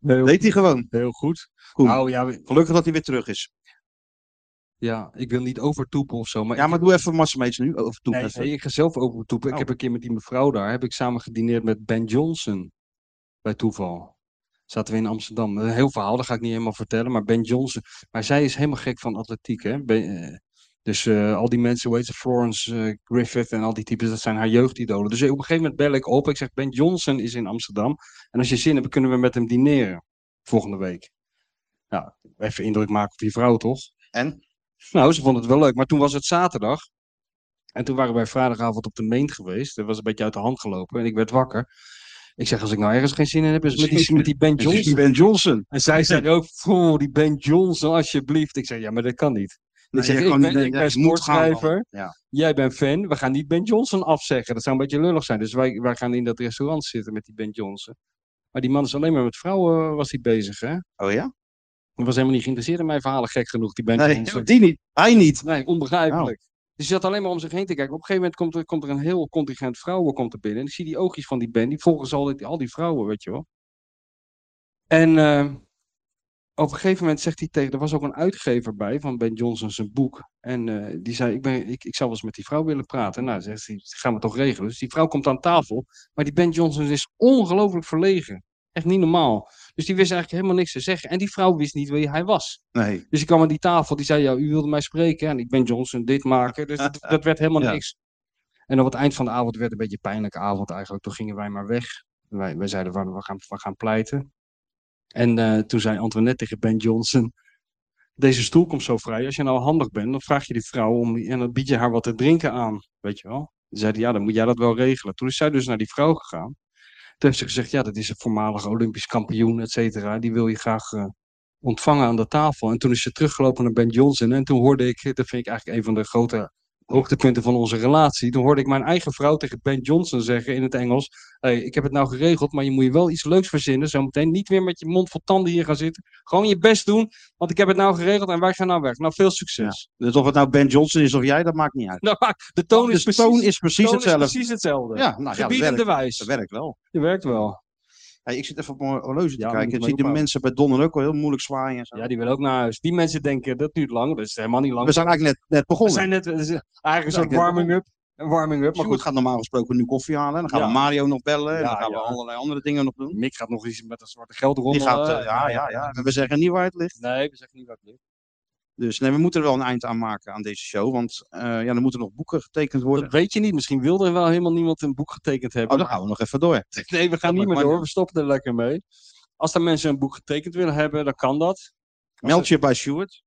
heel, deed hij gewoon. heel goed. Koen. Nou ja, we- Gelukkig dat hij weer terug is. ja, ik wil niet overtoepen of zo. Maar Ja, ik, maar doe even Massameets nu. Of doe nee, even. nee, ik ga zelf overtoepen. Ik Oh. heb een keer met die mevrouw daar, heb ik samen gedineerd met Ben Johnson. Bij toeval. Zaten we in Amsterdam. Een heel verhaal, dat ga ik niet helemaal vertellen. Maar Ben Johnson, maar zij is helemaal gek van atletiek. Hè? Ben- eh, dus eh, al die mensen, hoe heet ze, Florence eh, Griffith en al die types, dat zijn haar jeugdidolen. Dus op een gegeven moment bel ik op. Ik zeg, Ben Johnson is in Amsterdam. En als je zin hebt, kunnen we met hem dineren. Volgende week. Nou, even indruk maken op die vrouw, toch? En? Nou, ze vond het wel leuk. Maar toen was het zaterdag. En toen waren wij vrijdagavond op de meent geweest. Dat was een beetje uit de hand gelopen. En ik werd wakker. Ik zeg, als ik nou ergens geen zin in heb, is het met die, met die Ben Johnson. Ben Johnson. En zij zei ook, "Poeh, die Ben Johnson, alsjeblieft. Ik zeg, ja, maar dat kan niet. Nee, ik zeg, je ik kan ben, niet- ik ja, ben je moet gaan sportschrijver, dan. Ja. jij bent fan, we gaan niet Ben Johnson afzeggen. Dat zou een beetje lullig zijn. Dus wij, wij gaan in dat restaurant zitten met die Ben Johnson. Maar die man is alleen maar met vrouwen eh, was hij bezig, hè? Oh ja? Hij was helemaal niet geïnteresseerd in mijn verhalen, gek genoeg, die Ben Johnson. Nee, die niet. Hij niet. Nee, onbegrijpelijk. Dus je zat alleen maar om zich heen te kijken. Op een gegeven moment komt er, komt er een heel contingent vrouwen komt er binnen. En ik zie die oogjes van die band. Die volgen ze al die, al die vrouwen, weet je wel. En eh, op een gegeven moment zegt hij tegen... Er was ook een uitgever bij van Ben Johnson zijn boek. En eh, die zei, ik, ben, ik, ik zou wel eens met die vrouw willen praten. Nou, zegt hij, gaan we toch regelen. Dus die vrouw komt aan tafel. Maar die Ben Johnson is ongelooflijk verlegen. Echt niet normaal. Dus die wist eigenlijk helemaal niks te zeggen. En die vrouw wist niet wie hij was. Nee. Dus ik kwam aan die tafel, die zei, ja, u wilde mij spreken. En ik ben Johnson, dit maken. Dus dat, dat werd helemaal Ja. niks. En op het eind van de avond werd een beetje een pijnlijke avond eigenlijk. Toen gingen wij maar weg. Wij, wij zeiden, van, we gaan, we gaan pleiten. En eh, toen zei Antoinette tegen Ben Johnson, deze stoel komt zo vrij. Als je nou handig bent, dan vraag je die vrouw om, en dan bied je haar wat te drinken aan. Weet je wel? Toen zei hij, ja, dan moet jij dat wel regelen. Toen is zij dus naar die vrouw gegaan. Toen heeft ze gezegd, ja, dat is een voormalige Olympisch kampioen, et cetera. Die wil je graag... eh, ontvangen aan de tafel. En toen is ze teruggelopen naar Ben Johnson. En toen hoorde ik, dat vind ik eigenlijk een van de grote hoogtepunten van onze relatie. Toen hoorde ik mijn eigen vrouw tegen Ben Johnson zeggen in het Engels. Hey, ik heb het nou geregeld, maar je moet je wel iets leuks verzinnen. Zometeen niet weer met je mond vol tanden hier gaan zitten. Gewoon je best doen, want ik heb het nou geregeld en wij gaan nou weg. Nou, veel succes. Dus of het nou Ben Johnson is of jij, dat maakt niet uit. Nou, de toon is de precies, toon is precies toon is hetzelfde. precies hetzelfde. Ja, nou ja, dat Gebiedende werkt, wijs. dat werkt wel. Je werkt wel. Hey, ik zit even op mijn horloge te Ja, moet je kijken. Ik maar zie de ophouden. mensen bij Donner ook al heel moeilijk zwaaien. En zo. Ja, die willen ook naar huis. Die mensen denken, dat duurt lang. Dat is helemaal niet lang. We zijn eigenlijk net, net We begonnen. zijn net, het is eigenlijk een soort Ja, ik- warming-up. Een warming-up, maar Sjoerd goed. gaat normaal gesproken nu koffie halen. En dan gaan Ja. we Mario nog bellen. en Ja, dan gaan ja. we allerlei andere dingen nog doen. Mick gaat nog iets met een zwarte geld Die rommelen. gaat, eh, ja, ja, ja. En We zeggen niet waar het ligt. Nee, we zeggen niet wat het is. Dus nee, we moeten er wel een eind aan maken aan deze show. Want eh, ja, er moeten nog boeken getekend worden. Dat weet je niet. Misschien wilde er wel helemaal niemand een boek getekend hebben. Oh, dan gaan we nog even door. nee, we gaan dat niet meer maakt door. We stoppen er lekker mee. Als er mensen een boek getekend willen hebben, dan kan dat. Meld je bij Sjoerd.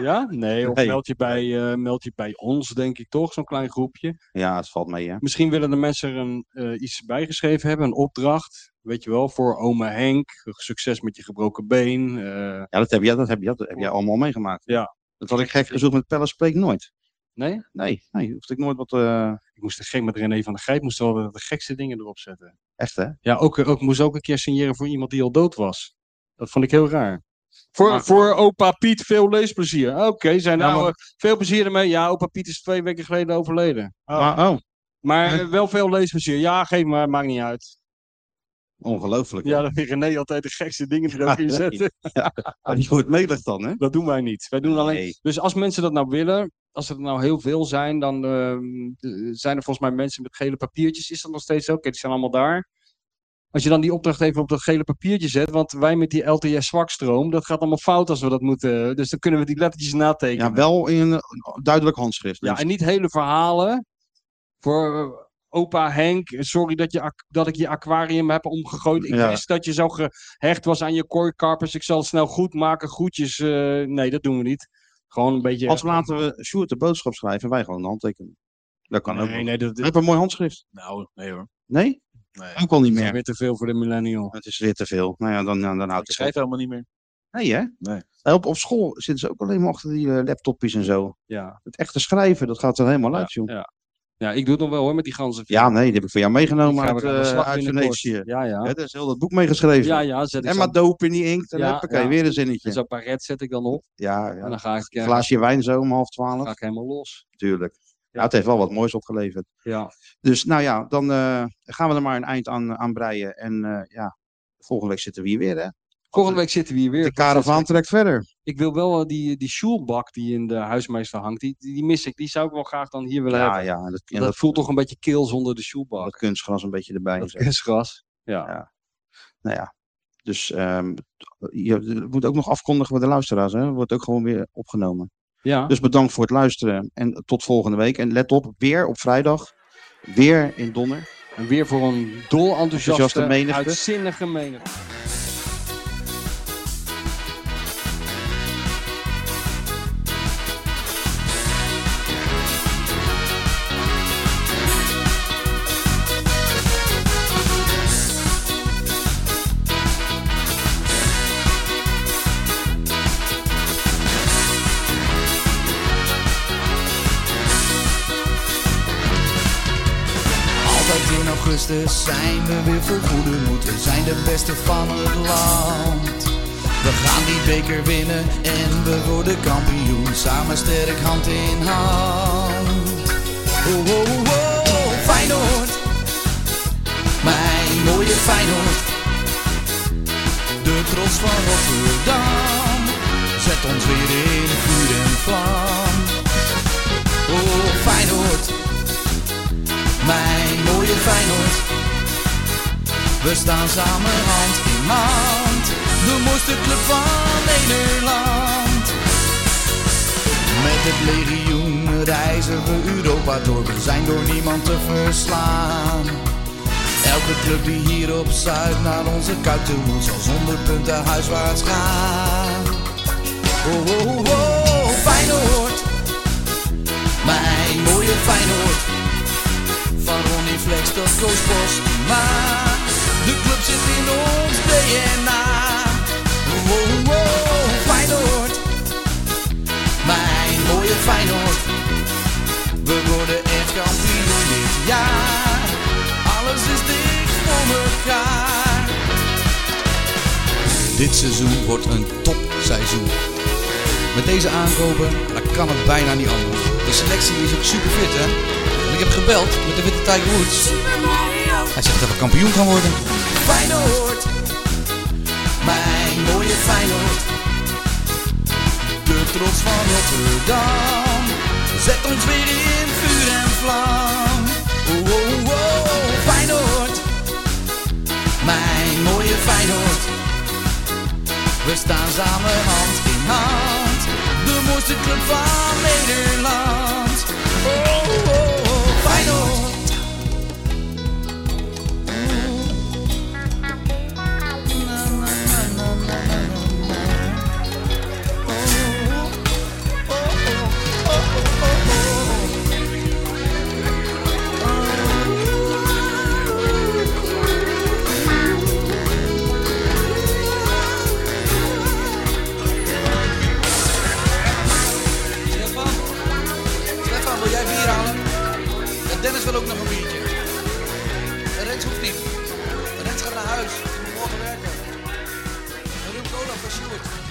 Ja? Nee, of Nee. meld, je bij, eh, meld je bij ons, denk ik toch, zo'n klein groepje. Ja, het valt mee, hè. Misschien willen de mensen er een, eh, iets bijgeschreven hebben, een opdracht. Weet je wel, voor oma Henk, succes met je gebroken been. eh, Ja, dat heb jij, dat heb jij, dat heb jij allemaal meegemaakt. Ja. Dat had ik gek gezocht met Pelle Spreek nooit. nee? Nee, nee, hoefde ik nooit wat... eh, Ik moest er gek met René van der Grijp, moest wel de gekste dingen erop zetten. echt, hè? Ja, ook, eh, ook moest ook een keer signeren voor iemand die al dood was. Dat vond ik heel raar. Voor, Maar- voor opa Piet veel leesplezier. Oké, zijn Ja, nou veel plezier ermee. Ja, opa Piet is twee weken geleden overleden. Maar, oh, Maar eh, wel veel leesplezier. Ja, geef maar, maakt niet uit. ongelooflijk. Ja, dan vindt René altijd de gekste dingen die erover Ja, nee. zetten. Ah, die wordt melig dan, hè? Dat doen wij niet. Wij doen alleen... Nee. Dus als mensen dat nou willen, als er nou heel veel zijn, dan ehm, eh, zijn er volgens mij mensen met gele papiertjes. Is dat nog steeds zo? Oké, die zijn allemaal daar. Als je dan die opdracht even op dat gele papiertje zet, want wij met die LTS zwakstroom, dat gaat allemaal fout als we dat moeten. Dus dan kunnen we die lettertjes natekenen. Ja, wel in een duidelijk handschrift. Dus Ja, liefst. en niet hele verhalen. Voor eh, opa Henk, sorry dat, je, ak- dat ik je aquarium heb omgegooid. Ik Ja. wist dat je zo gehecht was aan je kooikarpers. Ik zal het snel goed maken. Groetjes. eh, nee, dat doen we niet. Gewoon een beetje... Als laten we Sjoerd de boodschap schrijven en wij gewoon een handtekening. Dat kan ook. nee, nee, dat, Ik heb een mooi handschrift. Nou, nee hoor. Nee? Nee. Ook al niet dat is meer. weer te veel voor de millennial. Het is weer te veel. Nou ja, dan, dan, dan Ik houdt het op. schrijf helemaal niet meer. Nee, hè? Nee. Hey, Op, op school zitten ze ook alleen maar achter die eh, laptopjes en zo. Ja. Het echte schrijven, dat gaat er helemaal uit, joh. ja, ik doe het nog wel hoor met die ganzen. Ja, nee, die heb ik voor jou meegenomen Ik ga uit, weer aan de eh, slag uit binnenkort. Venetië. Ja, Hè, ja. Daar is heel dat boek meegeschreven. Ja, ja. Zet ik En maar zo'n- doop in die inkt. En Ja, huppakee, ja. weer een en zinnetje. zo'n baret zet ik dan op. Ja, En ja. dan ga ik, eh, Glaasje wijn zo om half twaalf. ga ik helemaal los. Tuurlijk. Ja, het heeft wel wat moois opgeleverd. Ja. Dus nou ja, dan eh, gaan we er maar een eind aan, aan breien. En eh, ja, volgende week zitten we hier weer, hè? Volgende week zitten we hier weer. De karavaan trekt verder. Ik wil wel eh, die, die Sjoelbak die in de huismeester hangt. Die, die, die mis ik. Die zou ik wel graag dan hier willen Ja, hebben. ja, en dat, en Want dat, dat, voelt toch een beetje kil zonder de Sjoelbak. dat kunstgras een beetje erbij. en Dat zo. kunstgras. Ja. Ja. Nou ja, dus ehm, je we moeten ook nog afkondigen voor de luisteraars, hè? Wordt ook gewoon weer opgenomen. ja. Dus bedankt voor het luisteren en tot volgende week. En let op, weer op vrijdag. Weer in Donner. En weer voor een dol enthousiaste, Enthousiaste menigte. uitzinnige menigte. eerste nou zijn we weer volgoede moed. We zijn de beste van het land. We gaan die beker winnen en we worden kampioen. Samen sterk hand in hand. Oh, oh, oh, oh, Feyenoord. Mijn mooie Feyenoord. De trots van Rotterdam. Zet ons weer in vuur en vlam. Oh, Feyenoord. Mijn mooie Feyenoord. We staan samen hand in hand. De mooiste club van Nederland. Met het legioen reizen we Europa door. We zijn door niemand te verslaan. Elke club die hier op Zuid naar onze kuit toe moet, zal zonder punten huiswaarts gaan. Oh, oh, oh, oh, Feyenoord. Mijn mooie Feyenoord. Van Ronnie Flex tot Koos Bos. Maar de club zit in ons DNA. Oh, oh, oh, Feyenoord. Mijn mooie Feyenoord. We worden echt kampioen dit jaar. Alles is dicht voor elkaar. Dit seizoen wordt een topseizoen. Met deze aankopen, dan kan het bijna niet anders. De selectie is ook super fit, hè? Want ik heb gebeld met de witte Tiger Woods. Hij zegt dat we kampioen gaan worden. Feyenoord, mijn mooie Feyenoord. De trots van Rotterdam, zet ons weer in vuur en vlam. Oh, oh, oh, Feyenoord, mijn mooie Feyenoord. We staan samen hand in hand. De mooiste club van Nederland. Oh, oh, oh Feyenoord. Na, na, na, na, na, na, na. Oh, oh, oh, oh, oh, oh. Stefan? Stefan, wil jij bier halen? Ja, Dennis wil ook nog een biertje. En Rens hoeft niet. Rens gaat naar huis. Die moet morgen werken. En Ruud Cola voor Sjoerd.